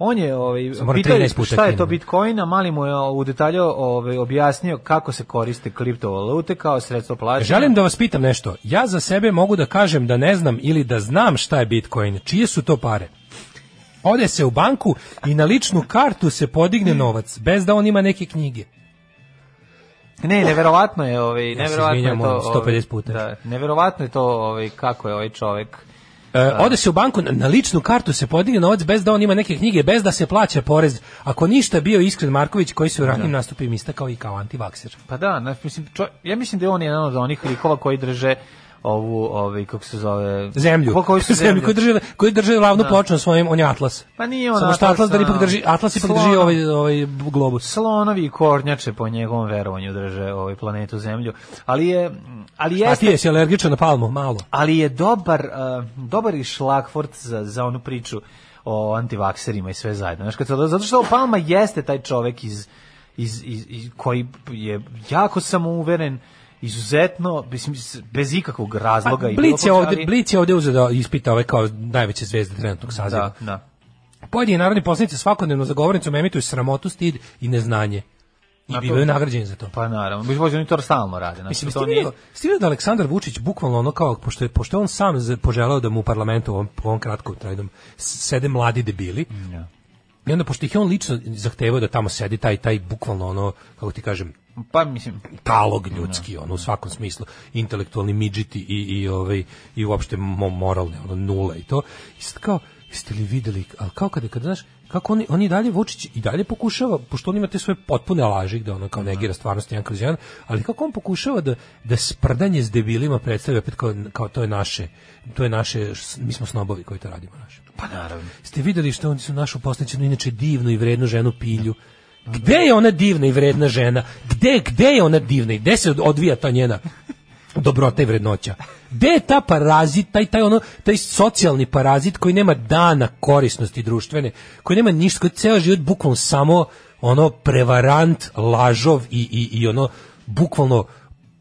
Speaker 6: On je ovaj
Speaker 7: Samo moram
Speaker 6: pitao
Speaker 7: 13 puta
Speaker 6: šta je to
Speaker 7: klimnuti.
Speaker 6: Bitcoin, a mali mu je u detalju ovaj objasnio kako se koriste kriptovalute kao sredstvo plaćanja.
Speaker 7: Želim da vas pitam nešto. Ja za sebe mogu da kažem da ne znam ili da znam šta je Bitcoin. Čije su to pare? Ode se u banku i na ličnu kartu se podigne novac, bez da on ima neke knjige. E,
Speaker 6: Ne, neverovatno je ovaj neverovatno je
Speaker 7: izvinjam, ono,
Speaker 6: to
Speaker 7: 150 puta.
Speaker 6: Ovaj, da, neverovatno je to ovaj kako je ovaj čovjek
Speaker 7: E, ode se u banku, na- na ličnu kartu se podigne novac bez da on ima neke knjige, bez da se plaća porez. Ako ništa bio iskren Marković koji se u ranijim nastupima istakao i kao antivakser.
Speaker 6: Pa da, znaš, mislim, čo, ja mislim da je on jedan od onih likova koji drže ovu, ovaj, kako se zove...
Speaker 7: zemlju.
Speaker 6: Ko, Pa koji su zemlju.
Speaker 7: koji drži koji drži glavnu ploču na svojem on je Atlas.
Speaker 6: Pa nije on
Speaker 7: Samo što Atlas
Speaker 6: Atlas, ono,
Speaker 7: da ipak
Speaker 6: da.
Speaker 7: drži Atlas ipak drži
Speaker 6: Slona.
Speaker 7: ovaj ovaj globus.
Speaker 6: Slonovi i kornjače po njegovom verovanju drže ovaj planetu Zemlju, ali je ali
Speaker 7: A ti
Speaker 6: jeste
Speaker 7: jesi alergičan na palmu, malo.
Speaker 6: ali je dobar uh, dobar i šlagfort za, za onu priču o antivakserima i sve zajedno. Znaš, kad se, zato što Palma jeste taj čovek iz, iz, iz, iz- koji je jako samouveren, izuzetno, mislim, s- bez ikakvog razloga. i bilo
Speaker 7: Blic Pa je
Speaker 6: koga,
Speaker 7: ovde,
Speaker 6: ali-
Speaker 7: Blic je ovde uzeo da ispita ove kao najveće zvezde trenutnog saziva.
Speaker 6: Da, da.
Speaker 7: Pojedini narodni poslanici svakodnevno za govornicom emituju sramotu, stid i neznanje. I
Speaker 6: Na to-
Speaker 7: bivaju nagrađeni za to.
Speaker 6: Pa naravno, mislim, možda oni to stalno rade. Znači,
Speaker 7: Mislim,
Speaker 6: to
Speaker 7: ste
Speaker 6: nije-
Speaker 7: vidjeli- ste vidjeli da Aleksandar Vučić bukvalno ono kao, pošto je, pošto je on sam z- poželao da mu u parlamentu, ovom, po ovom kratkom trajnom, s- sede mladi debili, i onda pošto ih je on lično zahtevao da tamo sedi taj, taj bukvalno ono, kako ti kažem,
Speaker 6: Pa mislim,
Speaker 7: talog ljudski, ono, u svakom smislu, intelektualni midžiti i, i, ovaj, i uopšte mo- moralne, ono, nule i to. I sad kao, jeste li videli, ali kao kada, kada, znaš, kako oni, oni dalje, Vučić i dalje pokušava, pošto on ima te svoje potpune laži, da ono kao negira stvarnost jedan kroz jedan, ali kako on pokušava da, da sprdanje s debilima predstavlja opet kao, kao to je naše, to je naše, mi smo snobovi koji to radimo naše. Pa naravno. Ste videli što oni su našu postaćenu, inače divnu i vrednu ženu pilju, Gde je ona divna i vredna žena? Gde, gde je ona divna i gde se odvija ta njena dobrota i vrednoća? Gde je ta parazit, taj, taj, ono, taj socijalni parazit koji nema dana korisnosti društvene, koji nema ništa, koji je ceo život bukvalno samo ono prevarant, lažov i, i, i ono bukvalno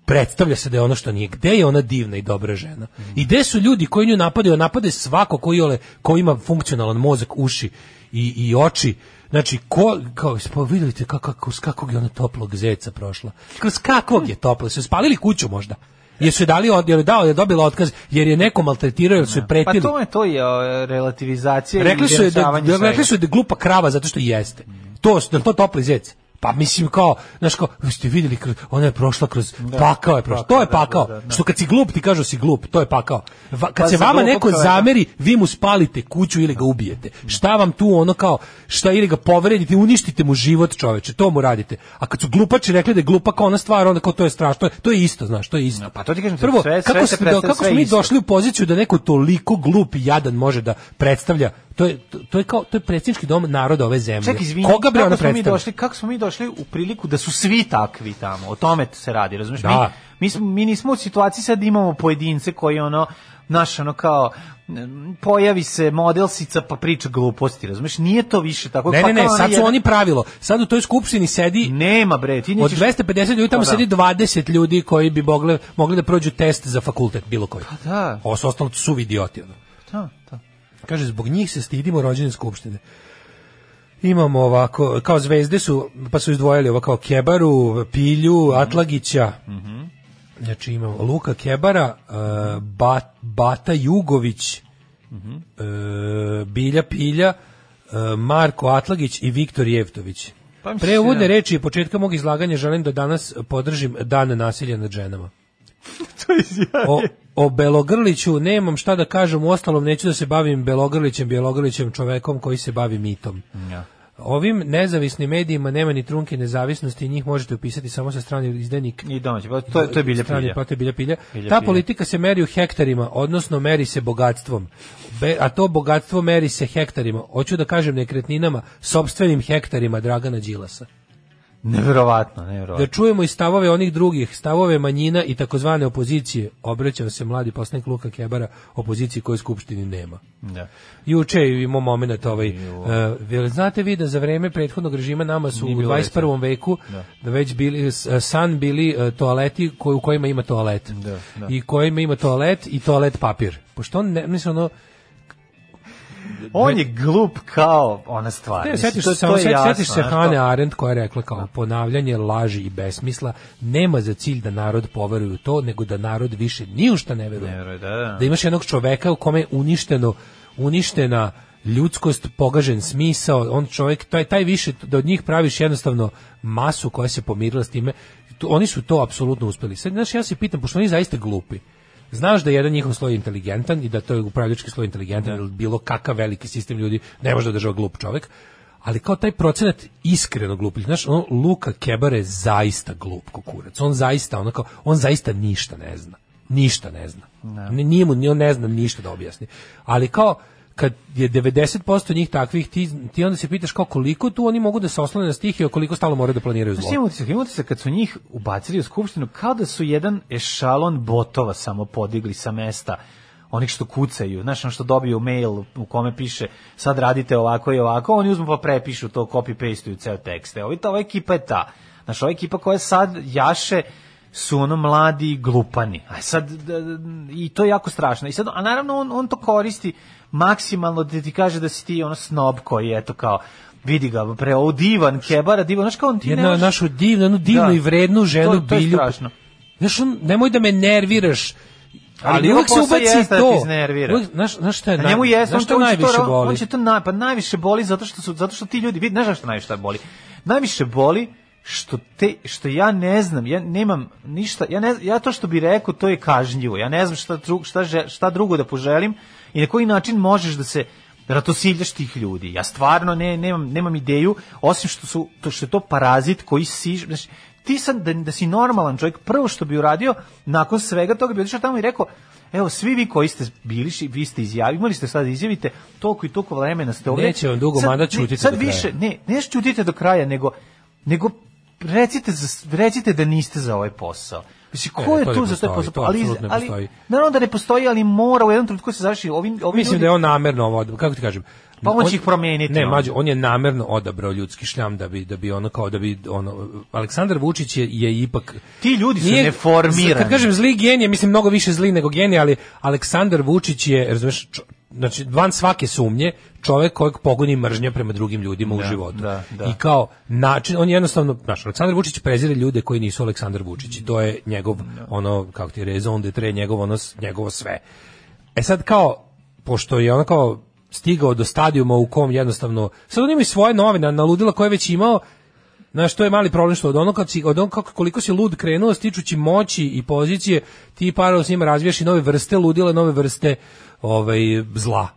Speaker 7: predstavlja se da je ono što nije. Gde je ona divna i dobra žena? I gde su ljudi koji nju napadaju? A Napade svako koji, ole, koji ima funkcionalan mozak, uši i, i oči. Znači, ko, kao, pa vidite kako, kako, s kakvog je ona toplog zeca prošla. Kroz kakvog je toplo? Su joj spalili kuću možda? Jesu je dali od, je dao, je dobila otkaz, jer je neko maltretirao, jer su je
Speaker 6: pa
Speaker 7: pretili.
Speaker 6: to je to je o, relativizacija i
Speaker 7: Rekli su je da,
Speaker 6: izjednačavanje
Speaker 7: da
Speaker 6: svega.
Speaker 7: rekli su je da je glupa krava zato što jeste. To, je to topli zec? Pa mislim kao, znaš kao, vi ste vidjeli, kroz, ona je prošla kroz, pakao je prošla, to je
Speaker 6: Pakao, da,
Speaker 7: pakao,
Speaker 6: da, da, da.
Speaker 7: što kad si glup ti kažu si glup, to je pakao. Va, kad
Speaker 6: Pa
Speaker 7: se
Speaker 6: za
Speaker 7: vama
Speaker 6: glupog
Speaker 7: neko
Speaker 6: čoveka.
Speaker 7: zameri, vi mu spalite kuću ili ga ubijete. Šta vam tu ono kao, šta ili ga povredite, uništite mu život čoveče, to mu radite. A kad su glupači rekli da je glupak ona stvar, onda kao to je strašno, to je isto, znaš, to je isto.
Speaker 6: pa to ti kažem,
Speaker 7: Prvo,
Speaker 6: sve- sve
Speaker 7: kako,
Speaker 6: se
Speaker 7: smo-
Speaker 6: predstavlja
Speaker 7: kako
Speaker 6: sve
Speaker 7: smo mi
Speaker 6: isto.
Speaker 7: došli u poziciju da neko toliko glup i jadan može da predstavlja, to je, to je kao, to je predsjednički dom naroda ove zemlje.
Speaker 6: Ček, izvini,
Speaker 7: Koga bre
Speaker 6: kako
Speaker 7: ona
Speaker 6: smo mi
Speaker 7: predstavlja?
Speaker 6: došli, kako smo mi došli u priliku da su svi takvi tamo? O tome se radi, razumiješ?
Speaker 7: Da.
Speaker 6: Mi, mi, smo- mi nismo u situaciji sad da imamo pojedince koji ono, znaš, ono kao, m, pojavi se modelsica pa priča gluposti, razumiješ? Nije to više tako.
Speaker 7: Ne,
Speaker 6: Pa
Speaker 7: ne, ne,
Speaker 6: kao ona
Speaker 7: sad su
Speaker 6: jedna-
Speaker 7: oni pravilo. Sad u toj skupštini sedi
Speaker 6: Nema bre, ti
Speaker 7: Od
Speaker 6: nećeš...
Speaker 7: 250 ljudi tamo
Speaker 6: Pa da.
Speaker 7: sedi 20 ljudi koji bi mogli, mogli da prođu test za fakultet bilo koji.
Speaker 6: Pa da.
Speaker 7: Ovo su ostalo su idioti. Ono.
Speaker 6: Da, da.
Speaker 7: Kaže, zbog njih se stidimo rođene skupštine. Imamo ovako, kao zvezde su, pa su izdvojili ovo kao Kebaru, Pilju,
Speaker 6: Mhm.
Speaker 7: Atlagića. Znači imamo Luka Kebara, e, Ba- Bata Jugović,
Speaker 6: Mhm.
Speaker 7: e, Bilja Pilja, e, Marko Atlagić i Viktor Jevtović.
Speaker 6: Pa mislim,
Speaker 7: Pre uvodne
Speaker 6: da.
Speaker 7: reči i početka mog izlaganja želim da danas podržim dan nasilja nad ženama. O, o Belogrliću nemam šta da kažem, u ostalom neću da se bavim Belogrlićem, Bjelogrlićem, čovekom koji se bavi mitom.
Speaker 6: Ja.
Speaker 7: Ovim nezavisnim medijima nema ni trunke nezavisnosti, njih možete upisati samo sa strane izdenik
Speaker 6: I domaći, pa to, je- to je bilje
Speaker 7: strani
Speaker 6: pilja.
Speaker 7: plate bilja pilja.
Speaker 6: Bilja
Speaker 7: Ta
Speaker 6: pilja.
Speaker 7: politika se meri u hektarima, odnosno meri se bogatstvom. Be- a to bogatstvo meri se hektarima. Hoću da kažem nekretninama, sobstvenim hektarima Dragana Đilasa.
Speaker 6: Neverovatno,
Speaker 7: Da
Speaker 6: neverovatno.
Speaker 7: čujemo i stavove onih drugih, stavove manjina i takozvane opozicije. Obraćao se mladi poslanik Luka Kebara, opoziciji koju u skupštini nema.
Speaker 6: Da.
Speaker 7: Juče je imao moment ovaj. Uh, jel znate vi da za vreme prethodnog režima nama su u
Speaker 6: Nije bilo
Speaker 7: 21. veku da. već bili s- san bili e, toaleti koji, u kojima ima toalet.
Speaker 6: da.
Speaker 7: I kojima ima toalet i toalet papir. Pošto on ne, mislim ono,
Speaker 6: On je glup kao ona stvar.
Speaker 7: Ne,
Speaker 6: Mislim,
Speaker 7: setiš,
Speaker 6: to-
Speaker 7: se,
Speaker 6: to
Speaker 7: samo
Speaker 6: je
Speaker 7: se,
Speaker 6: jasno,
Speaker 7: setiš se
Speaker 6: znaš, to-
Speaker 7: Hane Arendt koja je rekla kao ponavljanje laži i besmisla nema za cilj da narod poveruje u to, nego da narod više ni u šta ne veruje.
Speaker 6: Ne veruje, da, da.
Speaker 7: Da imaš jednog čoveka u kome je uništeno, uništena ljudskost, pogažen smisao, on čovjek, taj, taj više, da od njih praviš jednostavno masu koja se pomirila s time, To- oni su to apsolutno uspeli. Sad, znaš, ja se pitam, pošto oni zaista glupi, Znaš da je jedan njihov sloj inteligentan i da to je upravljački sloj inteligentan ili bilo kakav veliki sistem ljudi ne može da država glup čovek, ali kao taj procenat iskreno glupi. Znaš, ono, Luka Kebar je zaista glup kukurac. On zaista, ono kao, on zaista ništa ne zna. Ništa ne zna. Ne. Nije mu, ni- on ne zna ništa da objasni. Ali kao, kad je 90% njih takvih, ti, ti onda se pitaš kao koliko tu oni mogu da se oslane na stihiju, a koliko stalo moraju da planiraju
Speaker 6: Znaš,
Speaker 7: zlo.
Speaker 6: imam utisak, imam utisak kad su njih ubacili u skupštinu, kao da su jedan ešalon botova samo podigli sa mesta onih što kucaju, znaš, ono što dobiju mail u kome piše sad radite ovako i ovako, oni uzmu pa prepišu to, copy-pasteuju ceo tekst. Evo, vidite, ova ekipa je ta. Znaš, ova ekipa koja sad jaše su ono mladi i glupani. A sad, da, da, i to je jako strašno. I sad, a naravno, on, on to koristi maksimalno da ti kaže da si ti ono snob koji je, eto, kao, vidi ga, pre, ovo divan, kebara, divan, znaš, kao on ti ne
Speaker 7: jednu
Speaker 6: možeš-
Speaker 7: našu divnu, jednu divnu
Speaker 6: Da.
Speaker 7: i vrednu ženu
Speaker 6: To- to je
Speaker 7: bilju.
Speaker 6: strašno.
Speaker 7: Znaš, on- nemoj da me nerviraš.
Speaker 6: Ali
Speaker 7: Ali,
Speaker 6: njegov
Speaker 7: uvek se
Speaker 6: posao
Speaker 7: ubaci
Speaker 6: jeste da
Speaker 7: to.
Speaker 6: te iznervira.
Speaker 7: Uvek- Znaš, znaš šta je,
Speaker 6: Na njemu
Speaker 7: naj-
Speaker 6: jeste,
Speaker 7: znaš
Speaker 6: on
Speaker 7: šta
Speaker 6: to on će
Speaker 7: najviše
Speaker 6: to,
Speaker 7: boli?
Speaker 6: on će to na, pa najviše boli zato što su zato što ti ljudi vidi, ne znaš šta najviše šta boli. Najviše boli što te što ja ne znam, ja nemam ništa, ja ne ja to što bi rekao to je kažnjivo. Ja ne znam šta drug, šta že- šta drugo da poželim i na koji način možeš da se ratosiljaš tih ljudi. Ja stvarno ne, nemam, nemam ideju, osim što, su, to, što je to parazit koji si... Znači, ti sad, da, da si normalan čovjek, prvo što bi uradio, nakon svega toga bi otišao tamo i rekao, evo, svi vi koji ste bili, ši- vi ste izjavili, imali ste sad da izjavite, toliko i toliko vremena ste ovdje.
Speaker 7: Neće vam dugo
Speaker 6: Sad-
Speaker 7: mandat,
Speaker 6: ne,
Speaker 7: ćutite
Speaker 6: Sad
Speaker 7: do kraja.
Speaker 6: više, ne, ne ćutite do kraja, nego, nego recite, za- recite da niste za ovaj posao. Mislim, ko
Speaker 7: E,
Speaker 6: je
Speaker 7: to ne
Speaker 6: tu za taj
Speaker 7: postoji,
Speaker 6: posao?
Speaker 7: to
Speaker 6: ali,
Speaker 7: apsolutno ne postoji.
Speaker 6: ali, naravno da ne postoji, ali mora u jednom trenutku se završi. Ovi, ovi
Speaker 7: Mislim
Speaker 6: ljudi-
Speaker 7: da je on namerno ovo, odab- kako ti kažem?
Speaker 6: Pa on će ih promeniti,
Speaker 7: Ne,
Speaker 6: ono.
Speaker 7: mađo, on je namerno odabrao ljudski šljam da bi da bi ono kao da bi ono Aleksandar Vučić je, je ipak
Speaker 6: Ti ljudi su
Speaker 7: Nije-
Speaker 6: neformirani.
Speaker 7: Kad kažem zli genije, mislim mnogo više zli nego genije, ali Aleksandar Vučić je, razumeš, čo- znači van svake sumnje, čovjek kojeg pogoni mržnja prema drugim ljudima u životu.
Speaker 6: da, da.
Speaker 7: I kao način, on jednostavno, znaš, Aleksandar Vučić prezire ljude koji nisu Aleksandar Vučić i to je njegov, ono, kako ti je raison de tre, njegov, ono, s- njegovo sve. E sad kao, pošto je ono kao stigao do stadijuma u kom jednostavno, sad on ima i svoje novine, na ludila koje je već imao, Znaš, to je mali problem što od onog kad si, od onog kako, koliko si lud krenuo stičući moći i pozicije, ti paralelno s njima razvijaš i nove vrste ludila, nove vrste ovaj, zla.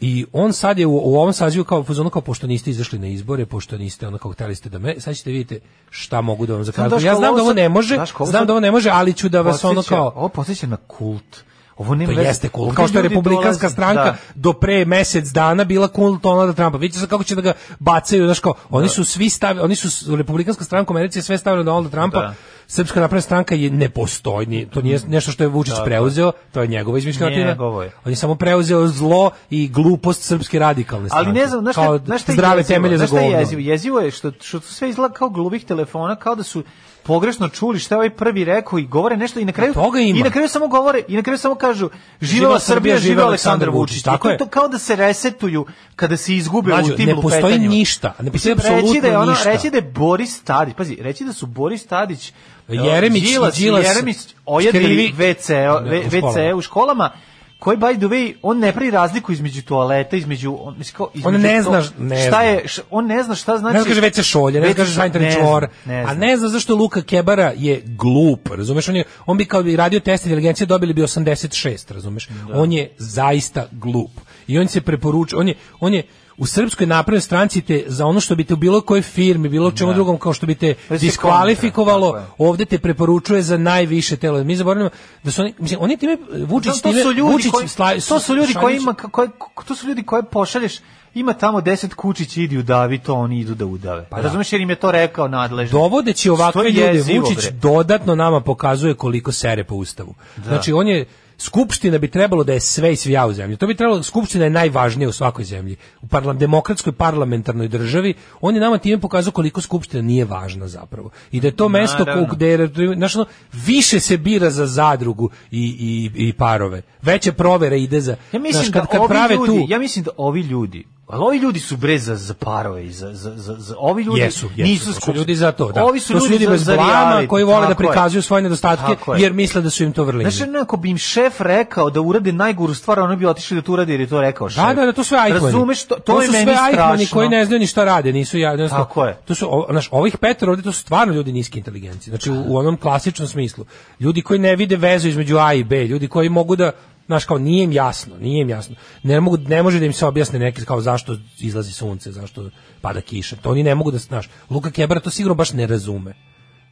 Speaker 7: I on sad je u, u ovom sazivu kao u fazonu kao pošto niste izašli na izbore, pošto niste ono kao hteli ste da me, sad ćete vidite šta mogu da vam
Speaker 6: Znaš,
Speaker 7: zakažu. Ja
Speaker 6: kao
Speaker 7: znam
Speaker 6: ovo
Speaker 7: da ovo
Speaker 6: sad-
Speaker 7: ne može,
Speaker 6: znaš, kao ovo
Speaker 7: znam
Speaker 6: sad-
Speaker 7: da ovo ne može, ali ću da vas ono
Speaker 6: Podsjeća-
Speaker 7: kao
Speaker 6: Ovo podsjeća na kult. Ovo nema
Speaker 7: to
Speaker 6: veze.
Speaker 7: jeste kult.
Speaker 6: Ovdje
Speaker 7: Kao što je
Speaker 6: ljudi
Speaker 7: republikanska
Speaker 6: dolaze-
Speaker 7: stranka
Speaker 6: Da.
Speaker 7: do pre mesec dana bila kult Donalda Trumpa. Vidite sad kako će da ga bacaju, znači kao oni su svi stavi, oni su s- republikanska stranka u Americi je sve stavila na Donalda Trumpa.
Speaker 6: Da.
Speaker 7: Srpska napredna stranka je nepostojni. To nije nešto što je Vučić preuzeo, to je njegova izmišljotina.
Speaker 6: Njegovo je.
Speaker 7: On je samo preuzeo zlo i glupost srpske radikalne stranke.
Speaker 6: Ali ne znam, znaš
Speaker 7: Kao
Speaker 6: šta, znaš šta je
Speaker 7: zdrave
Speaker 6: jezivo?
Speaker 7: temelje za
Speaker 6: Znaš šta je
Speaker 7: govno.
Speaker 6: jezivo? Jezivo je što, što su sve izgleda kao gluvih telefona, kao da su pogrešno čuli šta je ovaj prvi rekao i govore nešto i na kraju
Speaker 7: toga ima.
Speaker 6: i na kraju samo govore i na kraju samo kažu živela
Speaker 7: Živela
Speaker 6: Srbija,
Speaker 7: Srbija,
Speaker 6: živeo
Speaker 7: živeo
Speaker 6: Aleksandar
Speaker 7: Aleksandar
Speaker 6: Vučić.
Speaker 7: Vučić, tako
Speaker 6: I to-
Speaker 7: je.
Speaker 6: To kao da se resetuju kada se izgube
Speaker 7: Mlađo,
Speaker 6: u tim
Speaker 7: ne postoji
Speaker 6: lupetanjima.
Speaker 7: ništa, ne postoji
Speaker 6: Mislim, reći da je
Speaker 7: apsolutno
Speaker 6: ono,
Speaker 7: ništa.
Speaker 6: Reći da je Boris Tadić, pazi, reći da su Boris Tadić e,
Speaker 7: Jeremić i
Speaker 6: Đilas,
Speaker 7: Đilas
Speaker 6: Jeremić ojedili
Speaker 7: skrivi-
Speaker 6: WC,
Speaker 7: Ne, u
Speaker 6: WC u školama koji by the way on ne pravi razliku između toaleta između on mislim kao
Speaker 7: On
Speaker 6: između
Speaker 7: ne
Speaker 6: to-
Speaker 7: zna š- ne
Speaker 6: šta
Speaker 7: zna.
Speaker 6: je š- on ne zna šta znači
Speaker 7: ne kaže WC šolje, ne kaže sanitarni
Speaker 6: ne
Speaker 7: čvor,
Speaker 6: zna, ne
Speaker 7: a
Speaker 6: zna.
Speaker 7: ne zna zašto Luka Kebara je glup, razumeš, on, je, on bi kao bi radio test inteligencije dobili bi 86, razumeš, on je zaista glup i on se preporučuje, on je, on je u srpskoj naprednoj stranci te za ono što bi te u bilo kojoj firmi, bilo čemu drugom kao što bi te
Speaker 6: Da si
Speaker 7: diskvalifikovalo,
Speaker 6: kontra, tako
Speaker 7: ovde te preporučuje za najviše telo. Mi zaboravljamo da su oni, mislim, oni time Vučić
Speaker 6: to
Speaker 7: time-
Speaker 6: su ljudi
Speaker 7: Vučić
Speaker 6: koji
Speaker 7: sla-
Speaker 6: to su ljudi koji
Speaker 7: šaljući-
Speaker 6: ima koji to su ljudi koje pošalješ ima tamo 10 kučića idi udavi to oni idu da udave pa razumeš jer im je to rekao nadležni
Speaker 7: Dovodeći
Speaker 6: Što
Speaker 7: ovakve
Speaker 6: je
Speaker 7: ljude,
Speaker 6: jezivo,
Speaker 7: Vučić
Speaker 6: bre.
Speaker 7: dodatno nama pokazuje koliko sere po ustavu. Znači, on je, Skupština bi trebalo da je sve i svija u zemlji. To bi trebalo, Skupština je najvažnija u svakoj zemlji. U parlam, demokratskoj parlamentarnoj državi, on je nama time pokazao koliko Skupština nije važna zapravo. I da je to mesto
Speaker 6: Naravno.
Speaker 7: ko- gde je, znaš, ono, više se bira za zadrugu i, i, i parove. Veće provere ide za...
Speaker 6: Ja mislim
Speaker 7: znaš, kad,
Speaker 6: da
Speaker 7: kad
Speaker 6: ovi
Speaker 7: prave
Speaker 6: ljudi,
Speaker 7: tu,
Speaker 6: ja mislim da ovi ljudi, ali ovi ljudi su bre za, za parove i za, za, za, za ovi ljudi
Speaker 7: jesu, jesu.
Speaker 6: nisu
Speaker 7: To su
Speaker 6: skupštini.
Speaker 7: ljudi za to, da.
Speaker 6: Ovi su
Speaker 7: to su ljudi
Speaker 6: za-
Speaker 7: bez
Speaker 6: za
Speaker 7: blama
Speaker 6: reality,
Speaker 7: koji vole da
Speaker 6: tako je.
Speaker 7: prikazuju svoje nedostatke
Speaker 6: Tako je.
Speaker 7: jer misle da su im to vrline.
Speaker 6: Znaš, ono, ako bi im šef rekao da urade najguru stvar, ono bi otišli da to urade jer je to rekao šef.
Speaker 7: Da, da, da, to su sve ajkmani.
Speaker 6: Razumeš, to, to,
Speaker 7: to
Speaker 6: je
Speaker 7: su
Speaker 6: meni
Speaker 7: sve ajkmani
Speaker 6: strašno.
Speaker 7: koji ne znaju ni šta rade, nisu ja, ne znam.
Speaker 6: Tako je.
Speaker 7: To su, o- znaš, ovih petor ovdje, to su stvarno ljudi niske inteligencije. Znači, u, u onom klasičnom smislu. Ljudi koji ne vide vezu između A i B, ljudi koji mogu da, znaš, kao, nije im jasno, nije im jasno. Ne, mogu, ne može da im se objasne neki, kao, zašto izlazi sunce, zašto pada kiša. To oni ne mogu da, znaš, Luka Kebara to sigurno baš ne razume.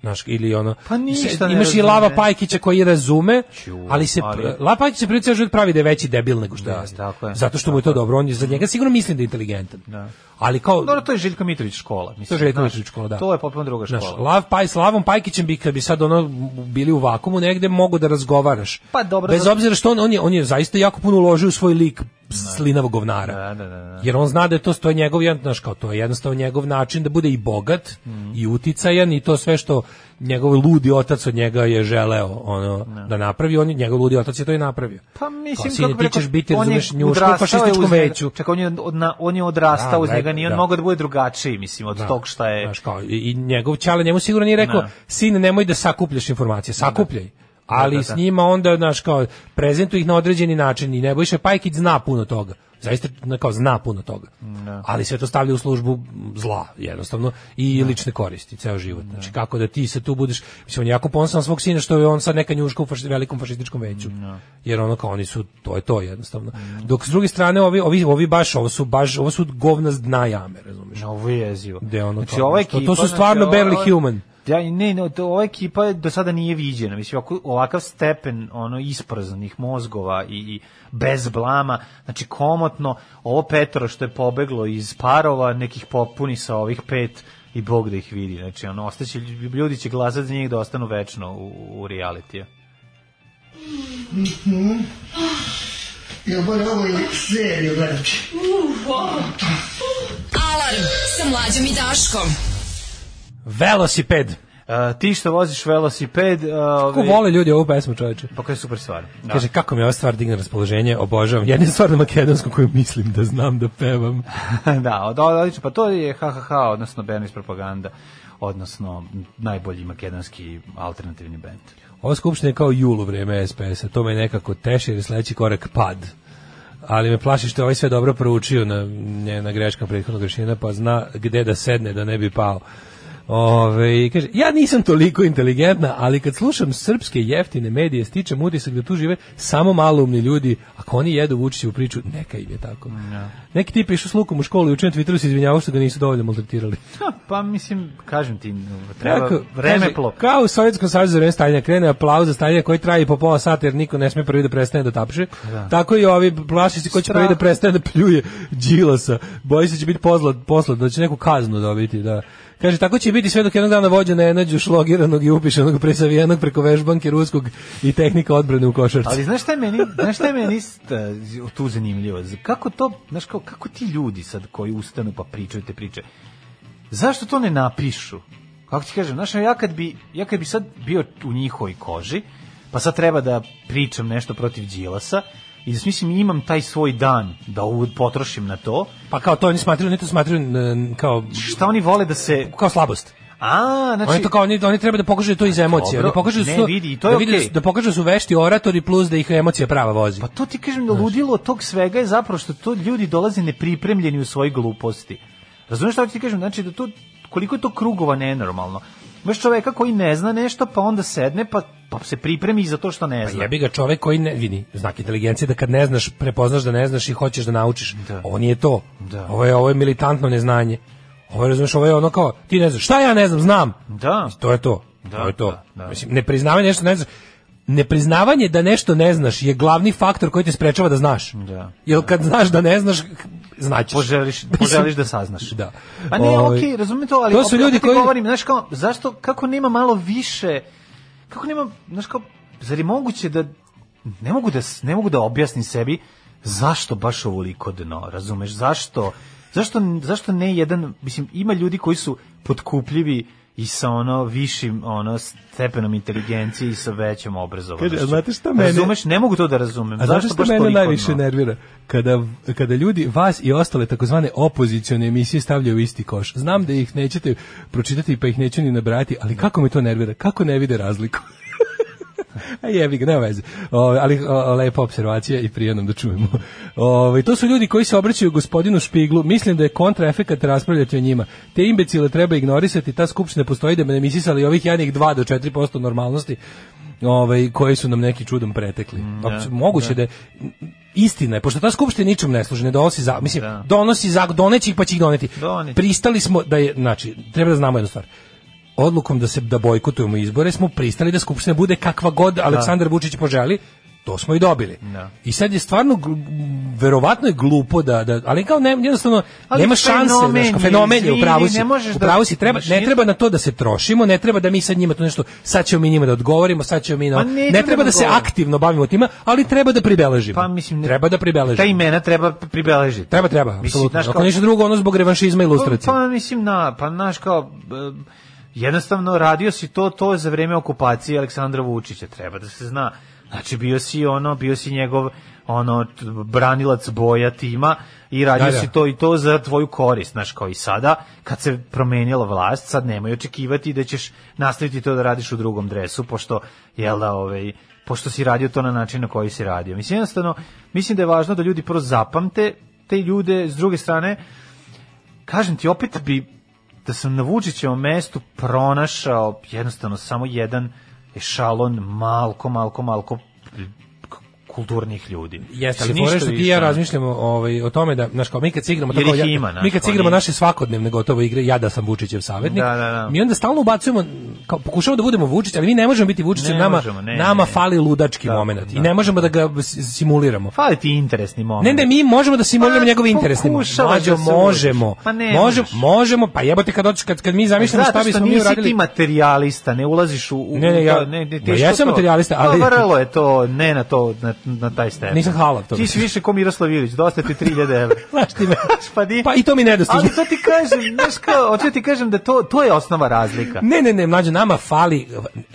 Speaker 7: Znaš, ili ono,
Speaker 6: Pa ništa
Speaker 7: se-
Speaker 6: ne
Speaker 7: imaš i
Speaker 6: razume.
Speaker 7: Lava Pajkića koji razume,
Speaker 6: Ću,
Speaker 7: ali se,
Speaker 6: ali-
Speaker 7: Lava Pajkić se priceo pravi da je veći debil nego što
Speaker 6: Da,
Speaker 7: jeste.
Speaker 6: tako je. Mhm.
Speaker 7: Zato što mu je to dobro, on je za njega sigurno mislim da je inteligentan. Ali kao
Speaker 6: Dobro, to je Željko Mitrović škola. Mislim,
Speaker 7: to je Željko
Speaker 6: znaš,
Speaker 7: Mitrović škola, da.
Speaker 6: To je potpuno druga škola.
Speaker 7: Znaš, Lav Paj, s Lavom Pajkićem bi, kad bi sad ono bili u vakumu negde, mogu da razgovaraš.
Speaker 6: Pa dobro,
Speaker 7: Bez
Speaker 6: zato-
Speaker 7: obzira što on, on, je, on je zaista jako puno uložio u svoj lik slinavog govnara.
Speaker 6: Da, da, da, da.
Speaker 7: Jer on zna da je to, to je njegov, jedan- znaš, kao to je jednostavno njegov način da bude i bogat
Speaker 6: Mhm.
Speaker 7: i uticajan i to sve što njegov ludi otac od njega je želeo ono, da napravi, on, je- njegov ludi otac je to i napravio.
Speaker 6: Pa mislim
Speaker 7: Kao, sine,
Speaker 6: kako bi
Speaker 7: ti
Speaker 6: rekao,
Speaker 7: ćeš biti,
Speaker 6: on je
Speaker 7: razumeš, njuško pa
Speaker 6: odrastao je
Speaker 7: fašističkom
Speaker 6: uz njega.
Speaker 7: veću.
Speaker 6: Čekaj, on je, od, na, on je odrastao
Speaker 7: Da,
Speaker 6: uz
Speaker 7: ne,
Speaker 6: njega, nije on
Speaker 7: da.
Speaker 6: mogao da bude drugačiji, mislim, od tog šta je...
Speaker 7: Znaš, kao, i, i njegov ćale njemu sigurno nije rekao,
Speaker 6: Ovaj, Da.
Speaker 7: sine, nemoj da sakupljaš informacije, sakupljaj. Ali
Speaker 6: Da, da, da.
Speaker 7: s njima onda, znaš, kao, prezentuj ih na određeni način i Nebojša Pajkić zna puno toga. Zaista, na- kao, zna puno toga. Ali sve to stavlja u službu zla, jednostavno, i lične koristi, ceo život. Znači, kako da ti se tu budeš, mislim, on je jako ponosan na svog sina što je on sad neka njuška u faši- velikom fašističkom veću. Jer ono kao, oni su, to je to jednostavno. Dok s druge strane, ovi, ovi, ovi baš, ovo su baš, ovo su govna s dna jame, razumiješ?
Speaker 6: Na ovo je jezivo.
Speaker 7: Gde ono
Speaker 6: znači,
Speaker 7: kao,
Speaker 6: ova
Speaker 7: to- to
Speaker 6: ekipa,
Speaker 7: su stvarno
Speaker 6: znači,
Speaker 7: barely
Speaker 6: ova-
Speaker 7: human.
Speaker 6: Ja, ne, ne, to, ova ekipa je do sada nije viđena. Mislim, ovako- ovakav stepen ono, ispraznih mozgova i, i bez blama, znači komotno, ovo Petro što je pobeglo iz parova, nekih popuni sa ovih pet i Bog da ih vidi. Znači, ono, ostaće, ljudi će glasati za njih da ostanu večno u, u realitiju.
Speaker 11: Ja moram ovo i seriju gledati.
Speaker 4: Alarm sa mlađom i Daškom.
Speaker 7: Velosiped.
Speaker 6: E, ti što voziš velosiped... e,
Speaker 7: Kako
Speaker 6: ovaj,
Speaker 7: vole ljudi ovu pesmu, čoveče?
Speaker 6: Pa kaj je super stvar. Da.
Speaker 7: Kaže, kako mi je ova stvar digne raspoloženje, obožavam. Jedna je stvar na makedonskom koju mislim da znam da pevam.
Speaker 6: da, od, od, odlično, pa to je HHH, odnosno Bernays propaganda, odnosno najbolji makedonski alternativni bend.
Speaker 7: Ova skupština je kao jul u vreme SPS-a. To me nekako teše jer je sledeći korak pad. Ali me plaši što je ovaj sve dobro proučio na, nje- na greškama prethodnog rešenja, pa zna gde da sedne da ne bi pao. Ove, kaže, ja nisam toliko inteligentna, ali kad slušam srpske jeftine medije, stičem utisak da tu žive samo maloumni ljudi. Ako oni jedu Vučićevu priču, neka im je tako. Neki tip je išao s lukom u školu i učinu Twitteru se izvinjavao što ga nisu dovoljno maltretirali.
Speaker 6: Ha, Pa mislim, kažem ti, treba
Speaker 7: Tako,
Speaker 6: vreme
Speaker 7: kaže,
Speaker 6: plop.
Speaker 7: Kao u Sovjetskom savezu za vreme Staljina krene aplauz za Staljina koji traje i po pola sata jer niko ne sme prvi da prestane da tapše. Tako i ovi plašici koji će
Speaker 6: Strah.
Speaker 7: prvi da prestane da pljuje Đilasa. Boji se da će biti poslat, poslat, da će neku kaznu dobiti, da. Kaže, tako će biti sve dok jednog dana vođa ne nađu šlogiranog i upišenog presavijenog preko vežbanke ruskog i tehnika odbrane u košarci.
Speaker 6: Ali znaš šta je meni, znaš šta je meni st- tu zanimljivo? Z- Kako to, znaš kao, kako ti ljudi sad koji ustanu pa pričaju te priče, zašto to ne napišu? Kako ti kažem, znaš, ja kad bi, ja kad bi sad bio u njihovoj koži, pa sad treba da pričam nešto protiv Đilasa, i da mislim imam taj svoj dan da u- potrošim na to,
Speaker 7: pa kao to oni smatruju, oni to smatruju n- kao,
Speaker 6: šta oni vole da se...
Speaker 7: kao slabost.
Speaker 6: A, znači...
Speaker 7: Oni to kao oni, oni treba da pokažu to iz emocije,
Speaker 6: dobro,
Speaker 7: oni pokažu da
Speaker 6: ne,
Speaker 7: su
Speaker 6: vidi, i to je
Speaker 7: da, vide da
Speaker 6: okej.
Speaker 7: su- da pokažu da su vešti oratori plus da ih emocija prava vozi.
Speaker 6: Pa to ti kažem da ludilo tog svega je zapravo što to ljudi dolaze nepripremljeni u svoje gluposti. Razumeš šta hoću ti kažem? Znači da to, koliko je to krugova nenormalno. Imaš čoveka koji ne zna nešto, pa onda sedne, pa, pa se pripremi za to što ne
Speaker 7: Pa
Speaker 6: zna.
Speaker 7: jebi ga čovek koji ne vidi znak inteligencije da kad ne znaš prepoznaš da ne znaš i hoćeš da naučiš.
Speaker 6: Da.
Speaker 7: Ovo nije to.
Speaker 6: Da.
Speaker 7: Ovo je ovo je militantno neznanje. Ovo je razumeš, ovo je ono kao ti ne znaš. Šta ja ne znam, znam.
Speaker 6: Da.
Speaker 7: To je to.
Speaker 6: Da,
Speaker 7: to je to.
Speaker 6: da, da.
Speaker 7: Mislim nepriznavanje nešto ne znaš. Nepriznavanje da nešto ne znaš je glavni faktor koji te sprečava da znaš.
Speaker 6: Da.
Speaker 7: Jer kad znaš da ne znaš, znaćeš.
Speaker 6: Poželiš,
Speaker 7: Mislim,
Speaker 6: poželiš da saznaš.
Speaker 7: Da.
Speaker 6: Pa ne,
Speaker 7: Ovaj,
Speaker 6: okej, razumijem to, ali
Speaker 7: to su
Speaker 6: opet-
Speaker 7: ljudi
Speaker 6: opet ti
Speaker 7: koji-
Speaker 6: govorim, znaš kao, zašto, kako nema malo više, kako nema, znaš kao, zar je moguće da, ne mogu da, s- ne mogu da objasnim sebi zašto baš ovoliko dno, razumeš, zašto, zašto, zašto ne jedan, mislim, ima ljudi koji su potkupljivi i sa ono višim ono stepenom inteligencije i sa većom obrazovanošću.
Speaker 7: Kaže, a znate šta mene-
Speaker 6: Razumeš, ne mogu to da razumem.
Speaker 7: A zašto
Speaker 6: zašto
Speaker 7: što
Speaker 6: baš
Speaker 7: mene
Speaker 6: toliko
Speaker 7: najviše
Speaker 6: dno?
Speaker 7: nervira? Kada, kada ljudi vas i ostale takozvane opozicione emisije stavljaju u isti koš. Znam da ih nećete pročitati pa ih neću ni nabrati, ali kako me to nervira? Kako ne vide razliku? A jebi ga, nema veze. O, ali o, lepa observacija i prije nam da čujemo. Ove, to su ljudi koji se obraćaju gospodinu Špiglu. Mislim da je kontraefekat raspravljati o njima. Te imbecile treba ignorisati. Ta skupština postoji da me ne misisali ovih jadnih 2 do 4% normalnosti ovaj, koji su nam neki čudom pretekli. Apsu- moguće Mm, da, je- istina je, pošto ta skupština ničem ne služi, ne donosi za, mislim,
Speaker 6: Da.
Speaker 7: donosi za, doneći ih pa će ih doneti.
Speaker 6: Doneće.
Speaker 7: Pristali smo da je, znači, treba da znamo jednu stvar odlukom da se da bojkotujemo izbore smo pristali da skupština bude kakva god Aleksandar Vučić poželi to smo i dobili.
Speaker 6: Da.
Speaker 7: I sad je stvarno gl- verovatno je glupo da, da ali kao ne, jednostavno
Speaker 6: Ali
Speaker 7: nema šanse,
Speaker 6: fenomen
Speaker 7: znaš, kao
Speaker 6: je,
Speaker 7: fenomen je u pravu
Speaker 6: izvini,
Speaker 7: si.
Speaker 6: ne možeš
Speaker 7: u pravu
Speaker 6: da-
Speaker 7: si, treba, ne
Speaker 6: mašina-
Speaker 7: treba na to da se trošimo, ne treba da mi sad njima to nešto sad ćemo mi njima da odgovorimo, sad ćemo mi na,
Speaker 6: Pa
Speaker 7: ne,
Speaker 6: nećemo
Speaker 7: treba
Speaker 6: da
Speaker 7: da se
Speaker 6: odgovorimo.
Speaker 7: aktivno bavimo tima, ali treba da pribeležimo.
Speaker 6: Pa mislim ne-
Speaker 7: treba da pribeležimo.
Speaker 6: Ta imena treba pribeležiti.
Speaker 7: Treba, treba,
Speaker 6: Mislim,
Speaker 7: apsolutno.
Speaker 6: znaš,
Speaker 7: Ako
Speaker 6: kao-
Speaker 7: ništa drugo, ono zbog revanšizma i ilustracije.
Speaker 6: Pa, pa mislim na, pa znaš kao em, jednostavno radio si to to je za vreme okupacije Aleksandra Vučića, treba da se zna. Znači bio si ono, bio si njegov ono t- branilac boja tima i radio
Speaker 7: Da, da.
Speaker 6: si to i to za tvoju korist, znaš kao i sada kad se promenila vlast, sad nemoj očekivati da ćeš nastaviti to da radiš u drugom dresu, pošto jel da ovaj pošto si radio to na način na koji si radio. Mislim jednostavno, mislim da je važno da ljudi prvo zapamte te ljude, s druge strane, kažem ti, opet bi da sam na Vučićevom mestu pronašao jednostavno samo jedan ešalon malko, malko, malko k- kulturnih ljudi.
Speaker 7: Jeste, ali
Speaker 6: Ništa
Speaker 7: fore što ti i
Speaker 6: više,
Speaker 7: ja
Speaker 6: ono.
Speaker 7: razmišljamo ovaj, o tome da, znaš, kao mi kad se igramo,
Speaker 6: Jer
Speaker 7: tako,
Speaker 6: ih
Speaker 7: ja-
Speaker 6: ima, znaš,
Speaker 7: mi kad
Speaker 6: kao
Speaker 7: se igramo
Speaker 6: nije.
Speaker 7: naše svakodnevne gotove igre, ja da sam Vučićev savjetnik,
Speaker 6: Da, da, da.
Speaker 7: mi onda stalno ubacujemo, kao, pokušamo da budemo Vučić, ali mi ne možemo biti Vučić,
Speaker 6: Ne
Speaker 7: jer nama,
Speaker 6: možemo, ne,
Speaker 7: nama
Speaker 6: ne, ne.
Speaker 7: fali ludački
Speaker 6: Da,
Speaker 7: moment i
Speaker 6: da.
Speaker 7: ne možemo da ga s- simuliramo.
Speaker 6: Fali ti interesni moment.
Speaker 7: Ne, ne, mi možemo da simuliramo
Speaker 6: Pa,
Speaker 7: njegove interesne.
Speaker 6: pokušavaš
Speaker 7: Mlađo,
Speaker 6: da se
Speaker 7: možemo.
Speaker 6: uđeš. Pa ne
Speaker 7: možemo,
Speaker 6: možeš.
Speaker 7: možemo, pa jebote kad hoćeš, kad, kad mi zamišljamo
Speaker 6: Zato
Speaker 7: šta
Speaker 6: što
Speaker 7: bismo mi
Speaker 6: nisi
Speaker 7: uradili.
Speaker 6: ti materijalista, ne ulaziš u... u
Speaker 7: Ne, ne, ja-
Speaker 6: to, ne, ne,
Speaker 7: Ma
Speaker 6: teško
Speaker 7: ja sam
Speaker 6: to.
Speaker 7: materijalista, ali-
Speaker 6: Pa vrlo je to, ne na to, na, na taj stepen.
Speaker 7: Nisam halav to.
Speaker 6: Ti si više ko Miroslav Ilić, dosta ti 3000 evra.
Speaker 7: Znaš ti me.
Speaker 6: pa, di-
Speaker 7: Pa i to mi nedostižno.
Speaker 6: Ali to ti kažem, znaš kao, hoću ti kažem da to, to je osnova razlika.
Speaker 7: Ne, ne, ne, mlađo, nama fali,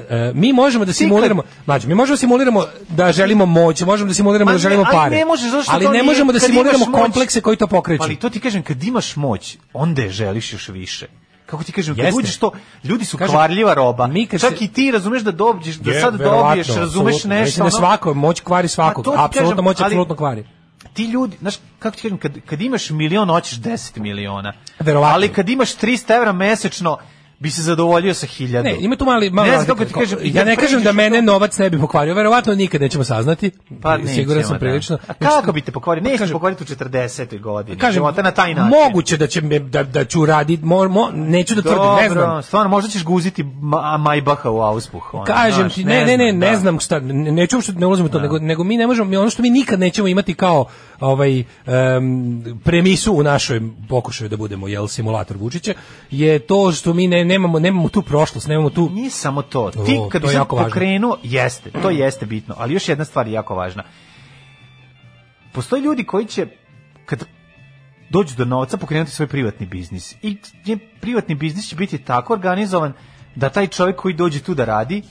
Speaker 7: e, mi možemo da simuliramo, mlađo, mi možemo da simuliramo da želimo moć, možemo da simuliramo
Speaker 6: Ma
Speaker 7: da
Speaker 6: ne,
Speaker 7: želimo
Speaker 6: ali
Speaker 7: pare,
Speaker 6: ne možeš, zato što
Speaker 7: ali
Speaker 6: to
Speaker 7: ne
Speaker 6: nije-
Speaker 7: možemo da
Speaker 6: kad
Speaker 7: simuliramo
Speaker 6: imaš moć- Pa,
Speaker 7: komplekse koji to pokreću.
Speaker 6: Ali to ti kažem, kad imaš moć, onda je želiš još više. Kako ti kažem, kad
Speaker 7: Jeste.
Speaker 6: uđeš to, ljudi su
Speaker 7: Kažem,
Speaker 6: kvarljiva roba.
Speaker 7: mi kad
Speaker 6: Čak
Speaker 7: se-
Speaker 6: i ti razumeš da dobiješ, da
Speaker 7: Je,
Speaker 6: sad
Speaker 7: verovatno,
Speaker 6: dobiješ, razumeš
Speaker 7: apsolutno.
Speaker 6: nešto.
Speaker 7: Mislim da
Speaker 6: ono-
Speaker 7: svako, moć kvari svakog,
Speaker 6: to ti
Speaker 7: apsolutno
Speaker 6: kažem,
Speaker 7: moć
Speaker 6: ali-
Speaker 7: apsolutno kvari.
Speaker 6: ti ljudi, znaš, kako ti kažem, kad, kad imaš milion, hoćeš 10 miliona.
Speaker 7: Verovatno.
Speaker 6: Ali kad imaš 300 evra mesečno, bi se zadovoljio sa hiljadu.
Speaker 7: Ne, ima tu mali malo.
Speaker 6: Ne znam kako
Speaker 7: razlika.
Speaker 6: ti kažem.
Speaker 7: ja ne
Speaker 6: kad
Speaker 7: kažem da
Speaker 6: pređeš
Speaker 7: mene
Speaker 6: to-
Speaker 7: novac ne bi pokvario, verovatno nikad nećemo saznati.
Speaker 6: Pa nećemo,
Speaker 7: Siguran sam
Speaker 6: da.
Speaker 7: prilično.
Speaker 6: A kako bi te pokvario?
Speaker 7: Pa
Speaker 6: Neće
Speaker 7: kažem-
Speaker 6: kažem, pokvariti u 40. godini. Kažem, života na taj način.
Speaker 7: Moguće da će me, da, da ću raditi, mo, mo, neću da tvrdim, ne znam.
Speaker 6: Dobro, stvarno, možda ćeš guziti ma, Majbaha u auspuh. ono,
Speaker 7: Kažem
Speaker 6: znaš,
Speaker 7: ti, ne, ne, ne,
Speaker 6: znam, da.
Speaker 7: ne znam šta, ne, neću uopšte ne ulazim u to, nego, nego mi ne možemo, mi ono što mi nikad nećemo imati kao ovaj, em, premisu u našoj pokušaju da budemo, jel, simulator Vučića, je to što mi ne, nemamo, nemamo tu prošlost, nemamo tu...
Speaker 6: Nije samo to. Ti
Speaker 7: O,
Speaker 6: kad
Speaker 7: to
Speaker 6: bi
Speaker 7: je
Speaker 6: sad
Speaker 7: jako važno.
Speaker 6: pokrenuo, jeste, to jeste bitno, ali još jedna stvar je jako važna. Postoje ljudi koji će kad dođu do novca pokrenuti svoj privatni biznis. I nje- privatni biznis će biti tako organizovan da taj čovjek koji dođe tu da radi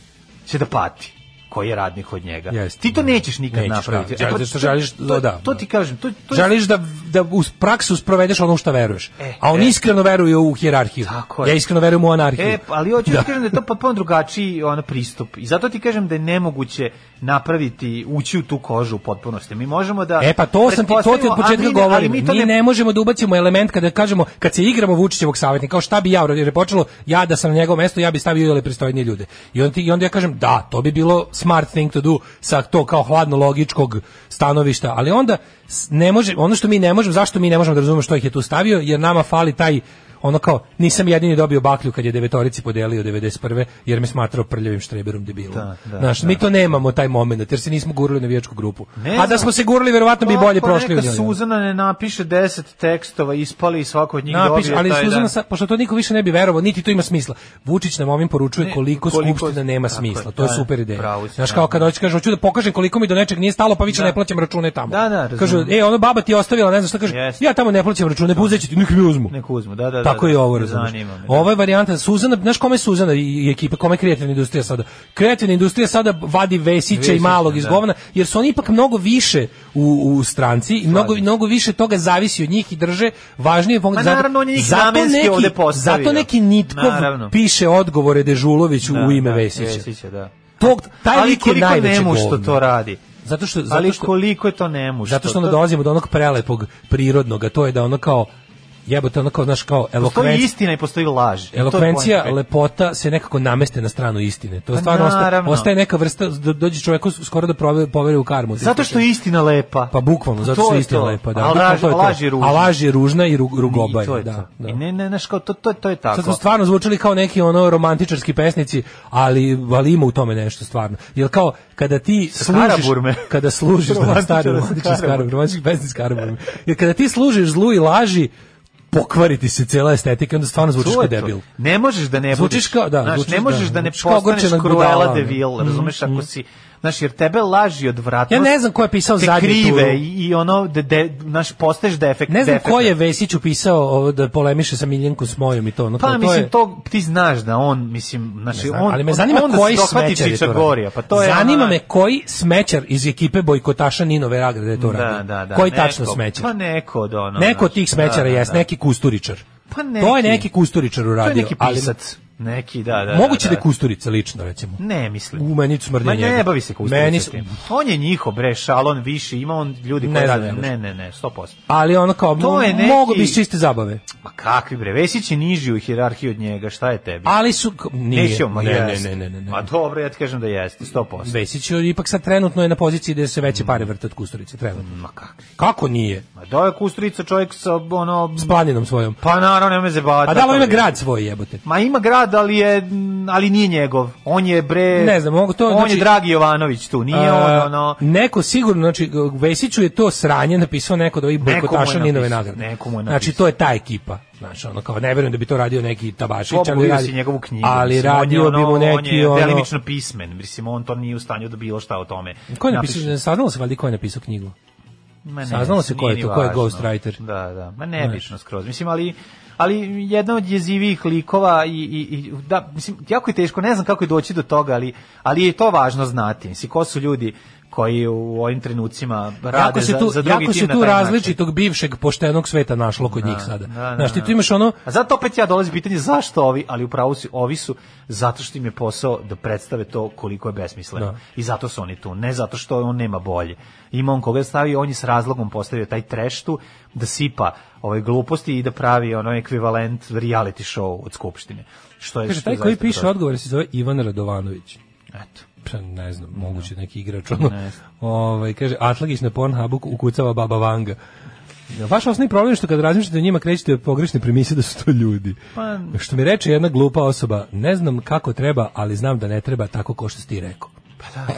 Speaker 6: će da pati koji je radnik od njega.
Speaker 7: Jeste,
Speaker 6: ti to
Speaker 7: da.
Speaker 6: nećeš nikad
Speaker 7: Nećeš,
Speaker 6: napraviti. E, pa
Speaker 7: da. Želiš-
Speaker 6: to-
Speaker 7: želiš-
Speaker 6: to,
Speaker 7: da, da.
Speaker 6: to ti kažem. To, to je-
Speaker 7: Želiš da, da u praksu sprovedeš ono što veruješ.
Speaker 6: E,
Speaker 7: A on
Speaker 6: e.
Speaker 7: iskreno veruje u hjerarhiju.
Speaker 6: Tako je.
Speaker 7: ja iskreno verujem u anarhiju.
Speaker 6: E, pa, ali hoću da.
Speaker 7: Da.
Speaker 6: ti kažem da je to potpuno drugačiji ono, pristup. I zato ti kažem da je nemoguće napraviti, ući u tu kožu u potpunosti. Mi možemo da...
Speaker 7: E pa to sam ti to ti od
Speaker 6: pretpostavimo, a
Speaker 7: početka
Speaker 6: mi ne- ali
Speaker 7: govorim. Mi,
Speaker 6: Mi to ne,
Speaker 7: ne možemo da ubacimo element kada kažemo kad se igramo Vučićevog savjetnika, kao šta bi ja uradio, jer je počelo ja da sam na njegovom mestu, ja bi stavio ili pristojnije ljude. I onda ti- i onda ja kažem da, to bi bilo smart thing to do sa to kao hladno logičkog stanovišta, ali onda s- ne može ono što mi ne možemo, zašto mi ne možemo da razumemo što ih je tu stavio, jer nama fali taj ono kao nisam jedini dobio baklju kad je devetorici podelio 91. jer me smatrao prljavim štreberom debilom.
Speaker 6: Da, da,
Speaker 7: Znaš, mi to nemamo taj moment jer se nismo gurali na vijačku grupu.
Speaker 6: Ne
Speaker 7: A da
Speaker 6: znam.
Speaker 7: smo se gurali verovatno bi bolje
Speaker 6: Kako
Speaker 7: prošli u
Speaker 6: neka
Speaker 7: njoj.
Speaker 6: Suzana ne napiše deset tekstova, ispali i svako od njih
Speaker 7: Napiš,
Speaker 6: dobije
Speaker 7: ali
Speaker 6: taj
Speaker 7: Suzana,
Speaker 6: dan.
Speaker 7: sa, pošto to niko više ne bi verovao, niti to ima smisla. Vučić nam ovim poručuje
Speaker 6: Ne,
Speaker 7: koliko,
Speaker 6: koliko-
Speaker 7: skupština nema
Speaker 6: tako
Speaker 7: smisla.
Speaker 6: je,
Speaker 7: To je
Speaker 6: da,
Speaker 7: super ideja.
Speaker 6: pravo si,
Speaker 7: Znaš,
Speaker 6: da.
Speaker 7: kao kad hoće kaže, hoću da pokažem koliko mi do nečeg nije stalo, pa više ne plaćam račune tamo.
Speaker 6: Da, da, razumem.
Speaker 7: Kažu, e, ono baba ti je ostavila, ne znam šta, kaže,
Speaker 6: Jeste.
Speaker 7: ja tamo ne plaćam račune, puzeći ti, nek mi uzmu.
Speaker 6: Nek uzmu, da, da, da.
Speaker 7: Tako
Speaker 6: da,
Speaker 7: je i ovo,
Speaker 6: da,
Speaker 7: razumiješ.
Speaker 6: zanima me, da.
Speaker 7: Ovo je varijanta, Suzana, znaš kome je Suzana i- i ekipa, kome je kreativna industrija sada? Kreativna industrija sada vadi Vesića i
Speaker 6: Vesića,
Speaker 7: malog iz
Speaker 6: da.
Speaker 7: govna, jer su oni ipak mnogo više u, u stranci i mnogo, mnogo više toga zavisi od njih i drže važnije
Speaker 6: Ma
Speaker 7: zato-
Speaker 6: naravno, on je njih
Speaker 7: zato
Speaker 6: namenski
Speaker 7: neki-
Speaker 6: ovde postavio.
Speaker 7: Zato neki Nitkov
Speaker 6: Naravno.
Speaker 7: piše odgovore Dežuloviću u ime
Speaker 6: da,
Speaker 7: Vesića.
Speaker 6: Vesića, da.
Speaker 7: Tog, taj
Speaker 6: ali
Speaker 7: lik je
Speaker 6: koliko
Speaker 7: najveće
Speaker 6: nemu što
Speaker 7: govno.
Speaker 6: to radi.
Speaker 7: Zato što, zato
Speaker 6: Ali
Speaker 7: što,
Speaker 6: koliko je to nemušto.
Speaker 7: zato što onda
Speaker 6: To-
Speaker 7: dolazimo do onog prelepog prirodnog, a to je da ono kao jebote ono kao znaš kao
Speaker 6: Postoji
Speaker 7: elokvencija
Speaker 6: istina i postoji laž. To je
Speaker 7: Elokvencija,
Speaker 6: poenta.
Speaker 7: lepota se nekako nameste na stranu istine. To
Speaker 6: Pa
Speaker 7: stvarno ostaje,
Speaker 6: naravno.
Speaker 7: ostaje neka vrsta, do- dođe čoveku skoro da prove, poveri u karmu.
Speaker 6: Zato što je istina lepa.
Speaker 7: Pa bukvalno, zato
Speaker 6: To
Speaker 7: što je
Speaker 6: je
Speaker 7: istina
Speaker 6: to.
Speaker 7: lepa. Da.
Speaker 6: A
Speaker 7: Bukvalno
Speaker 6: laž-
Speaker 7: to je to.
Speaker 6: laž je ružna.
Speaker 7: A laž je ružna i ru- rugoba
Speaker 6: I to je
Speaker 7: da.
Speaker 6: to.
Speaker 7: da.
Speaker 6: I ne, ne, znaš, kao, to, to, to je tako.
Speaker 7: Sad smo stvarno zvučali kao neki ono romantičarski pesnici, ali, ali ima u tome nešto stvarno. Jer kao kada ti služiš,
Speaker 6: Karaburme.
Speaker 7: kada služiš da,
Speaker 6: Romantičar
Speaker 7: stari
Speaker 6: sa
Speaker 7: romantičarski
Speaker 6: Karaburme.
Speaker 7: Karaburme, romantički pesnici Karaburme. Jer kada ti služiš zlu i laži, pokvariti se cela estetika, onda stvarno zvučiš
Speaker 6: To
Speaker 7: kao
Speaker 6: je to.
Speaker 7: debil.
Speaker 6: Ne možeš da ne
Speaker 7: Zvučiš
Speaker 6: budeš-
Speaker 7: kao- da,
Speaker 6: znaš,
Speaker 7: zvučiš
Speaker 6: ne možeš
Speaker 7: da,
Speaker 6: da, ne
Speaker 7: zvučiš kao
Speaker 6: postaneš
Speaker 7: ogorčena
Speaker 6: Cruella
Speaker 7: budala,
Speaker 6: de
Speaker 7: ono.
Speaker 6: Vil, razumeš, ako si Znaš, jer tebe laži
Speaker 7: Ja
Speaker 6: odvratnost.
Speaker 7: ne znam ko je pisao
Speaker 6: te
Speaker 7: zadnji turu.
Speaker 6: krive i, i ono, de, de, naš, postaješ defekt.
Speaker 7: Ne znam
Speaker 6: defekt.
Speaker 7: ko je Vesić upisao ovo da polemiše sa Miljenkom Smojom i to. Ono,
Speaker 6: Pa
Speaker 7: kao, to
Speaker 6: mislim
Speaker 7: je,
Speaker 6: to ti znaš da on mislim znači
Speaker 7: Znam,
Speaker 6: on
Speaker 7: ali me zanima
Speaker 6: on,
Speaker 7: koji
Speaker 6: dohvati
Speaker 7: smećar je to
Speaker 6: Čičagorija,
Speaker 7: radio.
Speaker 6: pa to je
Speaker 7: zanima
Speaker 6: ona-
Speaker 7: me koji smećar iz ekipe bojkotaša Ninove Ragrade je to
Speaker 6: da,
Speaker 7: radio.
Speaker 6: da, da,
Speaker 7: koji
Speaker 6: neko,
Speaker 7: tačno smećar?
Speaker 6: Pa neko od ono.
Speaker 7: neko od
Speaker 6: znaš,
Speaker 7: tih smećara
Speaker 6: da, da,
Speaker 7: jest,
Speaker 6: da.
Speaker 7: neki kusturičar.
Speaker 6: Pa
Speaker 7: To je
Speaker 6: neki.
Speaker 7: neki kusturičar
Speaker 6: To
Speaker 7: uradio.
Speaker 6: je neki
Speaker 7: ali-
Speaker 6: pisac. Neki, da, da.
Speaker 7: moguće da,
Speaker 6: da,
Speaker 7: je kusturica lično, recimo.
Speaker 6: Ne, mislim.
Speaker 7: U meni smrde
Speaker 6: Ma
Speaker 7: njega.
Speaker 6: ne bavi se kustavom.
Speaker 7: Meni
Speaker 6: Meni
Speaker 7: su-
Speaker 6: On je njihov, bre, šalon više, ima on ljudi
Speaker 7: Ne
Speaker 6: koji
Speaker 7: rade,
Speaker 6: rade.
Speaker 7: ne
Speaker 6: Ne, ne, ne, 100%.
Speaker 7: Ali ono kao,
Speaker 6: To je neki-
Speaker 7: mogu bi iz čiste zabave.
Speaker 6: Ma kakvi bre, Vesić je niži u hijerarhiji od njega, šta je tebi?
Speaker 7: Ali su... k- Nije.
Speaker 6: Neće on, ma
Speaker 7: ne, ne,
Speaker 6: jeste. Pa
Speaker 7: ne, ne, ne, ne.
Speaker 6: Ma dobro, ja ti kažem da jeste, 100%.
Speaker 7: Vesić je ipak sad trenutno je na poziciji gde se
Speaker 6: Mm.
Speaker 7: veće pare vrte od Kusturice, trenutno.
Speaker 6: Ma kakvi.
Speaker 7: Kako nije?
Speaker 6: Ma da je Kusturica čovjek sa, ono...
Speaker 7: S planinom svojom.
Speaker 6: Pa naravno, nema zebata.
Speaker 7: A da li on ima
Speaker 6: to-
Speaker 7: grad svoj jebote?
Speaker 6: Ma ima grad, ali je m, ali nije njegov. On je bre
Speaker 7: Ne znam, mogu to-
Speaker 6: On
Speaker 7: znači-
Speaker 6: je Dragi Jovanović tu, nije
Speaker 7: A,
Speaker 6: on ono
Speaker 7: Neko sigurno, znači, Vesiću je to sranje napisao neko od ovih
Speaker 6: Neko mu je
Speaker 7: bojkotaša Ninove
Speaker 6: napisao,
Speaker 7: nagrade.
Speaker 6: neko mu je
Speaker 7: znači,
Speaker 6: napisao.
Speaker 7: to je ta ekipa. Znači, ono, kao, ne verujem da bi to radio neki Tabašić,
Speaker 6: Pobogu
Speaker 7: ali
Speaker 6: vidio
Speaker 7: radi,
Speaker 6: si njegovu knjigu.
Speaker 7: ali
Speaker 6: mislim, on je
Speaker 7: radio bi
Speaker 6: ono-
Speaker 7: mu neki,
Speaker 6: On
Speaker 7: ono...
Speaker 6: je delimično pismen, mislim, on to nije u stanju da bilo šta o tome.
Speaker 7: Ko je napisao,
Speaker 6: napiše.
Speaker 7: ne, saznalo se valjda ko je napisao knjigu?
Speaker 6: Ma ne,
Speaker 7: Saznalo se ko je
Speaker 6: nije
Speaker 7: to,
Speaker 6: ni
Speaker 7: ko je
Speaker 6: važno.
Speaker 7: ghostwriter?
Speaker 6: Da, da, ma nebitno skroz. Mislim, ali ali jedna od jezivijih likova i, i, i da, mislim, jako je teško, ne znam kako je doći do toga, ali, ali je to važno znati. Mislim, ko su ljudi koji u ovim trenucima
Speaker 7: Jako
Speaker 6: rade
Speaker 7: se
Speaker 6: za,
Speaker 7: tu,
Speaker 6: za drugi
Speaker 7: jako
Speaker 6: tim
Speaker 7: se
Speaker 6: na
Speaker 7: tu
Speaker 6: taj način.
Speaker 7: različitog bivšeg poštenog sveta našlo kod njih sada.
Speaker 6: da, da,
Speaker 7: Znaš, ti
Speaker 6: da.
Speaker 7: tu imaš ono,
Speaker 6: A zato opet ja dolazi pitanje zašto ovi, ali upravo su, ovi su zato što im je posao da predstave to koliko je besmisleno.
Speaker 7: Da.
Speaker 6: I zato su oni tu, ne zato što on nema bolje. Ima on koga stavi, on je s razlogom postavio taj trash tu da sipa ove gluposti i da pravi ono ekvivalent reality show od skupštine. Što je
Speaker 7: kaže,
Speaker 6: što je
Speaker 7: taj koji
Speaker 6: zaista
Speaker 7: piše
Speaker 6: to.
Speaker 7: odgovore se zove Ivan Radovanović.
Speaker 6: Eto.
Speaker 7: Pa, ne znam, moguće neki igrač. Ono, ovaj, kaže, Atlagić na Pornhubu ukucava Baba Vanga. Vaš osnovni problem je što kad razmišljate o njima krećete od pogrešne premise da su to ljudi.
Speaker 6: Pa-
Speaker 7: Što mi reče jedna glupa osoba, ne znam kako treba, ali znam da ne treba tako ko što si ti rekao.
Speaker 6: Pa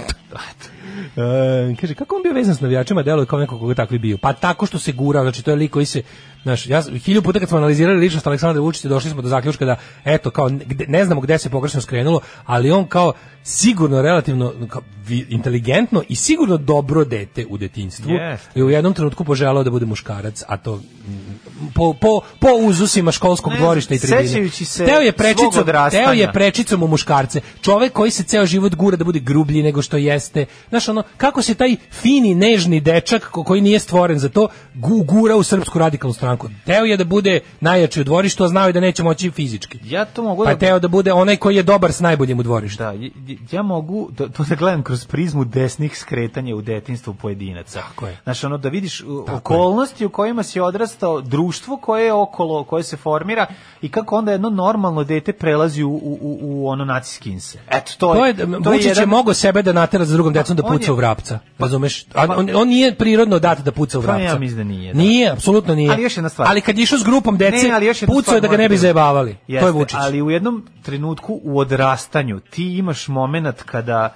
Speaker 7: E, kaže, kako on bio vezan s navijačima, delo je kao neko koga takvi bio. Pa tako što se gurao, znači to je lik koji se, znaš, ja, hilju puta kad smo analizirali ličnost Aleksandra Vučića, došli smo do zaključka da, eto, kao, ne- gde- ne znamo gde se pogrešno skrenulo, ali on kao sigurno relativno kao, vi- inteligentno i sigurno dobro dete u detinjstvu.
Speaker 6: Jeste.
Speaker 7: I u jednom trenutku poželao da bude muškarac, a to mm, po, po, po uzusima školskog
Speaker 6: Ne,
Speaker 7: dvorišta i tribine.
Speaker 6: sećajući se
Speaker 7: teo je
Speaker 6: svog
Speaker 7: prečicom,
Speaker 6: odrastanja.
Speaker 7: teo je prečicom u muškarce. Čovek koji se ceo život gura da bude grublji nego što jeste. Znaš, ono, kako se taj fini, nežni dečak ko- koji nije stvoren za to gu- gura u srpsku radikalnu stranku. Teo je da bude najjači u dvorištu, a znao je da neće moći fizički.
Speaker 6: Ja to mogu
Speaker 7: Pa je
Speaker 6: da
Speaker 7: teo da bude onaj koji je dobar s najboljim u dvorištu.
Speaker 6: Da, j- j- ja mogu da, to da gledam kroz prizmu desnih skretanja u detinstvu pojedinaca.
Speaker 7: Tako je.
Speaker 6: Znaš, ono, da vidiš u-
Speaker 7: Tako je.
Speaker 6: okolnosti u kojima si odrastao, društvo koje je okolo, koje se formira i kako onda jedno normalno dete prelazi u, u, u, u ono naciski inse. Eto, to,
Speaker 7: To je,
Speaker 6: je, to je
Speaker 7: Vučić je
Speaker 6: jedan... Pa
Speaker 7: mogao sebe da natera za drugom decom da
Speaker 6: on
Speaker 7: puca
Speaker 6: je-
Speaker 7: u vrapca. Razumeš? A on, on nije prirodno dat da puca u
Speaker 6: Pa ja
Speaker 7: vrapca.
Speaker 6: mislim da nije, da.
Speaker 7: Nije, apsolutno nije.
Speaker 6: Ali još jedna stvar.
Speaker 7: Ali kad je išao s grupom dece,
Speaker 6: Ne, ali još jedna
Speaker 7: pucao je
Speaker 6: stvar
Speaker 7: da ga ne bi
Speaker 6: moram
Speaker 7: zajebavali. to je
Speaker 6: Jeste,
Speaker 7: Vučić.
Speaker 6: Ali u jednom trenutku u odrastanju ti imaš moment kada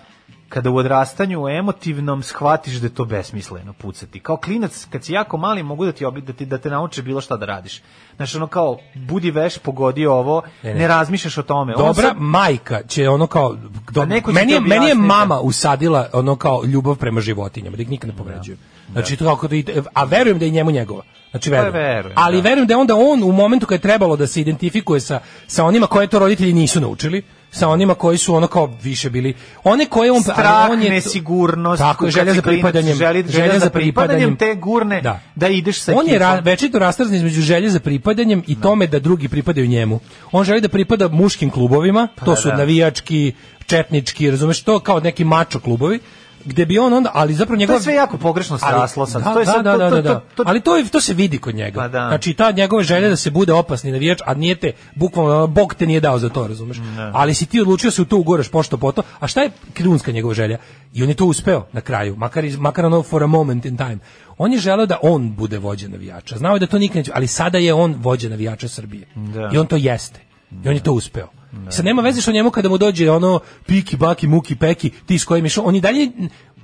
Speaker 6: kada u odrastanju emotivnom shvatiš da je to besmisleno pucati. Kao klinac, kad si jako mali, mogu da ti, obli, da ti da te nauče bilo šta da radiš. Znaš, ono kao, budi veš, pogodi ovo,
Speaker 7: Ne,
Speaker 6: ne,
Speaker 7: E, ne.
Speaker 6: razmišljaš o tome. Ono
Speaker 7: Dobra
Speaker 6: sad-
Speaker 7: majka će ono kao do,
Speaker 6: A neko će
Speaker 7: meni,
Speaker 6: ti
Speaker 7: je, meni je
Speaker 6: objasniti.
Speaker 7: mama usadila ono kao ljubav prema životinjama, da ih nikad ne povređuju. Znači to kako da ide- a verujem da je njemu njegova. Znači
Speaker 6: Pa
Speaker 7: verujem.
Speaker 6: verujem,
Speaker 7: Ali
Speaker 6: da.
Speaker 7: verujem da je onda on u momentu kad je trebalo da se identifikuje sa sa onima koje to roditelji nisu naučili, sa onima koji su ono kao više bili one koje on
Speaker 6: strah,
Speaker 7: ali on je to-
Speaker 6: nesigurnost,
Speaker 7: tako je,
Speaker 6: kad
Speaker 7: želja
Speaker 6: si
Speaker 7: za
Speaker 6: klinac,
Speaker 7: pripadanjem,
Speaker 6: želja, želja za pripadanjem, te gurne da, ideš sa
Speaker 7: on je
Speaker 6: ekipom.
Speaker 7: ra, večito rastrzan između želje za pripadanjem i tome da drugi pripadaju njemu. On želi da pripada muškim klubovima, to su
Speaker 6: Pa da.
Speaker 7: navijački, četnički, razumeš, to kao neki mačo klubovi, gde bi on onda, ali zapravo
Speaker 6: To
Speaker 7: njegov...
Speaker 6: je sve jako pogrešno
Speaker 7: Ali-
Speaker 6: sraslo sad.
Speaker 7: Da,
Speaker 6: to je sad,
Speaker 7: da, da,
Speaker 6: to,
Speaker 7: da,
Speaker 6: to,
Speaker 7: da.
Speaker 6: to, to,
Speaker 7: ali to, je, to se vidi kod njega.
Speaker 6: Pa da.
Speaker 7: Znači, ta njegova želja da se bude opasni navijač, a nije te, bukvalno, ono, Bog te nije dao za to, razumeš? Ali si ti odlučio se u to ugoraš pošto poto, a šta je krunska njegova želja? I on je to uspeo na kraju, makar, iz- makar ono for a moment in time. On je želeo da on bude vođa navijača. Znao je da to nikad neće, ali sada je on vođa navijača Srbije.
Speaker 6: Da.
Speaker 7: I on to jeste. I on je to uspeo. Sad nema veze što njemu kada mu dođe ono piki, baki, muki, peki, ti s kojim je šao, on i dalje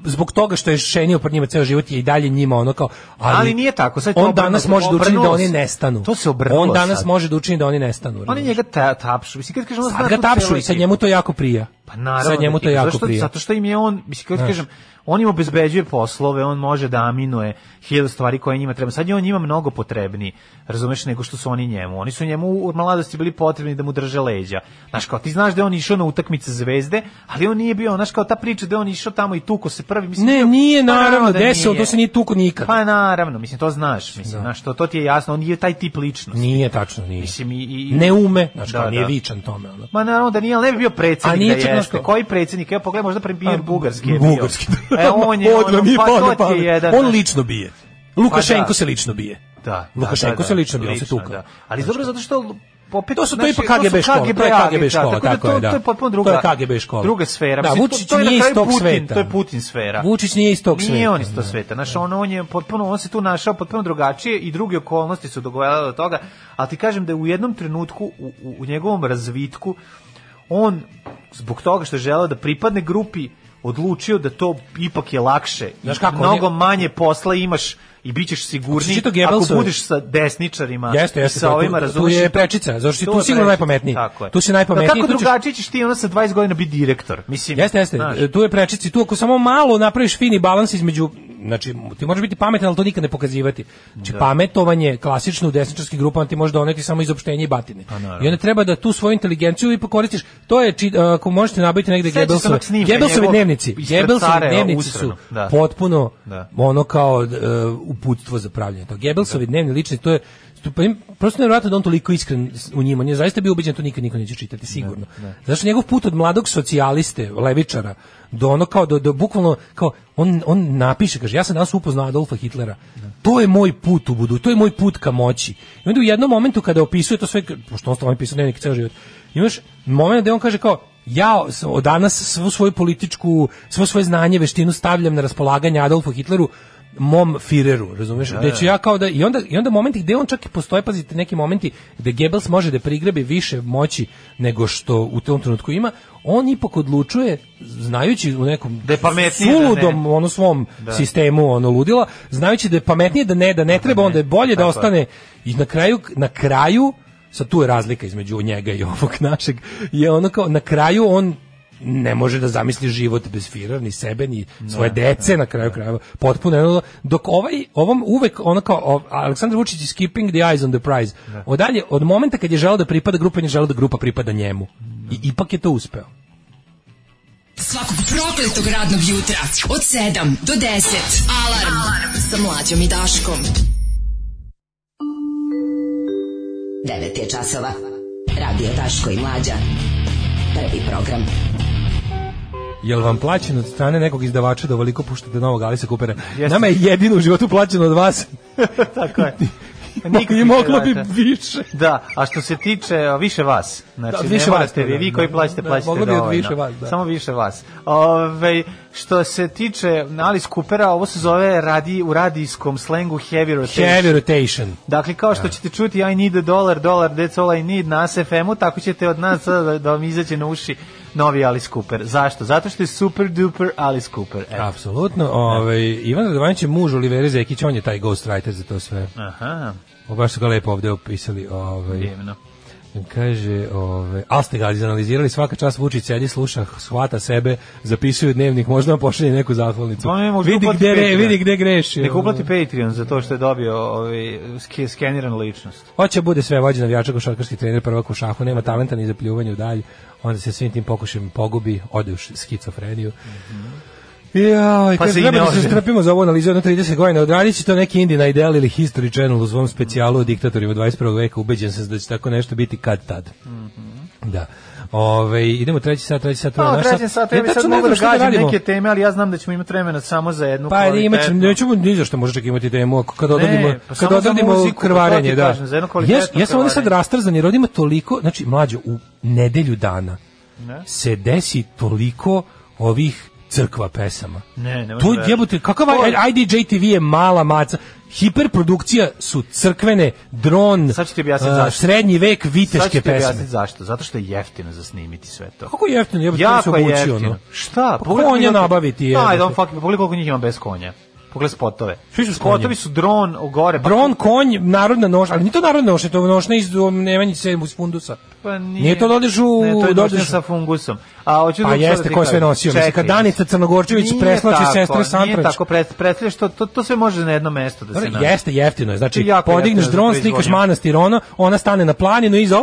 Speaker 7: zbog toga što je šenio pred njima ceo život je i dalje njima ono kao ali,
Speaker 6: Ali nije tako, sad je to
Speaker 7: on
Speaker 6: obrnuto,
Speaker 7: danas može da učini da
Speaker 6: obrnulo
Speaker 7: oni
Speaker 6: se.
Speaker 7: nestanu
Speaker 6: To se obrnulo
Speaker 7: on danas
Speaker 6: sad.
Speaker 7: može da učini da oni nestanu
Speaker 6: Oni
Speaker 7: razumeš?
Speaker 6: njega ta, tapšu. Mislim, kad kažem, on
Speaker 7: sad
Speaker 6: zna
Speaker 7: ga
Speaker 6: tu celu
Speaker 7: tapšu i sad
Speaker 6: ekipu.
Speaker 7: njemu to jako prija
Speaker 6: Pa naravno.
Speaker 7: sad njemu to
Speaker 6: da ti-
Speaker 7: jako
Speaker 6: zašto,
Speaker 7: prija
Speaker 6: Zato što im je on, mislim, kako ti kažem, on im obezbeđuje poslove, on može da aminuje hiljadu stvari koje njima treba. Sad je on njima mnogo potrebniji, razumeš, nego što su oni njemu. Oni su njemu u mladosti bili potrebni da mu drže leđa. Znaš, kao ti znaš da je on išao na utakmice zvezde, ali on nije bio, znaš, kao ta priča da je on išao tamo i tuko se prvi. Mislim,
Speaker 7: ne
Speaker 6: to-
Speaker 7: nije
Speaker 6: Pa
Speaker 7: naravno
Speaker 6: da
Speaker 7: desilo to
Speaker 6: nije.
Speaker 7: se nije tuko nikad
Speaker 6: Pa naravno, mislim, to znaš, mislim, znaš, to, to ti je jasno, on je taj tip ličnosti.
Speaker 7: nije tačno nije
Speaker 6: Mislim, i, i,
Speaker 7: ne ume znači
Speaker 6: Da,
Speaker 7: kao nije
Speaker 6: da.
Speaker 7: vičan tome ono
Speaker 6: Ma naravno da nije, ali ne bi bio
Speaker 7: A
Speaker 6: predsjednik
Speaker 7: nije
Speaker 6: da
Speaker 7: čak
Speaker 6: jeste.
Speaker 7: nešto.
Speaker 6: Koji predsjednik? Evo pogledaj, možda premijer Bugarski je bio.
Speaker 7: Bugarski.
Speaker 6: E, on je,
Speaker 7: Odmah
Speaker 6: ono,
Speaker 7: mi je
Speaker 6: pa
Speaker 7: pao na
Speaker 6: to ti
Speaker 7: pamet.
Speaker 6: je jedan.
Speaker 7: On
Speaker 6: znaš,
Speaker 7: lično bije. Lukašenko
Speaker 6: Pa da.
Speaker 7: se lično bije.
Speaker 6: Da,
Speaker 7: Lukašenko se lično bio, on se tuka.
Speaker 6: Da. Ali dobro zato što opet
Speaker 7: To su to
Speaker 6: znaš,
Speaker 7: ipak
Speaker 6: su
Speaker 7: KGB škola, to je
Speaker 6: KGB,
Speaker 7: KGB škola,
Speaker 6: da,
Speaker 7: tako
Speaker 6: da,
Speaker 7: je, da.
Speaker 6: To je potpuno
Speaker 7: To
Speaker 6: druga.
Speaker 7: je KGB škola.
Speaker 6: Druga sfera.
Speaker 7: Da,
Speaker 6: Mislim, to-
Speaker 7: Vučić
Speaker 6: to je na
Speaker 7: nije iz
Speaker 6: kraju
Speaker 7: tog
Speaker 6: Putin,
Speaker 7: sveta.
Speaker 6: To je Putin sfera.
Speaker 7: Vučić nije iz tog
Speaker 6: Nije
Speaker 7: sveta,
Speaker 6: on iz tog sveta. Znaš, on, on je potpuno, on se tu našao potpuno drugačije i druge okolnosti su dogovarale do toga, ali ti kažem da je u jednom trenutku u, u, u njegovom razvitku on zbog toga što je želeo da pripadne grupi odlučio da to ipak je lakše.
Speaker 7: Znaš
Speaker 6: Znaš
Speaker 7: kako,
Speaker 6: kako,
Speaker 7: on je-
Speaker 6: mnogo manje posla imaš i bit ćeš
Speaker 7: Hoćeš
Speaker 6: sigurniji
Speaker 7: čitao
Speaker 6: ako
Speaker 7: Goebbelsove?
Speaker 6: budeš sa desničarima
Speaker 7: Jeste, jeste,
Speaker 6: i sa
Speaker 7: to je-
Speaker 6: ovima
Speaker 7: tu- tu
Speaker 6: razumeš.
Speaker 7: je
Speaker 6: to-
Speaker 7: prečica, zato što si
Speaker 6: to
Speaker 7: tu
Speaker 6: je
Speaker 7: sigurno
Speaker 6: prečica,
Speaker 7: najpametniji.
Speaker 6: tako je.
Speaker 7: Tu si najpametniji,
Speaker 6: Da kako
Speaker 7: tu ćeš-
Speaker 6: drugačije ćeš ti onda sa 20 godina biti direktor? Mislim,
Speaker 7: Jeste, jeste.
Speaker 6: znaš.
Speaker 7: Tu je prečici, tu ako samo malo napraviš fini balans između znači ti možeš biti pametan, ali to nikad ne pokazivati. Znači pametovanje klasično u desničarskim grupama ti može doneti samo izopštenje i batine.
Speaker 6: Pa
Speaker 7: I onda treba da tu svoju inteligenciju i pokoristiš. To je či, ako možete nabaviti negde
Speaker 6: Sećaš se
Speaker 7: Gebelsove,
Speaker 6: onog snimka
Speaker 7: Gebelsove
Speaker 6: njegovog
Speaker 7: dnevnici.
Speaker 6: ispred
Speaker 7: Gebelsove
Speaker 6: care,
Speaker 7: dnevnici su
Speaker 6: usrano, da.
Speaker 7: potpuno
Speaker 6: Da.
Speaker 7: ono kao e, uputstvo za pravljenje toga. Gebelsovi dnevni lični, to je to- pa im- prosto nevjerojatno da on toliko iskren s- u njima. On je zaista bio ubeđen da to nikad niko neće čitati, sigurno. Zašto njegov put od mladog socijaliste, levičara, do ono kao, do, do bukvalno, kao, on, on napiše, kaže, ja sam danas upoznao Adolfa Hitlera. To je moj put u budu, to je moj put ka moći. I onda u jednom momentu kada opisuje to sve, k- pošto on stvarno pisao dnevnik ceo život, imaš moment gde on kaže kao, ja sam od danas svu svoju političku, svo svoje znanje, veštinu stavljam na raspolaganje Adolfu Hitleru, mom Fireru, razumeš? Da, ću ja kao da i onda i onda momenti gde on čak i postoje, pazite, neki momenti gde Goebbels može da prigrebi više moći nego što u tom trenutku ima, on ipak odlučuje znajući u nekom
Speaker 6: Da je pametnije da ne.
Speaker 7: suludom ono svom sistemu ono ludila, znajući da je pametnije da ne, da ne treba, onda je bolje da
Speaker 6: Tako je.
Speaker 7: ostane i na kraju na kraju sad tu je razlika između njega i ovog našeg je ono kao na kraju on ne može da zamisli život bez Führera, ni sebe, ni svoje dece na kraju krajeva. Potpuno je ono, dok ovaj, ovom uvek, ono kao, ov- Aleksandar Vučić is keeping the eyes on the prize. Odalje, od momenta kad je želeo da pripada grupa, on je želeo da grupa pripada njemu. I ipak je to uspeo.
Speaker 4: Svakog prokletog radnog jutra od 7 do 10. Alarm, Alarm. sa mlađom i Daškom.
Speaker 12: 9 je časova. Radio Daško i Mlađa. Prvi program.
Speaker 7: Jel vam plaćeno od strane nekog izdavača da ovoliko puštate novog Alisa Kupera?
Speaker 6: Jeste.
Speaker 7: Nama je jedino u životu plaćeno od vas.
Speaker 6: Tako je. Pa
Speaker 7: I moglo bi više.
Speaker 6: Da, a što se tiče a, više vas, znači
Speaker 7: Da,
Speaker 6: više
Speaker 7: više
Speaker 6: ne
Speaker 7: vas,
Speaker 6: morate vi, vi
Speaker 7: da,
Speaker 6: koji
Speaker 7: da,
Speaker 6: plaćate,
Speaker 7: da,
Speaker 6: plaćate
Speaker 7: moglo bi od
Speaker 6: dovoljno.
Speaker 7: više vas, da.
Speaker 6: Samo više vas. Ove, što se tiče Alice Coopera, ovo se zove radi, u radijskom slengu heavy rotation.
Speaker 7: Heavy rotation.
Speaker 6: Dakle, kao što ćete čuti I need a dollar, dollar, that's all I need na SFM-u, tako ćete od nas sada da, da vam izađe na uši novi Alice Cooper. Zašto? Zato što je super duper Alice Cooper. Eto.
Speaker 7: Apsolutno. Ovaj Ivan Radovanić je muž Olivere Zekić, on je taj ghostwriter za to sve.
Speaker 6: Aha,
Speaker 7: O, baš su ga lepo ovde opisali. Ovaj
Speaker 6: divno.
Speaker 7: kaže, ovaj al ste ga izanalizirali svaka čas Vučić sedi, sluša, shvata sebe, zapisuje u dnevnik, možda vam pošalje neku zahvalnicu.
Speaker 6: Pa ne, možda
Speaker 7: vidi
Speaker 6: uplati
Speaker 7: gde re-
Speaker 6: Patreon.
Speaker 7: vidi gde greši.
Speaker 6: Nek uplati
Speaker 7: ono.
Speaker 6: Patreon za to što je dobio ovaj, ske- skeniranu ličnost.
Speaker 7: Hoće bude sve vođe navijača košarkaški trener prvak u šahu, nema talenta ni za pljuvanje u dalj, onda se svim tim pokušajem pogubi, ode u š- schizofreniju. Ja,
Speaker 6: Mhm. Pa
Speaker 7: pa
Speaker 6: se
Speaker 7: se
Speaker 6: i ne
Speaker 7: treba da se
Speaker 6: ode.
Speaker 7: strpimo za ovu analizu jedno 30 godina. Odradit će to neki Indie Idol ili History Channel u svom specijalu o diktatorima 21. veka. Ubeđen sam da će tako nešto biti kad tad. Da. Ove, idemo treći sat, treći sat.
Speaker 6: Mhm. Pa,
Speaker 7: ovaj
Speaker 6: u
Speaker 7: naš
Speaker 6: trećem satu, ja bi sad
Speaker 7: tačno ne
Speaker 6: mogu
Speaker 7: znam
Speaker 6: da
Speaker 7: šta
Speaker 6: gađam
Speaker 7: radimo.
Speaker 6: neke teme, ali ja znam da ćemo imati vremena samo za jednu
Speaker 7: Pa imat ćemo,
Speaker 6: kvalitetnu.
Speaker 7: nećemo ni za što može čak imati temu, ako kad
Speaker 6: Ne,
Speaker 7: odradimo,
Speaker 6: pa samo
Speaker 7: kad
Speaker 6: za
Speaker 7: odradimo
Speaker 6: muziku, to
Speaker 7: krvarenje,
Speaker 6: ti
Speaker 7: da.
Speaker 6: kažem, za jedno
Speaker 7: Jes,
Speaker 6: kvalitetno
Speaker 7: ja sam ovdje sad
Speaker 6: krvarenje.
Speaker 7: rastrzan, jer ovdje ima toliko, znači mlađo, u nedelju dana se desi toliko ovih crkva pesama.
Speaker 6: Ne, ne
Speaker 7: To
Speaker 6: možeš
Speaker 7: je jebote, kakav
Speaker 6: To je-
Speaker 7: IDJ TV je mala maca, hiperprodukcija su crkvene, dron,
Speaker 6: Sad ću ti objasniti
Speaker 7: a,
Speaker 6: zašto.
Speaker 7: srednji vek,
Speaker 6: Sad ću
Speaker 7: viteške
Speaker 6: ti objasniti
Speaker 7: pesme.
Speaker 6: zašto. Zato što je jeftino za snimiti sve to.
Speaker 7: Kako je jeftino, jebote, to se
Speaker 6: Jako je
Speaker 7: obučio,
Speaker 6: jeftino.
Speaker 7: ono.
Speaker 6: Šta?
Speaker 7: Pa
Speaker 6: Pogledaj
Speaker 7: konja
Speaker 6: koliko-
Speaker 7: nabaviti,
Speaker 6: Aj,
Speaker 7: jebote.
Speaker 6: don't fuck, pogledaj koliko njih ima bez konja. Pogledaj spotove.
Speaker 7: Svi su s konjem.
Speaker 6: Spotovi su dron u gore. pa-
Speaker 7: Dron, konj, narodna nošnja, ali nije to narodna nošnja, to je nošnja iz um, Nemanjice iz fundusa.
Speaker 6: Pa nije,
Speaker 7: Nije to da odeš u-
Speaker 6: Ne, to je
Speaker 7: da
Speaker 6: dođeš
Speaker 7: odeš-
Speaker 6: sa fungusom. A hoću da
Speaker 7: Pa
Speaker 6: šta da
Speaker 7: jeste
Speaker 6: ti
Speaker 7: ko je sve
Speaker 6: kažem.
Speaker 7: nosio, mislim,
Speaker 6: Čekaj.
Speaker 7: kad Danica Crnogorčević
Speaker 6: Nije
Speaker 7: presnoći
Speaker 6: tako,
Speaker 7: sestre
Speaker 6: Nije
Speaker 7: Santrać.
Speaker 6: tako, pred- predstavljaš to, to, to sve može na jedno mesto da se
Speaker 7: Dobro,
Speaker 6: nađe.
Speaker 7: Jeste jeftino, je.
Speaker 6: To je
Speaker 7: znači
Speaker 6: jako
Speaker 7: podigneš
Speaker 6: jeftino za
Speaker 7: dron,
Speaker 6: proizvodnju.
Speaker 7: slikaš manastir ono, ona stane na planinu i iza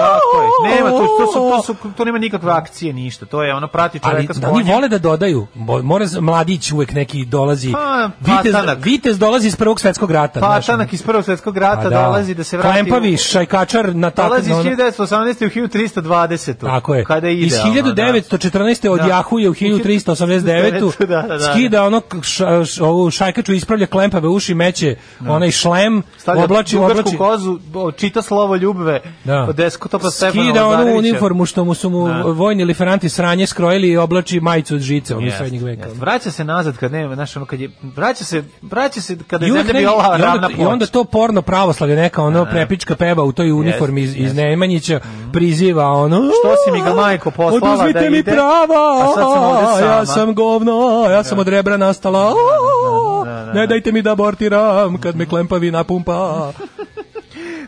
Speaker 6: Tako
Speaker 7: Oh!
Speaker 6: je. Nema to, to, su, to, su, to nema nikakve akcije, ništa. To je ono prati
Speaker 7: Ali
Speaker 6: čoveka s
Speaker 7: da oni
Speaker 6: konjem.
Speaker 7: vole da dodaju, Bo- mora z- mladić uvek neki dolazi,
Speaker 6: Pa,
Speaker 7: vitez,
Speaker 6: Patanak.
Speaker 7: vitez dolazi iz prvog svetskog rata. znaš,
Speaker 6: Patanak iz Prvog svjetskog
Speaker 7: ono.
Speaker 6: rata
Speaker 7: Pa da.
Speaker 6: dolazi da se vrati.
Speaker 7: Klempaviš, šajkačar na
Speaker 6: u-
Speaker 7: tako.
Speaker 6: Dolazi iz
Speaker 7: na ono-
Speaker 6: 1918. u 1920.
Speaker 7: Tako je.
Speaker 6: Kada je
Speaker 7: Iz
Speaker 6: idealno,
Speaker 7: 1914. od
Speaker 6: Da.
Speaker 7: Jahuje u 1389.
Speaker 6: Da, da, da.
Speaker 7: skida ono k- ša, š- ovu šajkaču, ispravlja klempave uši, meće onaj šlem,
Speaker 6: Stavlja
Speaker 7: oblači,
Speaker 6: dugačku
Speaker 7: oblači.
Speaker 6: kozu, bo- čita slovo ljubve
Speaker 7: Da.
Speaker 6: od deskotopa Stefana
Speaker 7: Skida onu
Speaker 6: Pa Lazarevića.
Speaker 7: uniformu što mu su mu vojni liferanti sranje skrojili i oblači majicu od žice, ono iz
Speaker 6: Jeste,
Speaker 7: srednjeg veka.
Speaker 6: jeste. Vraća se nazad kad nema, znaš, ono kad je, vraća se, vraća se kada
Speaker 7: I,
Speaker 6: je
Speaker 7: uvek
Speaker 6: zemlja
Speaker 7: negdje-
Speaker 6: bila
Speaker 7: i,
Speaker 6: ravna
Speaker 7: onda,
Speaker 6: ploča.
Speaker 7: I onda to porno pravoslavlje, neka ono prepička peva u toj uniformi iz, iz Nemanjića, priziva ono...
Speaker 6: Mhm. Što si mi ga, majko, poslala
Speaker 7: Oduzmite
Speaker 6: da
Speaker 7: mi
Speaker 6: ide,
Speaker 7: prava,
Speaker 6: a sad sam ovde sama."
Speaker 7: ja sam govno, ja sam od rebra nastala,
Speaker 6: da, da, Mhm. da, da.
Speaker 7: ne dajte mi da abortiram kad me klempavi napumpa.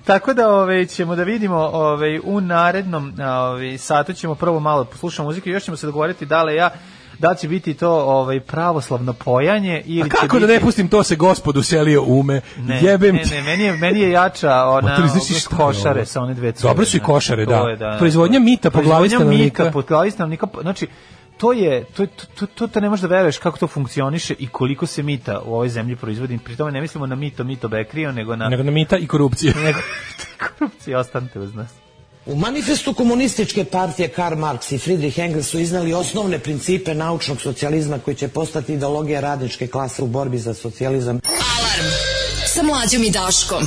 Speaker 6: Tako da ove, ćemo da vidimo ovaj, ove, u narednom ove, satu ćemo prvo malo poslušati muziku i još ćemo se dogovoriti da li ja da li će biti to ovaj pravoslavno pojanje ili
Speaker 7: A kako
Speaker 6: će
Speaker 7: da ne
Speaker 6: biti...
Speaker 7: pustim to se gospodu selio ume?
Speaker 6: Ne,
Speaker 7: Jebem
Speaker 6: ne,
Speaker 7: ti.
Speaker 6: ne, meni je, meni je jača ona
Speaker 7: Ma, to nisi šta je ovo?
Speaker 6: košare sa one dve cure.
Speaker 7: Dobro su i
Speaker 6: znaš,
Speaker 7: košare,
Speaker 6: to
Speaker 7: da.
Speaker 6: je,
Speaker 7: Proizvodnja mita po glavi
Speaker 6: Proizvodnja
Speaker 7: stanovnika.
Speaker 6: mita po glavi stanovnika, po- znači, to je, to, to, to, to, to ne možeš da veruješ kako to funkcioniše i koliko se mita u ovoj zemlji proizvodi. Pri tome ne mislimo na mito, mito bekrio, nego na
Speaker 7: Nego na mita i korupcije.
Speaker 6: nego korupcije ostante uz nas.
Speaker 9: U manifestu komunističke partije Karl Marx i Friedrich Engels su iznali osnovne principe naučnog socijalizma koji će postati ideologija radničke klase u borbi za socijalizam.
Speaker 4: Alarm sa mlađom i Daškom.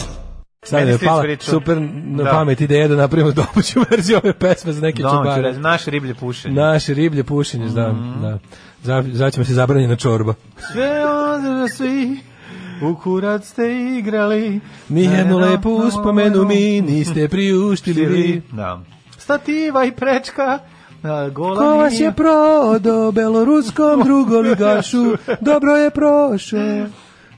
Speaker 7: Sad
Speaker 6: Meni
Speaker 7: je
Speaker 6: ste
Speaker 7: pala
Speaker 6: ispričali.
Speaker 7: super na
Speaker 6: Da.
Speaker 7: pamet ideja da napravimo domaću verziju ove pesme za neke
Speaker 6: Domaću
Speaker 7: čubare.
Speaker 6: rezu, naše riblje pušenje.
Speaker 7: Naše riblje pušenje, da,
Speaker 6: Mhm.
Speaker 7: da. Za, zaćemo se zabranjena čorba.
Speaker 6: Sve ozira svi, u kurac ste igrali.
Speaker 7: Nijednu
Speaker 6: Ne,
Speaker 7: lepu
Speaker 6: na- na-
Speaker 7: uspomenu mi niste priuštili vi.
Speaker 6: Da. Stativa i prečka, a, gola
Speaker 7: Ko vas
Speaker 6: nije.
Speaker 7: je prodo beloruskom drugoligašu, dobro je prošao.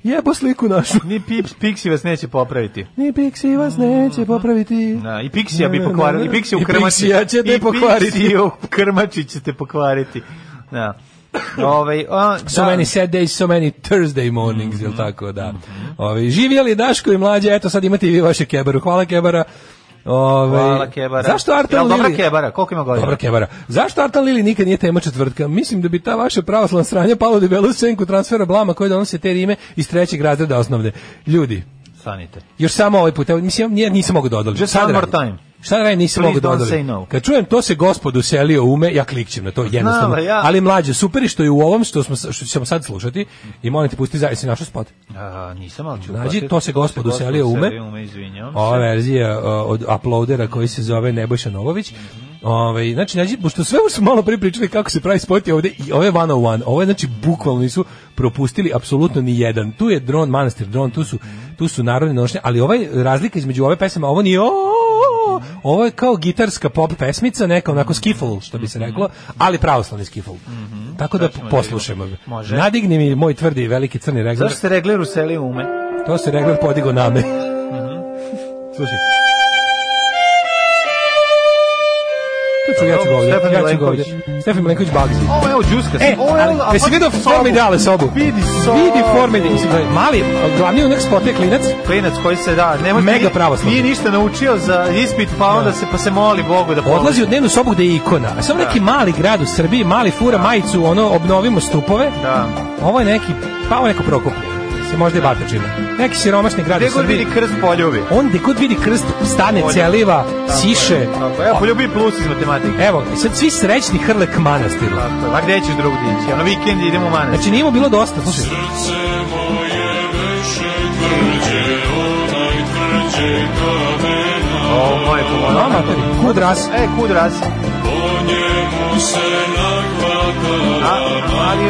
Speaker 7: Jebo sliku našu.
Speaker 6: Ni Pips, Pixi vas neće popraviti.
Speaker 7: Ni Pixi vas
Speaker 6: Mhm.
Speaker 7: neće popraviti.
Speaker 6: Da, I Pixija bi pokvarili. I Pixija u
Speaker 7: I
Speaker 6: krmači.
Speaker 7: Pixija će te pokvariti.
Speaker 6: I Pixija u krmači će te pokvariti. Da. Ove, a,
Speaker 7: So
Speaker 6: da. Mhm.
Speaker 7: many sad days, so many Thursday mornings, jel tako, da. Ove, živjeli Daško i mlađe, eto sad imate i vi vaše kebaru. Hvala kebara. Ove,
Speaker 6: Hvala Kebara.
Speaker 7: ovaj- Zašto Artan
Speaker 6: Jel
Speaker 7: Lili...
Speaker 6: dobra Kebara? Koliko ima godina?
Speaker 7: Dobra kebara. Zašto Artan Lili nikad nije tema četvrtka? Mislim da bi ta vaša pravoslavna sranja pala u debelu senku transfera blama koje donose te rime iz trećeg razreda osnovne. Ljudi,
Speaker 6: Stanite.
Speaker 7: još samo ovaj put, evo, mislim, ja nisam mogao da odolim.
Speaker 6: Just
Speaker 7: Šta da
Speaker 6: one more
Speaker 7: radim?
Speaker 6: time.
Speaker 7: Šta da radim, nisam
Speaker 6: Please
Speaker 7: mogao da
Speaker 6: don't
Speaker 7: odolim.
Speaker 6: say no.
Speaker 7: Kad čujem to se gospodu selio ume, ja klikćem na to jednostavno.
Speaker 6: ali ja-
Speaker 7: Ali mlađe, super je što je u ovom što, smo, sa- što ćemo sad slušati i molim te pusti zaista našo spot.
Speaker 6: A, nisam, ali ću
Speaker 7: Nađi,
Speaker 6: uplatiti.
Speaker 7: to se gospodu selio ume.
Speaker 6: selio ume, izvinjavam se.
Speaker 7: Ova verzija uh, od uploadera koji se zove Nebojša Novović. Ovaj znači znači pošto sve ovo što smo malo prije pričali kako se pravi spot je ovde i ove 101, ovo je znači bukvalno nisu propustili apsolutno ni jedan. Tu je dron manastir dron, tu su tu su narodne nošnje, ali ovaj razlika između ove pesme, ovo nije "O", ovo je kao gitarska pop pesmica, neka onako skiffle što bi se reklo, ali pravoslavni skiffle. Tako da
Speaker 6: Hoćemo da
Speaker 7: poslušajmo.
Speaker 6: vidimo. Može.
Speaker 7: Nadigni mi moj tvrdi i veliki crni regler.
Speaker 6: Zašto se regler uselio ume?
Speaker 7: To se regler podigo na me.
Speaker 6: Mhm.
Speaker 7: Slušaj. Tu ću, ja ću ga ovdje,
Speaker 6: Stefan
Speaker 7: ja ću ga
Speaker 6: Milenković.
Speaker 7: ovdje. Stefan Milenković Bagzi.
Speaker 6: Ovo je evo džuska.
Speaker 7: E,
Speaker 6: Ovo je,
Speaker 7: ali,
Speaker 6: a
Speaker 7: jesi
Speaker 6: pa-
Speaker 7: vidio formidale sobu?
Speaker 6: Vidi sobu.
Speaker 7: Vidi formidale, mislim da je mali, glavni unak spote klinac,
Speaker 6: klinac koji se da ne može
Speaker 7: Mega
Speaker 6: nije-
Speaker 7: pravoslavni.
Speaker 6: Nije ništa naučio za ispit, pa onda se pa se moli Bogu da pomogne.
Speaker 7: odlazi u dnevnu sobu gde je ikona. A samo neki mali grad u Srbiji, mali fura majicu, ono, obnovimo stupove.
Speaker 6: Da.
Speaker 7: Ovo je neki, pa ovo je neko prokoplje. Se možda je Batočina. Neki siromašni grad u
Speaker 6: Gde god
Speaker 7: Srbiji.
Speaker 6: vidi krst poljubi.
Speaker 7: On gde god vidi krst, stane,
Speaker 6: Poljubi.
Speaker 7: celiva,
Speaker 6: Tako
Speaker 7: siše.
Speaker 6: je, tako je. Evo, poljubi plus iz matematike.
Speaker 7: Evo, i sad svi srećni hrle k manastiru.
Speaker 6: Tako je. A gde ćeš drugdje ići? Ono vikend idemo u manastir.
Speaker 7: Znači, nije mu bilo dosta, slušaj. Znači-
Speaker 6: O, moje pomoći.
Speaker 7: No, materi, kud ras.
Speaker 6: E, kud raz? Po njemu se nahvata ali,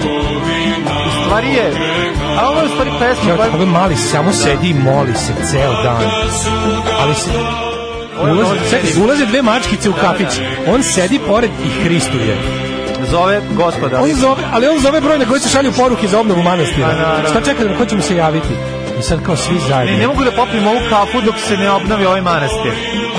Speaker 6: u stvari je, a ovo je u stvari pesma
Speaker 7: Ja,
Speaker 6: koja
Speaker 7: ovaj mali samo sedi i moli se ceo dan. Ali se... Ulaze, čekaj, ulaze dve mačkice u kafić. On sedi pored i hristuje.
Speaker 6: zove gospoda.
Speaker 7: On zove, ali on zove broj na koji se šalju poruke za obnovu
Speaker 6: Pa, da,
Speaker 7: manastira.
Speaker 6: da.
Speaker 7: Šta čekate, na ko ćemo se javiti? I sad kao svi
Speaker 6: Ne, ne
Speaker 7: zajedno.
Speaker 6: mogu da popim ovu kafu dok se ne obnovi ovaj manastir.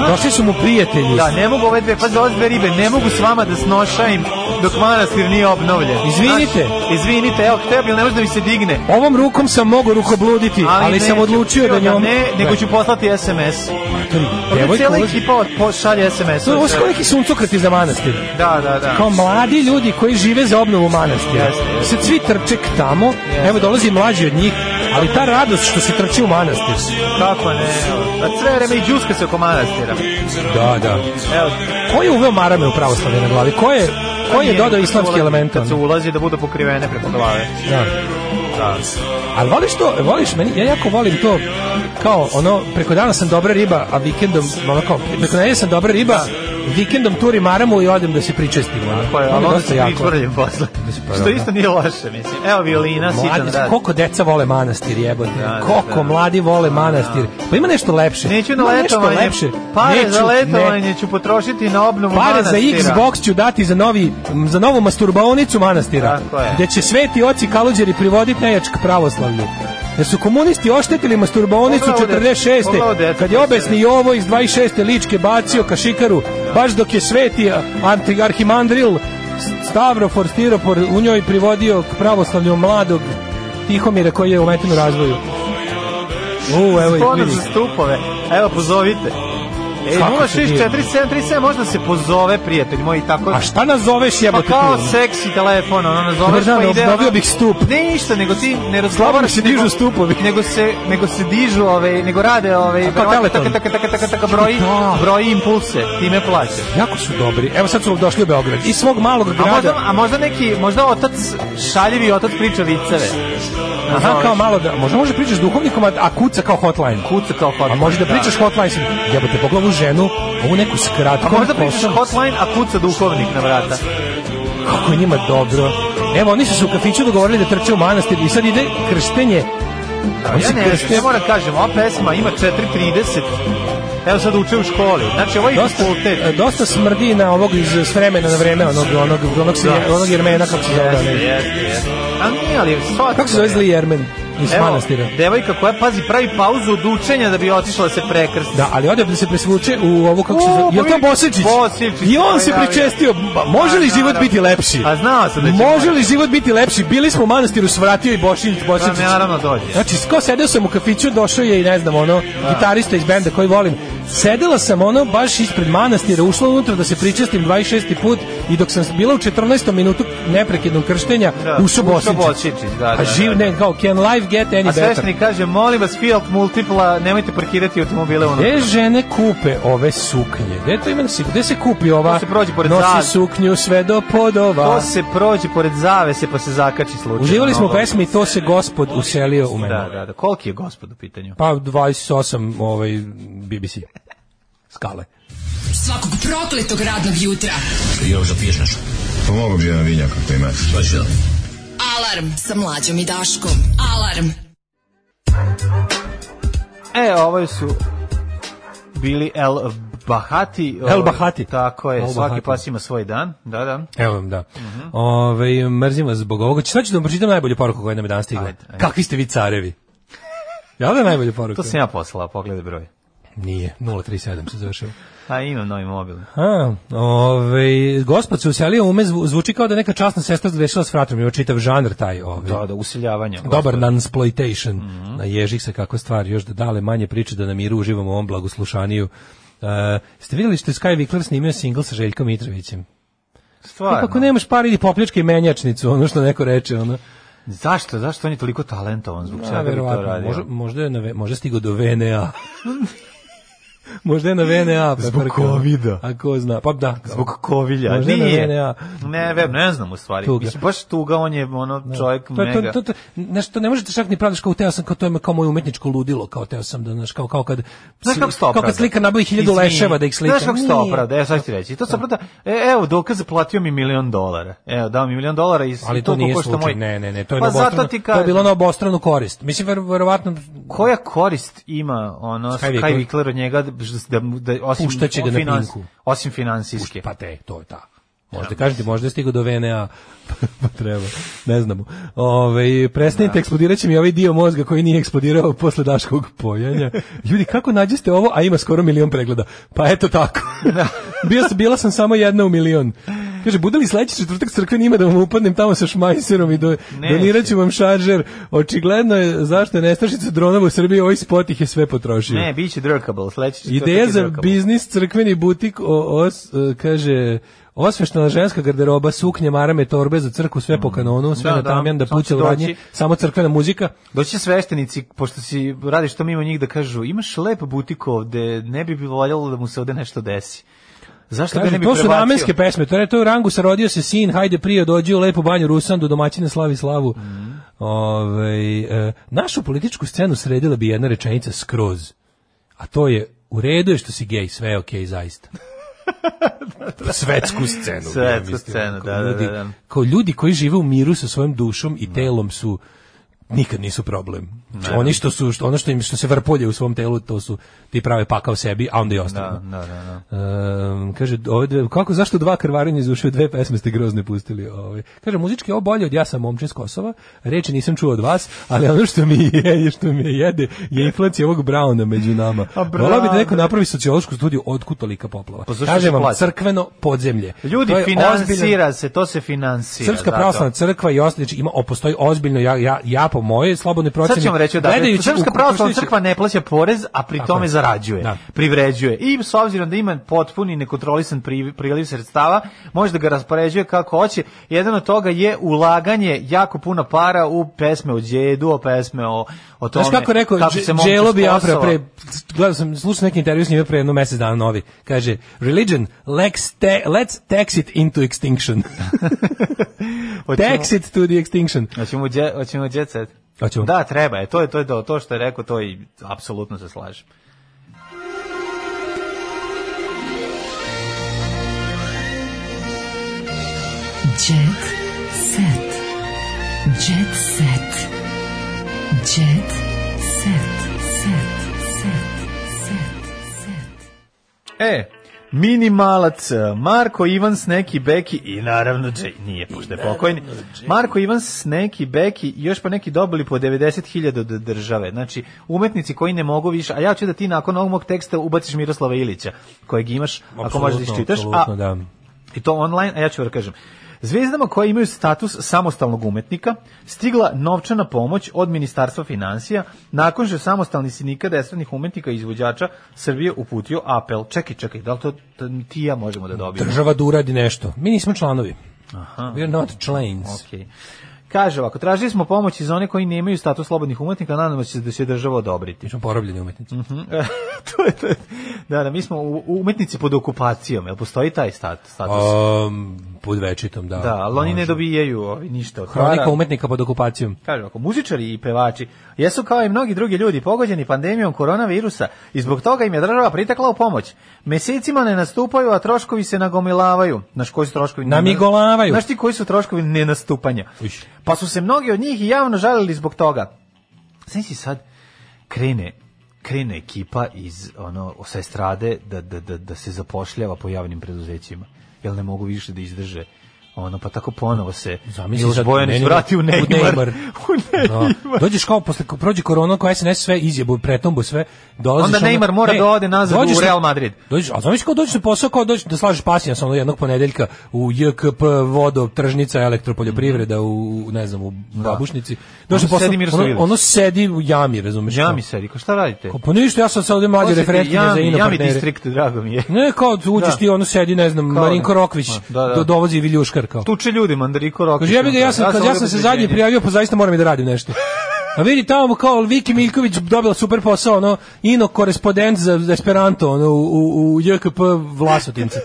Speaker 7: Došli su mu prijatelji.
Speaker 6: Da, ne mogu ove dve, pa ove dve ribe, ne mogu s vama da snošajem dok manastir nije obnovljen.
Speaker 7: Izvinite.
Speaker 6: Znaš, izvinite, evo, hteo bi, ali ne može da mi se digne.
Speaker 7: Ovom rukom sam mogao rukobluditi, ali, sam
Speaker 6: neću,
Speaker 7: odlučio da njom...
Speaker 6: Ne, nego ću poslati SMS. Ovdje
Speaker 7: Devojka
Speaker 6: cijela
Speaker 7: ulazi-
Speaker 6: ekipa od- pošalje SMS.
Speaker 7: To je ovo su kao neki suncokrati za manastir.
Speaker 6: Da, da, da.
Speaker 7: kao mladi ljudi koji žive za obnovu manastira.
Speaker 6: Jeste,
Speaker 7: Se svi trče k tamo, evo dolazi mlađi od njih, ali ta radost što se trči u manastir.
Speaker 6: Kako ne? evo. A sve vreme i džuska se oko manastira.
Speaker 7: Da, da.
Speaker 6: Evo,
Speaker 7: Ko je uveo marame u pravoslavlje na glavi? Ko je, ko je
Speaker 6: Pa nije
Speaker 7: dodao
Speaker 6: kad se
Speaker 7: islamski
Speaker 6: ulazi-
Speaker 7: element?
Speaker 6: Kad se
Speaker 7: ono?
Speaker 6: ulazi da budu pokrivene preko glave.
Speaker 7: Da.
Speaker 6: Da.
Speaker 7: Ali voliš to, voliš meni, ja jako volim to, kao ono, preko dana sam dobra riba, a vikendom, ono kao, preko dana sam dobra riba, vikendom turim maramu i odem da se pričestim. ono.
Speaker 6: Ko je,
Speaker 7: To mi
Speaker 6: ali
Speaker 7: je
Speaker 6: onda
Speaker 7: dosta
Speaker 6: se
Speaker 7: jako. pa
Speaker 6: pričvrljim posle. Što isto nije loše, mislim. Evo violina, sitan
Speaker 7: Mladi,
Speaker 6: rad.
Speaker 7: koliko deca vole manastir, jebote.
Speaker 6: da,
Speaker 7: koliko
Speaker 6: da.
Speaker 7: mladi vole manastir. Pa ima nešto lepše.
Speaker 6: Neću na
Speaker 7: Ima nešto
Speaker 6: letovanje.
Speaker 7: lepše.
Speaker 6: Pare
Speaker 7: Neću,
Speaker 6: za
Speaker 7: ne.
Speaker 6: letovanje ću potrošiti na obnovu
Speaker 7: Pare za
Speaker 6: manastira.
Speaker 7: Xbox ću dati za, novi, m, za novu masturbaonicu manastira.
Speaker 6: Tako je.
Speaker 7: Gde će sveti oci kaluđeri privoditi nejačk pravoslavlju. Jer su komunisti oštetili masturbaonicu
Speaker 6: Pogledaj,
Speaker 7: 46.
Speaker 6: pogledaj,
Speaker 7: Kad je obesni Jovo iz 26. ličke bacio kašikaru, baš dok je sveti a, anti- arhimandril Stavro Forstiropor u njoj privodio k pravoslavlju mladog Tihomira koji je umeten u razvoju. U, evo ih,
Speaker 6: Spona
Speaker 7: vidi.
Speaker 6: za stupove. Evo, pozovite. E,
Speaker 7: Kako se dijem?
Speaker 6: 064 možda se pozove, prijatelj moj, i tako...
Speaker 7: A šta nazoveš jebote
Speaker 6: Pa kao
Speaker 7: tu?
Speaker 6: seksi telefon, ono, nazoveš
Speaker 7: Državno,
Speaker 6: pa ide... ono-
Speaker 7: obnovio bih stup.
Speaker 6: Ne, ništa, nego ti
Speaker 7: Slabo
Speaker 6: ne razgovaraš...
Speaker 7: se
Speaker 6: nego-
Speaker 7: dižu stupovi.
Speaker 6: Nego se, nego se dižu, ove, nego rade, ovaj, ove,
Speaker 7: A kao Teleton.
Speaker 6: tako, tako, tako, tako, tako, broji,
Speaker 7: Da.
Speaker 6: broji impulse, time plaća.
Speaker 7: Jako su dobri. Evo sad su došli u Beograd. Iz svog malog
Speaker 6: A možda,
Speaker 7: grada.
Speaker 6: a možda neki, možda otac, šaljivi otac priča viceve.
Speaker 7: Aha, kao malo da, možda može pričaš s duhovnikom, a, a kuca kao hotline.
Speaker 6: Kuca kao hotline.
Speaker 7: A može da pričaš hotline, sa- jebote, pogledaj ovu ženu, ovu neku skratku.
Speaker 6: A možda pričaš hotline, a kuca duhovnik na vrata.
Speaker 7: Kako je njima dobro. Evo, oni su se u kafiću dogovorili da trče u manastir i sad ide krštenje. Oni
Speaker 6: Ja
Speaker 7: se
Speaker 6: ne,
Speaker 7: krste-
Speaker 6: ja moram kažem, ova pesma ima 4.30. Evo sad uče u školi. Znači, ovo je
Speaker 7: Dosta,
Speaker 6: fakultet.
Speaker 7: e, dosta smrdi na ovog iz s vremena na vreme, onog, onog, onog, se-
Speaker 6: Da.
Speaker 7: onog jermena, kako se zove.
Speaker 6: Jeste,
Speaker 7: onaj.
Speaker 6: jeste, jeste. A nije, ali svakako...
Speaker 7: Kako se zove
Speaker 6: je.
Speaker 7: zli jermen iz
Speaker 6: Evo,
Speaker 7: manastira?
Speaker 6: devojka koja pazi pravi pauzu od učenja da bi otišla da se prekrsti.
Speaker 7: Da, ali ode da se presvuče u ovo kako se
Speaker 6: O,
Speaker 7: zove.
Speaker 6: pa
Speaker 7: Je to
Speaker 6: vidi,
Speaker 7: Bosičić?
Speaker 6: Bosiljčić,
Speaker 7: I on
Speaker 6: pa
Speaker 7: se
Speaker 6: ja,
Speaker 7: pričestio. Ba, Može li
Speaker 6: Pa,
Speaker 7: život
Speaker 6: da,
Speaker 7: biti
Speaker 6: da.
Speaker 7: lepši?
Speaker 6: A znao sam da će
Speaker 7: Može li život biti lepši? Bili smo u manastiru, svratio i Bošilić
Speaker 6: Pa
Speaker 7: Bosičić.
Speaker 6: naravno dođe.
Speaker 7: Znači, ko sedeo sam u kafiću, došao je i ne znam, ono, gitarista iz benda koji volim. Sedela sam ono baš ispred manastira, ušla unutra da se pričestim 26. put i dok sam bila u 14. minutu neprekidnog krštenja,
Speaker 6: Da,
Speaker 7: ušao Bosičić.
Speaker 6: Bosiljčić, da, da,
Speaker 7: A živ,
Speaker 6: da,
Speaker 7: ne, kao, can life get any
Speaker 6: A
Speaker 7: better?
Speaker 6: sveštenik kaže, molim vas, Fiat Multipla, nemojte parkirati automobile unutra.
Speaker 7: Gde žene kupe ove suknje? Gde to ima da se, gde se kupi ova?
Speaker 6: To se prođe pored
Speaker 7: Nosi
Speaker 6: zad.
Speaker 7: suknju sve do podova.
Speaker 6: To se prođe pored zavese pa se zakači slučajno.
Speaker 7: Uživali smo u
Speaker 6: Ono.
Speaker 7: pesmi To se gospod uselio u mene.
Speaker 6: Da, da, da. Koliki je gospod u pitanju?
Speaker 7: Pa 28 ovaj, BBC. Skale.
Speaker 4: Svakog prokletog radnog jutra.
Speaker 13: Još da piješ nešto? Pomogu bi jedan vinjak ako ima. Šta će da?
Speaker 4: Alarm sa mlađom i Daškom. Alarm.
Speaker 6: E, ovo su bili El Bahati. ovaj,
Speaker 7: El Bahati.
Speaker 6: Tako je,
Speaker 7: El
Speaker 6: svaki
Speaker 7: Bahati.
Speaker 6: pas ima svoj dan. Da, da.
Speaker 7: Evo vam da.
Speaker 6: Mhm.
Speaker 7: Ove, mrzim vas zbog ovoga. Sad ću da vam pročitam najbolju poruku koja nam je danas stigla.
Speaker 6: Ajde, ajde.
Speaker 7: Kakvi ste vi carevi? Ja da je najbolja poruka?
Speaker 6: To sam ja poslao, pogledaj broj.
Speaker 7: Nije, 037 se završava.
Speaker 6: A imam novi mobil.
Speaker 7: A, ovaj gospod se uselio ume zvu- zvuči kao da je neka časna sestra zgrešila s fratrom, ima čitav žanr taj ovaj.
Speaker 6: Da, da, useljavanje.
Speaker 7: Dobar nansploitation. Na ježih se kako stvari još da dale manje priče da na miru uživamo u ovom blagoslušaniju. Uh, ste vidjeli što je Sky Vikler snimio singl sa Željkom Mitrovićem?
Speaker 6: Stvarno.
Speaker 7: Kako nemaš par ili popljačke menjačnicu, ono što neko reče, ono.
Speaker 6: Zašto? Zašto on je toliko talentovan? Zbog
Speaker 7: A,
Speaker 6: čega bi to
Speaker 7: verovatno,
Speaker 6: radio?
Speaker 7: možda, možda je na, ve- možda je stigao do VNA. možda je na VNA. Pa
Speaker 6: Zbog
Speaker 7: prkao.
Speaker 6: covida.
Speaker 7: A ko zna, pa da. kao.
Speaker 6: Zbog kovilja.
Speaker 7: Možda je na
Speaker 6: Nije.
Speaker 7: VNA.
Speaker 6: Ne, vem, ne znam u stvari.
Speaker 7: Tuga.
Speaker 6: Mislim, baš tuga, on je ono, čovjek
Speaker 7: to, je-
Speaker 6: mega.
Speaker 7: To, to, to, znaš, to ne možete čak ni pravdaš kao teo sam, kao to je kao moje umetničko ludilo, kao teo sam da, znaš, kao, kao kad,
Speaker 6: Znaš kako se to
Speaker 7: kao
Speaker 6: opravda?
Speaker 7: kad slika nabavi hiljadu
Speaker 6: Izvini.
Speaker 7: leševa da ih slika.
Speaker 6: Znaš kako se to opravda? Evo sad ću ti reći. To se opravda, e, evo dokaz, platio mi milion dolara. Evo, dao mi milion dolara i
Speaker 7: Ali to
Speaker 6: toliko
Speaker 7: nije
Speaker 6: košta
Speaker 7: slučaj,
Speaker 6: moj-
Speaker 7: ne, ne, ne, to je,
Speaker 6: pa
Speaker 7: na
Speaker 6: zato
Speaker 7: obostranu-
Speaker 6: ti
Speaker 7: to je
Speaker 6: kažem.
Speaker 7: bilo na obostranu korist. Mislim, ver, verovatno,
Speaker 6: Koja korist ima ono
Speaker 7: Sky
Speaker 6: Sky
Speaker 7: Winkler?
Speaker 6: Winkler od njega da, da, da osim
Speaker 7: Puštaće ga na
Speaker 6: finans-
Speaker 7: Pinku.
Speaker 6: osim finansijske.
Speaker 7: pa te, to je ta. Možda kažete, možda je stigao do VNA, pa treba, ne znamo. Ove, prestanite, eksplodirat će mi ovaj dio mozga koji nije eksplodirao posle daškog pojanja. Ljudi, kako nađeste ovo, a ima skoro milion pregleda? Pa eto tako. bila, sam, bila sam samo jedna u milion. Kaže, bude li sledeći četvrtak crkve nima da vam upadnem tamo sa šmajserom i do,
Speaker 6: Neće.
Speaker 7: donirat ću vam šaržer. Očigledno je zašto je nestašica dronova u Srbiji, ovaj spot ih je sve potrošio.
Speaker 6: Ne, biće drkable, sledeći četvrtak
Speaker 7: Ideja
Speaker 6: je
Speaker 7: za
Speaker 6: drkable.
Speaker 7: biznis crkveni butik o, os, e, kaže osveštana ženska garderoba, suknje, marame, torbe za crku, sve po kanonu, sve
Speaker 6: Da,
Speaker 7: na
Speaker 6: da,
Speaker 7: tamjan, da
Speaker 6: samo
Speaker 7: puće
Speaker 6: će
Speaker 7: radnje,
Speaker 6: doći.
Speaker 7: samo crkvena muzika.
Speaker 6: Doći će sveštenici, pošto si radiš to mimo njih, da kažu, imaš lep butik ovde, ne bi bi voljelo da mu se ovde nešto desi. Zašto ga
Speaker 7: Kaže,
Speaker 6: ne bi
Speaker 7: to su
Speaker 6: prebacio?
Speaker 7: ramenske pesme, to je to je u rangu sa rodio se sin, hajde prije dođi u lepu banju Rusandu, domaćine slavi slavu. Ovaj, e, našu političku scenu sredila bi jedna rečenica skroz, a to je u redu je što si gej, sve je okej zaista. Svetsku scenu.
Speaker 6: Svetsku
Speaker 7: mislim, ono,
Speaker 6: scenu,
Speaker 7: kao
Speaker 6: da, da,
Speaker 7: ljudi-
Speaker 6: da, da.
Speaker 7: Kao ljudi koji žive u miru sa svojom dušom i telom su nikad nisu problem. Ne, Oni što su što ono što im što se vrpolje u svom telu to su ti prave pakao sebi, a onda i ostalo.
Speaker 6: Da, da, da,
Speaker 7: da. Um, kaže ove dve, kako zašto dva krvarenja iz ušiju dve pesme ste grozne pustili, ovaj. Kaže muzički ovo bolje od ja sam momčin s Kosova, reči nisam čuo od vas, ali ono što mi je što mi je jede je inflacija ovog Browna među nama. Volao bi da neko napravi sociološku studiju otkud tolika poplava.
Speaker 6: Pa
Speaker 7: Kažem vam
Speaker 6: plaća?
Speaker 7: crkveno podzemlje.
Speaker 6: Ljudi
Speaker 7: To je
Speaker 6: finansira
Speaker 7: ozbiljan-
Speaker 6: se, to se finansira.
Speaker 7: Srpska
Speaker 6: zato.
Speaker 7: pravoslavna crkva i ostali, znači ima o, postoji ozbiljno ja ja ja po mojoj slobodnoj proceni.
Speaker 6: Sad ćemo reći da
Speaker 7: gledajući
Speaker 6: Srpska
Speaker 7: u-
Speaker 6: pravoslavna
Speaker 7: poštujući-
Speaker 6: crkva ne plaća porez, a pri
Speaker 7: Tako
Speaker 6: tome
Speaker 7: je.
Speaker 6: zarađuje,
Speaker 7: Da.
Speaker 6: privređuje. I s obzirom da ima potpuni nekontrolisan pri- priliv sredstava, može da ga raspoređuje kako hoće. Jedan od toga je ulaganje jako puno para u pesme o djedu, o pesme o, o tome.
Speaker 7: Znaš kako je rekao,
Speaker 6: kako se momče
Speaker 7: Dželo Biafra,
Speaker 6: sposao.
Speaker 7: pre, gledao sam, slušao neki intervju s njima pre jedno mesec dana novi, kaže, religion, let's, ta let's tax it into extinction. tax it to the extinction.
Speaker 6: Hoćemo dje, hoćemo jet set?
Speaker 7: Hoćemo.
Speaker 6: Da, treba je. To je to je to, to što je rekao, to i apsolutno se slažem.
Speaker 4: Jet set. Jet set. Jet set. Set. Set. Set. Set.
Speaker 6: E, minimalac, e, Marko Ivan Sneki Beki i naravno Jay, nije pošto je pokojni. Marko Ivan Sneki Beki i još pa neki dobili po 90.000 od države. Znači, umetnici koji ne mogu više, a ja ću da ti nakon ovog mog teksta ubaciš Miroslava Ilića, kojeg imaš, ako možeš da
Speaker 7: Apsolutno,
Speaker 6: iščitaš, a
Speaker 7: apsolutno, da.
Speaker 6: i to online, a ja ću vam kažem. Zvezdama koje imaju status samostalnog umetnika stigla novčana pomoć od Ministarstva financija nakon što je samostalni sindikat desvetnih umetnika i izvođača Srbije uputio apel. Čekaj, čekaj, da li to, to ti i ja možemo da dobijemo?
Speaker 7: Država da uradi nešto. Mi nismo članovi.
Speaker 6: Aha.
Speaker 7: We are not claims.
Speaker 6: Okay. Kaže ovako, tražili smo pomoć iz one koji nemaju status slobodnih umetnika, nadamo se da će država odobriti.
Speaker 7: Mi smo porobljeni umetnici.
Speaker 6: Mhm. to je, to je. Da, da, mi smo u- umetnici pod okupacijom, jel postoji taj stat- status?
Speaker 7: Um, pod večitom, da.
Speaker 6: da, ali oni ne
Speaker 7: Može.
Speaker 6: dobijaju ovi, ništa od
Speaker 7: Hronika
Speaker 6: para.
Speaker 7: umetnika pod okupacijom.
Speaker 6: Kaže ako muzičari i pevači jesu kao i mnogi drugi ljudi pogođeni pandemijom koronavirusa i zbog toga im je država pritakla u pomoć. Mesecima ne nastupaju, a troškovi se nagomilavaju. Znaš koji su troškovi?
Speaker 7: Namigolavaju.
Speaker 6: Znaš ti koji su troškovi nenastupanja?
Speaker 7: Uš.
Speaker 6: Pa su se mnogi od njih i javno žalili zbog toga. Znaš si sad krene krene ekipa iz ono sa estrade da, da, da, da se zapošljava po javnim preduzećima. Jel ne mogu više da izdrže ono pa tako ponovo se
Speaker 7: Zamisli
Speaker 6: Miloš
Speaker 7: sad,
Speaker 6: Bojanić
Speaker 7: meni-
Speaker 6: vrati u
Speaker 7: u
Speaker 6: Neymar.
Speaker 7: Neymar.
Speaker 6: U Neymar.
Speaker 7: Da. Dođeš kao posle ko prođe korona, koja se ne sve izjebu, pretombu sve, dolaziš
Speaker 6: Onda Neymar mora da ode nazad u Real Madrid.
Speaker 7: ono- Dođeš, a znaš kao dođeš na posao, kao dođeš da slažeš pasijans ono jednog ponedeljka u JKP vodo, tržnica, elektropoljoprivreda u u, ne znam, u babušnici. Dođeš na
Speaker 6: Ono
Speaker 7: posao,
Speaker 6: sedi Miroslav
Speaker 7: ono,
Speaker 6: Ilić.
Speaker 7: ono sedi u jami, razumeš?
Speaker 6: Ja mi se rekao, šta radite?
Speaker 7: Kao, Pa ništa, ja sam sad ovde mlađe
Speaker 6: Hoćete
Speaker 7: referentkinje za
Speaker 6: Jami,
Speaker 7: ino
Speaker 6: Jami
Speaker 7: partnere.
Speaker 6: distrikt, drago mi je.
Speaker 7: Ne, kao uđeš
Speaker 6: Da.
Speaker 7: ti, ono sedi, ne znam,
Speaker 6: Kao
Speaker 7: Marinko
Speaker 6: da.
Speaker 7: Rokvić,
Speaker 6: Da, da.
Speaker 7: do, dovozi viljuškar kao.
Speaker 6: Tuče ljudi, mandariko rokić. ono,
Speaker 7: Kaže, ja bih ga, ja sam, kad ja sam se zadnji prijavio, pa zaista moram i da radim nešto. A vidi tamo kao Viki Miljković dobila super posao, ono, ino korespondent za Esperanto, ono, u, u, u JKP Vlasotince.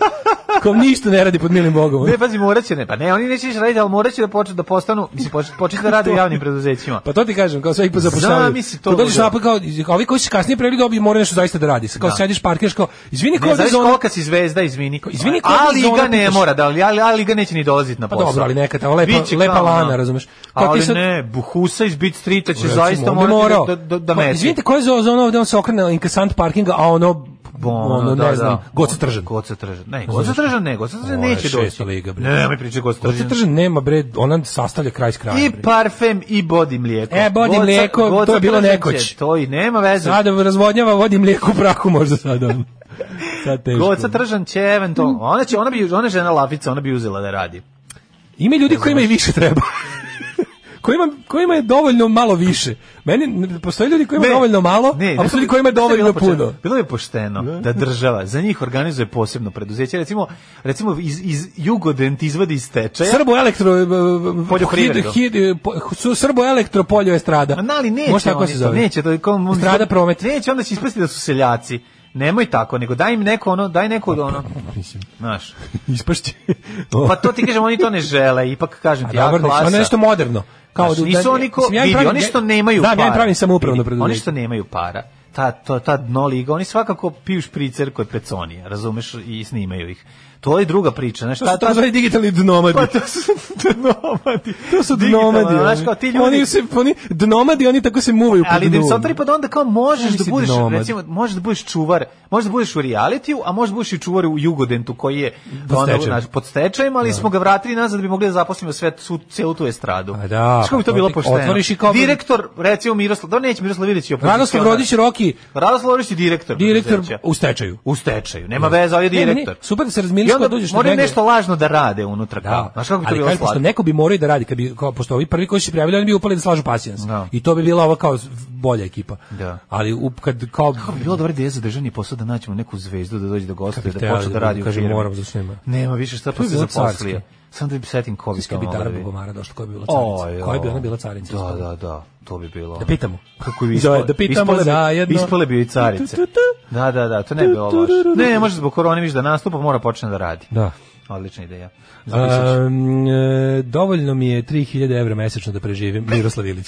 Speaker 7: Kao ništa ne radi pod milim bogom. ono.
Speaker 6: Ne, pazi, morat će, ne, pa ne, oni neće ništa raditi, ali morat će da počne da postanu, mislim, početi da rade u javnim preduzećima.
Speaker 7: Pa to ti kažem, kao sve ih pozapošljavaju.
Speaker 6: Zamisli to,
Speaker 7: Kad dođeš
Speaker 6: ludo.
Speaker 7: napad, kao, a ovi koji se kasnije preveli dobiju, moraju nešto zaista da radi. Kao sediš, parkiraš, kao, izvini,
Speaker 6: Ne,
Speaker 7: kao da
Speaker 6: znaš
Speaker 7: zona...
Speaker 6: kolika si zvezda, izvini.
Speaker 7: Izvini, ko da
Speaker 6: ali ga
Speaker 7: zona
Speaker 6: ne
Speaker 7: pitaš?
Speaker 6: mora, da, ali, ali, ali ga neće ni dolaziti na
Speaker 7: Pa
Speaker 6: posao.
Speaker 7: dobro, ali neka tamo lepa,
Speaker 6: Biće
Speaker 7: lepa
Speaker 6: kao,
Speaker 7: lana,
Speaker 6: ono,
Speaker 7: razumeš? Kao
Speaker 6: Ali
Speaker 7: ti sad-
Speaker 6: ne, Buhusa iz Beat Streeta će
Speaker 7: Recimo,
Speaker 6: zaista
Speaker 7: onda
Speaker 6: morati
Speaker 7: morao.
Speaker 6: da, da, da
Speaker 7: Pa,
Speaker 6: meti.
Speaker 7: Izvinite, ko je za ono ovde on se okrene inkasant parkinga, a ono,
Speaker 6: Bono,
Speaker 7: ono,
Speaker 6: da,
Speaker 7: ne znam,
Speaker 6: da.
Speaker 7: Goca Tržan.
Speaker 6: Goca Tržan. Ne,
Speaker 7: Znaš
Speaker 6: Goca
Speaker 7: šta?
Speaker 6: Tržan ne, Goca Tržan
Speaker 7: Ovo je
Speaker 6: neće doći.
Speaker 7: šesta liga, bre.
Speaker 6: Ne, mi priče Goca
Speaker 7: Goca
Speaker 6: Tržan.
Speaker 7: Tržan nema, bre, ona sastavlja kraj s krajem,
Speaker 6: I
Speaker 7: bre.
Speaker 6: parfem i body mlijeko.
Speaker 7: E, body
Speaker 6: Goca-
Speaker 7: mlijeko,
Speaker 6: Goca
Speaker 7: to je bilo
Speaker 6: Tržan će,
Speaker 7: nekoć.
Speaker 6: To i nema veze.
Speaker 7: Sada razvodnjava, vodi mlijeku u prahu možda sad on. Sad teško.
Speaker 6: Goca Tržan će eventualno. Ona će, ona bi, ona je žena lafica, ona bi uzela da radi.
Speaker 7: Ima ljudi kojima i više treba. kojima, kojima je dovoljno malo više. Meni, postoje ljudi kojima je dovoljno malo,
Speaker 6: ne,
Speaker 7: a
Speaker 6: ne,
Speaker 7: postoje
Speaker 6: bi-
Speaker 7: ljudi kojima je
Speaker 6: znaš šta
Speaker 7: dovoljno
Speaker 6: bilo pošteno?
Speaker 7: puno.
Speaker 6: Bilo bi pošteno da država za njih organizuje posebno preduzeće. Recimo, recimo iz, iz Jugodent izvadi iz tečaja.
Speaker 7: Srbo elektro eh,
Speaker 6: Poljoprivredu.
Speaker 7: hid- hid- eh, po- su- Srbo elektro poljo estrada.
Speaker 6: Ma, ali neće
Speaker 7: Može tako
Speaker 6: oni
Speaker 7: se
Speaker 6: to,
Speaker 7: zove.
Speaker 6: Neće, to je kao...
Speaker 7: Estrada promet.
Speaker 6: Neće, onda će ispasti da su seljaci. Nemoj tako, nego daj im neko ono, daj neko ono,
Speaker 7: Pa, Mislim,
Speaker 6: znaš.
Speaker 7: ispašće.
Speaker 6: Pa to ti kažem, oni to ne žele, ipak kažem ti,
Speaker 7: A
Speaker 6: ja
Speaker 7: dobro, nek-
Speaker 6: klasa.
Speaker 7: ono je nešto moderno. Kao
Speaker 6: Znaš,
Speaker 7: da-
Speaker 6: nisu
Speaker 7: da-
Speaker 6: oni ko,
Speaker 7: mislim, ja im
Speaker 6: vidi,
Speaker 7: pravim-
Speaker 6: oni što nemaju
Speaker 7: Znam,
Speaker 6: para.
Speaker 7: ja im pravim samoupravno
Speaker 6: vidi, Oni
Speaker 7: preduzeće.
Speaker 6: što nemaju para ta, to, ta dno liga, oni svakako piju špricer kod peconija, razumeš, i snimaju ih. To je druga priča, znaš,
Speaker 7: To su takozvani digitalni dnomadi.
Speaker 6: Pa to su dnomadi.
Speaker 7: To su
Speaker 6: Digitalno,
Speaker 7: dnomadi.
Speaker 6: znaš,
Speaker 7: oni.
Speaker 6: kao ti ljudi-
Speaker 7: Oni se, oni, dnomadi, oni tako se muvaju po
Speaker 6: ali da im
Speaker 7: dnu.
Speaker 6: se otvori, pa da onda kao možeš
Speaker 7: Kaži
Speaker 6: da
Speaker 7: si
Speaker 6: budeš,
Speaker 7: nomad.
Speaker 6: recimo, možeš da budeš čuvar, možeš da budeš u realitiju, a možeš da budeš i čuvar u Jugodentu koji je
Speaker 7: Pod
Speaker 6: onda,
Speaker 7: stečajem.
Speaker 6: znaš, pod stečajem, ali smo ga vratili nazad da bi mogli da zaposlimo sve tu celu tu estradu. A
Speaker 7: da,
Speaker 6: Kako bi to
Speaker 7: pa
Speaker 6: bilo
Speaker 7: ti
Speaker 6: pošteno?
Speaker 7: otvoriš i kao-
Speaker 6: Direktor, recimo Miroslav, da neće Miroslav Ilić je opozicionar.
Speaker 7: Radoslav Rodić Roki,
Speaker 6: Radoslav Rodić je direktor.
Speaker 7: direktor
Speaker 6: preduzeća.
Speaker 7: u stečaju.
Speaker 6: u stečaju. Nema veze, on je
Speaker 7: Ne, ne, ne,
Speaker 6: direktor.
Speaker 7: super da se
Speaker 6: I
Speaker 7: razmiriš
Speaker 6: onda
Speaker 7: kad dođeš na
Speaker 6: moraju
Speaker 7: njega.
Speaker 6: nešto lažno da rade unutra. kao.
Speaker 7: Da,
Speaker 6: Znaš kako bi to
Speaker 7: ali
Speaker 6: bilo
Speaker 7: kažem, pošto
Speaker 6: slatko?
Speaker 7: neko bi morao i da radi, kad bi, kao, pošto ovi prvi koji su se prijavili, oni bi upali da slažu pasijans. I to bi bila ova kao z- bolja ekipa.
Speaker 6: Da.
Speaker 7: Ali up, kad kao...
Speaker 6: Kako bi bilo dobro da je za državni posao da naćemo neku zvezdu da dođe da
Speaker 7: Kad bi
Speaker 6: gostuje, da
Speaker 7: htjela
Speaker 6: počne da
Speaker 7: da
Speaker 6: radi u
Speaker 7: kaže,
Speaker 6: firmi.
Speaker 7: moram zato što nema.
Speaker 6: Nema više šta
Speaker 7: To
Speaker 6: pa
Speaker 7: bi
Speaker 6: se
Speaker 7: bilo
Speaker 6: zaposlio.
Speaker 7: carski.
Speaker 6: Samo da bi setim covid
Speaker 7: Kad bi Dara Bogomara došla, koja bi bila carica?
Speaker 6: Oj,
Speaker 7: koja bi
Speaker 6: oj.
Speaker 7: ona bila carica?
Speaker 6: Da, da, da. To bi bilo.
Speaker 7: Da pitamo.
Speaker 6: Kako bi
Speaker 7: Zove,
Speaker 6: ispale,
Speaker 7: da pitamo
Speaker 6: ispale bi-
Speaker 7: zajedno.
Speaker 6: Ispale bi i carice.
Speaker 7: Tu, tu, tu.
Speaker 6: Da, da, da, to ne bi bilo
Speaker 7: Tu, tu,
Speaker 6: loše.
Speaker 7: ru, ru,
Speaker 6: Ne, ne
Speaker 7: ru.
Speaker 6: može zbog korone, viš da nastupa, mora počne da radi.
Speaker 7: Da.
Speaker 6: Odlična ideja. Zapisat ću.
Speaker 7: Um, e, dovoljno mi je 3000 evra mesečno da preživim Miroslav Ilić.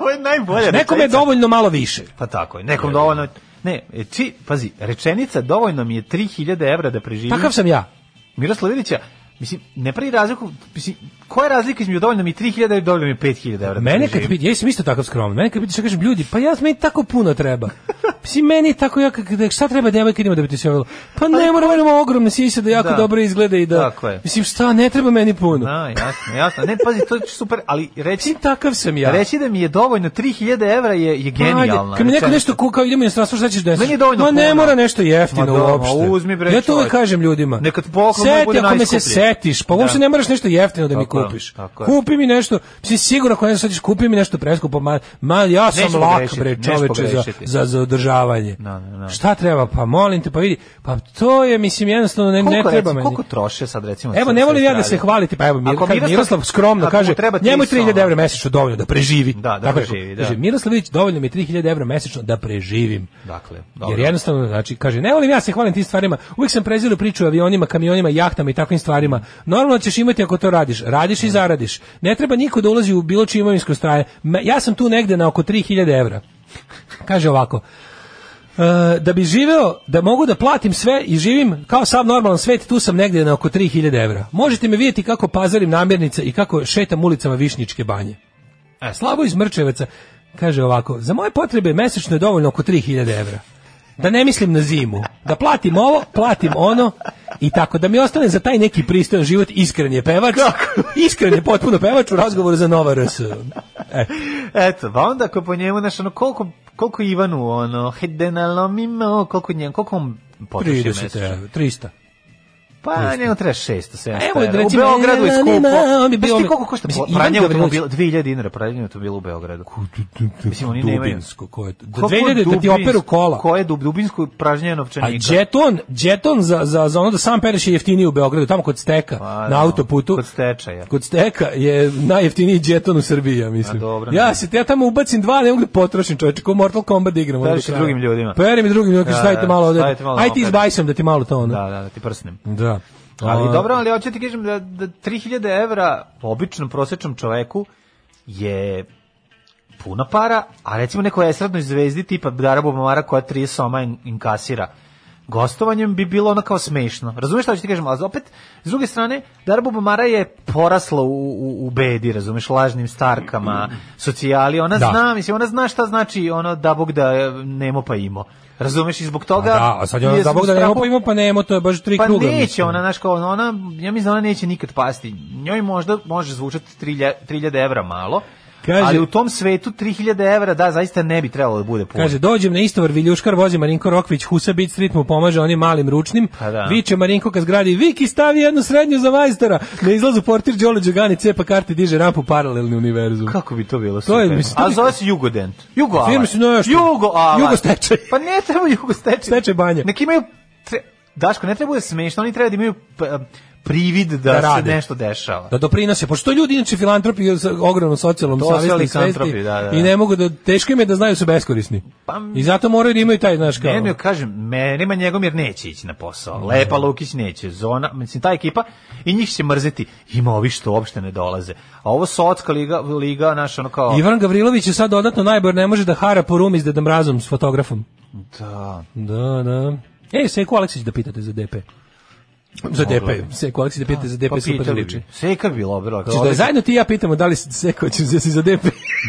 Speaker 6: Ovo je najbolje.
Speaker 7: Znači, Nekom je dovoljno malo više.
Speaker 6: Pa tako je, nekom dovoljno... Ne, e, či, pazi, rečenica dovoljno mi je 3000 evra da preživim.
Speaker 7: Takav sam ja.
Speaker 6: Miroslav Ilića, mislim, ne pravi razliku, mislim, koja je razlika između dovoljno mi je 3000 i dovoljno mi je 5000 evra? da
Speaker 7: Mene
Speaker 6: preživim?
Speaker 7: kad piti, ja sam isto takav skroman. Mene kad piti, što kažem, ljudi, pa ja meni tako puno treba. Mislim, meni tako ja, kad, šta treba devojka ima da bi ti se javila? Pa ne, moram, imamo ogromne sise da jako
Speaker 6: Da.
Speaker 7: dobro izgleda i da...
Speaker 6: Tako je.
Speaker 7: Mislim, šta, ne treba meni puno.
Speaker 6: Da, jasno, jasno. Ne, pazi, to je super, ali reći,
Speaker 7: Mislim, takav sam ja.
Speaker 6: reći da mi je dovoljno 3000 evra je, je
Speaker 7: Pa, ajde,
Speaker 6: genijalno.
Speaker 7: Kad mi neko
Speaker 6: rečenica.
Speaker 7: nešto kuka, idemo u inostranstvo, šta ćeš desiti?
Speaker 6: Meni je dovoljno
Speaker 7: Ma ne
Speaker 6: puno.
Speaker 7: mora nešto jeftino
Speaker 6: Ma da, ma
Speaker 7: uopšte.
Speaker 6: uzmi, bre,
Speaker 7: ja to uvek
Speaker 6: čoveče.
Speaker 7: kažem ljudima.
Speaker 6: Neka ti poklon moj
Speaker 7: Seti
Speaker 6: bude
Speaker 7: ako me se
Speaker 6: najskuplji.
Speaker 7: setiš, pa uopšte
Speaker 6: Da.
Speaker 7: ne moraš nešto jeftino da mi
Speaker 6: Tako je,
Speaker 7: kupiš.
Speaker 6: tako je.
Speaker 7: Kupi mi nešto, mislim sigurno ako ne setiš, kupi mi nešto preskupo, ma, ma ja sam
Speaker 6: Nećemo
Speaker 7: lak
Speaker 6: grešiti,
Speaker 7: bre
Speaker 6: nećemo
Speaker 7: čoveče za,
Speaker 6: grešiti.
Speaker 7: za, za održavanje.
Speaker 6: Da, da, da.
Speaker 7: Šta treba? Pa molim te, pa vidi, pa to je mislim jednostavno ne, ne
Speaker 6: Koliko,
Speaker 7: treba
Speaker 6: recimo,
Speaker 7: meni.
Speaker 6: koliko troše sad recimo?
Speaker 7: Evo,
Speaker 6: sa-
Speaker 7: ne
Speaker 6: sa
Speaker 7: volim ja da se
Speaker 6: strane?
Speaker 7: hvaliti, pa evo, Mir,
Speaker 6: Ako
Speaker 7: kad Miroslav, skromno
Speaker 6: ako mu
Speaker 7: kaže,
Speaker 6: treba
Speaker 7: njemu je
Speaker 6: 300
Speaker 7: 3000 evra mesečno dovoljno da preživi.
Speaker 6: Da, da
Speaker 7: Tako je,
Speaker 6: preživi, da.
Speaker 7: Kaže, Miroslavljević, dovoljno mi je 3000 evra mesečno da preživim.
Speaker 6: Dakle,
Speaker 7: Jer
Speaker 6: dobro.
Speaker 7: jednostavno, znači, kaže, ne volim ja se hvalim tim stvarima, uvijek sam prezirao priču o avionima, kamionima, jahtama i takvim stvarima. Normalno ćeš imati ako to radiš, radiš i zaradiš. Ne treba niko da ulazi u bilo čije imovinsko staje. Ma- Ja sam tu negde na oko 3000 evra. Kaže ovako, E, da bi živeo, da mogu da platim sve i živim kao sav normalan svet, tu sam negdje na oko 3000 evra. Možete me vidjeti kako pazarim namirnice i kako šetam ulicama Višnjičke banje.
Speaker 6: E,
Speaker 7: Slavo iz Mrčevaca kaže ovako, za moje potrebe mesečno je dovoljno oko 3000 evra. Da ne mislim na zimu, da platim ovo, platim ono i tako, da mi ostane za taj neki pristojan život, iskren je pevač, iskren je potpuno pevač u razgovoru za Nova RS. E,
Speaker 6: Eto, pa onda ako po njemu, znaš, ono, koliko, koliko Ivanu, ono, hede na lomimo, koliko njemu, koliko on potroši
Speaker 7: 30
Speaker 6: mesečno?
Speaker 7: evra, 300.
Speaker 6: Pa, njemu treba 600, 700
Speaker 7: Evo,
Speaker 6: evra. U
Speaker 7: recimo,
Speaker 6: Beogradu je
Speaker 7: Elena,
Speaker 6: skupo.
Speaker 7: on bi bio-
Speaker 6: Znaš ti koliko košta Pa,
Speaker 7: Mislim, Ivan
Speaker 6: pranje
Speaker 7: Gavrilović-
Speaker 6: automobila? 2000 dinara pa pranje automobila u Beogradu. Mislim, oni nemaju-
Speaker 7: Dubinsko, ko je to? Da
Speaker 6: Kako
Speaker 7: 2000 da ti
Speaker 6: Dubinsko-
Speaker 7: operu kola.
Speaker 6: Koje je dub, dubinsko pražnjenje novčanika?
Speaker 7: A džeton, džeton za, za, za ono da sam pereš je jeftiniji u Beogradu, tamo kod steka,
Speaker 6: Pa,
Speaker 7: na
Speaker 6: da,
Speaker 7: autoputu.
Speaker 6: Kod stečaja.
Speaker 7: Kod steka je najjeftiniji džeton u Srbiji, ja mislim.
Speaker 6: A dobro,
Speaker 7: ja
Speaker 6: ne.
Speaker 7: se ja tamo ubacim dva, ne mogu da potrošim čoveče, ko Mortal Kombat da igram. ono do
Speaker 6: Periš i
Speaker 7: kraja.
Speaker 6: drugim ljudima.
Speaker 7: Perim i drugim ljudima, kaže,
Speaker 6: Da,
Speaker 7: stavite
Speaker 6: da,
Speaker 7: malo ovde.
Speaker 6: stavite malo
Speaker 7: Aj ti
Speaker 6: ovde.
Speaker 7: izbajsam da ti malo to ono.
Speaker 6: Da, da, da ti prsnem.
Speaker 7: Da.
Speaker 6: Ali
Speaker 7: A,
Speaker 6: dobro, ali hoću ti kažem da, da 3000 evra po običnom prosječnom čoveku je puno para, a recimo nekoj esradnoj zvezdi tipa Dara Bubamara koja 30 soma in- inkasira gostovanjem bi bilo ono kao smešno. Razumeš šta hoću ti kažem, ali opet, s druge strane, Dara Bubamara je porasla u, u, u bedi, razumeš, lažnim starkama, socijali, ona
Speaker 7: Da.
Speaker 6: zna, mislim, ona zna šta znači ono da Bog da e, nemo pa imo. Razumeš, i zbog toga...
Speaker 7: a da, a sad je ono,
Speaker 6: je
Speaker 7: da Bog da
Speaker 6: u
Speaker 7: nemo
Speaker 6: strahu-
Speaker 7: pa ima, pa nemo, to je baš tri
Speaker 6: pa
Speaker 7: kruga.
Speaker 6: neće
Speaker 7: mislim.
Speaker 6: ona, znaš, kao ona, ona, ja mislim da ona neće nikad pasti. Njoj možda može zvučati 3000 3000 evra malo,
Speaker 7: Kaže-
Speaker 6: ali u tom svetu 3000 evra, da, zaista ne bi trebalo da bude puno.
Speaker 7: Kaže, dođem na istovar Viljuškar, vozi Marinko Rokvić, Husa Beat Street mu pomaže onim malim ručnim.
Speaker 6: Pa da.
Speaker 7: Viče Marinko ka zgradi, Viki stavi jednu srednju za majstora. Na izlazu portir Đole Đugani cepa karte, diže rampu paralelni univerzum.
Speaker 6: Kako bi to bilo
Speaker 7: To je,
Speaker 6: super?
Speaker 7: mislim, to
Speaker 6: A
Speaker 7: bi-
Speaker 6: zove se Jugodent. Jugo Alat.
Speaker 7: Firme su nešto.
Speaker 6: Jugo Alat.
Speaker 7: Jugo stečaj.
Speaker 6: Pa ne treba Jugo stečaj.
Speaker 7: Stečaj banje.
Speaker 6: Neki imaju... Tre... Daško, ne treba da bude smešno, oni treba da imaju p- privid da,
Speaker 7: Da
Speaker 6: se
Speaker 7: rade.
Speaker 6: nešto dešava.
Speaker 7: da doprinose, pošto ljudi inače filantropi sa ogromnom socijalnom
Speaker 6: To
Speaker 7: savesti i
Speaker 6: filantropi,
Speaker 7: svesti
Speaker 6: da, da.
Speaker 7: i ne mogu da, teško im je da znaju da su beskorisni. I zato moraju da imaju taj, znaš, kao...
Speaker 6: Ne, ne, kažem, meni ma njegom jer neće ići na posao. Lepa Lukić neće, Zona, mislim, ta ekipa i njih će mrziti. Ima ovi što uopšte ne dolaze. A ovo Socka liga, liga naš, ono kao...
Speaker 7: Ivan Gavrilović je sad dodatno najbolj, ne može da hara po rumi s Dedom Razom, s fotografom.
Speaker 6: Da.
Speaker 7: Da, da. E, Seko Aleksić da pitate za DP. Za
Speaker 6: Moglo
Speaker 7: DP.
Speaker 6: bi.
Speaker 7: Seko Aleksić da pitate za DP,
Speaker 6: pa
Speaker 7: super
Speaker 6: pitali
Speaker 7: zvuči.
Speaker 6: bi. Seka bi bilo, bilo.
Speaker 7: Hoćeš Znači da zajedno ti i ja pitamo da li Seko će da si za DP.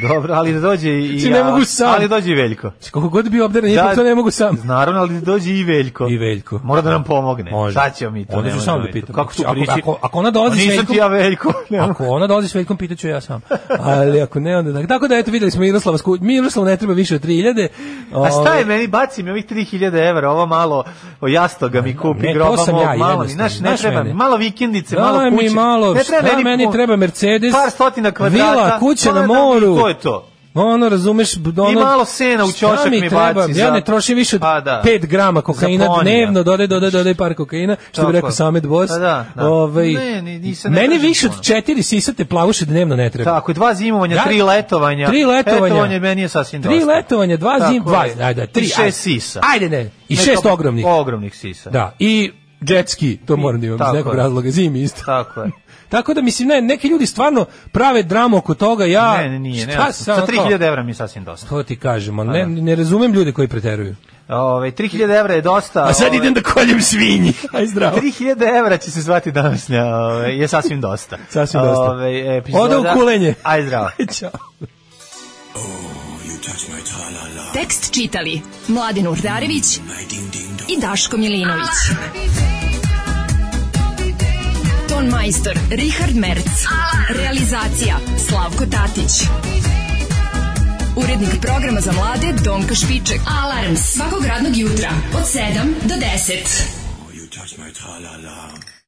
Speaker 6: Dobro, ali da dođe i
Speaker 7: Znači, ne mogu sam.
Speaker 6: Ali dođe i Veljko.
Speaker 7: Koliko god bi obdaren, ipak to ne mogu sam.
Speaker 6: Naravno, ali da dođe i Veljko.
Speaker 7: I Veljko.
Speaker 6: Mora da nam pomogne.
Speaker 7: Može.
Speaker 6: Šta ćemo mi to?
Speaker 7: Onda
Speaker 6: ne
Speaker 7: ću
Speaker 6: možemo
Speaker 7: sam
Speaker 6: mi
Speaker 7: da
Speaker 6: to.
Speaker 7: pitam.
Speaker 6: Kako ću
Speaker 7: Ako-
Speaker 6: prići?
Speaker 7: Ako, ako ona dolazi s
Speaker 6: Nisam
Speaker 7: Veljkom-
Speaker 6: ti ja Veljko. Ne mogu.
Speaker 7: Ako ona dolazi s Veljkom, pitaću ja sam. Ali ako ne, onda... da- Tako da, eto, videli smo Miroslava Sku... Miroslav ne treba više od 3000.
Speaker 6: A šta
Speaker 7: Ovaj,
Speaker 6: je meni, baci mi ovih 3000 evra, ovo malo o jastoga mi kupi,
Speaker 7: Ne, to
Speaker 6: groba
Speaker 7: sam
Speaker 6: mog,
Speaker 7: ja,
Speaker 6: malo mi,
Speaker 7: jednostavno.
Speaker 6: znaš, ne
Speaker 7: Znaš
Speaker 6: treba mi,
Speaker 7: mene.
Speaker 6: malo vikendice,
Speaker 7: Daj
Speaker 6: malo
Speaker 7: mi
Speaker 6: kuće,
Speaker 7: malo,
Speaker 6: ne treba
Speaker 7: šta meni
Speaker 6: pu-
Speaker 7: treba Mercedes,
Speaker 6: par stotina kvadrata,
Speaker 7: vila, kuća
Speaker 6: to
Speaker 7: na
Speaker 6: ne da mi,
Speaker 7: moru.
Speaker 6: to je to.
Speaker 7: Ono, razumeš, b- ono...
Speaker 6: malo sena u
Speaker 7: šta
Speaker 6: ćošak mi
Speaker 7: treba?
Speaker 6: baci
Speaker 7: Ja
Speaker 6: za-
Speaker 7: ne trošim više od
Speaker 6: Pa da.
Speaker 7: 5 grama kokaina
Speaker 6: Za ponija.
Speaker 7: dnevno, dodaj, dodaj, dodaj par kokaina, što
Speaker 6: Tako
Speaker 7: bi rekao
Speaker 6: je.
Speaker 7: Samet Bos.
Speaker 6: Pa da, da.
Speaker 7: Ovaj,
Speaker 6: Ne, ni- nisam ne
Speaker 7: meni
Speaker 6: tražim
Speaker 7: više
Speaker 6: puno.
Speaker 7: od četiri sisate plavuše dnevno ne treba.
Speaker 6: Tako, je, dva zimovanja,
Speaker 7: Ja-
Speaker 6: tri letovanja,
Speaker 7: Tri letovanja.
Speaker 6: letovanje meni je sasvim dosta.
Speaker 7: Tri letovanja, dva
Speaker 6: Tako
Speaker 7: zim, dva,
Speaker 6: je.
Speaker 7: ajde, ajde, tri.
Speaker 6: I šest
Speaker 7: ajde.
Speaker 6: sisa.
Speaker 7: Ajde ne, i
Speaker 6: Ne,
Speaker 7: šest
Speaker 6: to-
Speaker 7: ogromnih.
Speaker 6: Ogromnih sisa.
Speaker 7: Da, i jet ski, to moram da imam iz
Speaker 6: tako
Speaker 7: nekog
Speaker 6: je.
Speaker 7: razloga, zimi isto.
Speaker 6: Tako je.
Speaker 7: Tako da mislim ne, neki ljudi stvarno prave dramu oko toga, ja
Speaker 6: Ne, ne, nije, ne.
Speaker 7: šta sam
Speaker 6: Sa Pa 3000 evra mi je sasvim dosta.
Speaker 7: To ti kažemo, ne, ne razumem ljude koji preteruju.
Speaker 6: Ove, 3000 evra je dosta.
Speaker 7: A sad
Speaker 6: ove,
Speaker 7: idem da koljem svinji. Aj zdravo.
Speaker 6: 3000 evra će se zvati današnja, ove, je sasvim dosta.
Speaker 7: Sasvim dosta.
Speaker 6: Ove, epizoda-
Speaker 7: Ode u kulenje.
Speaker 6: Aj zdravo.
Speaker 7: Ćao.
Speaker 4: Tekst čitali Mladin Urdarević i Daško Milinović. Ton majstor Richard Merc. Realizacija Slavko Tatić. Urednik programa za mlade Donka Špiček. Alarms svakog radnog jutra od 7 do 10.
Speaker 11: You touch my tra-la-la.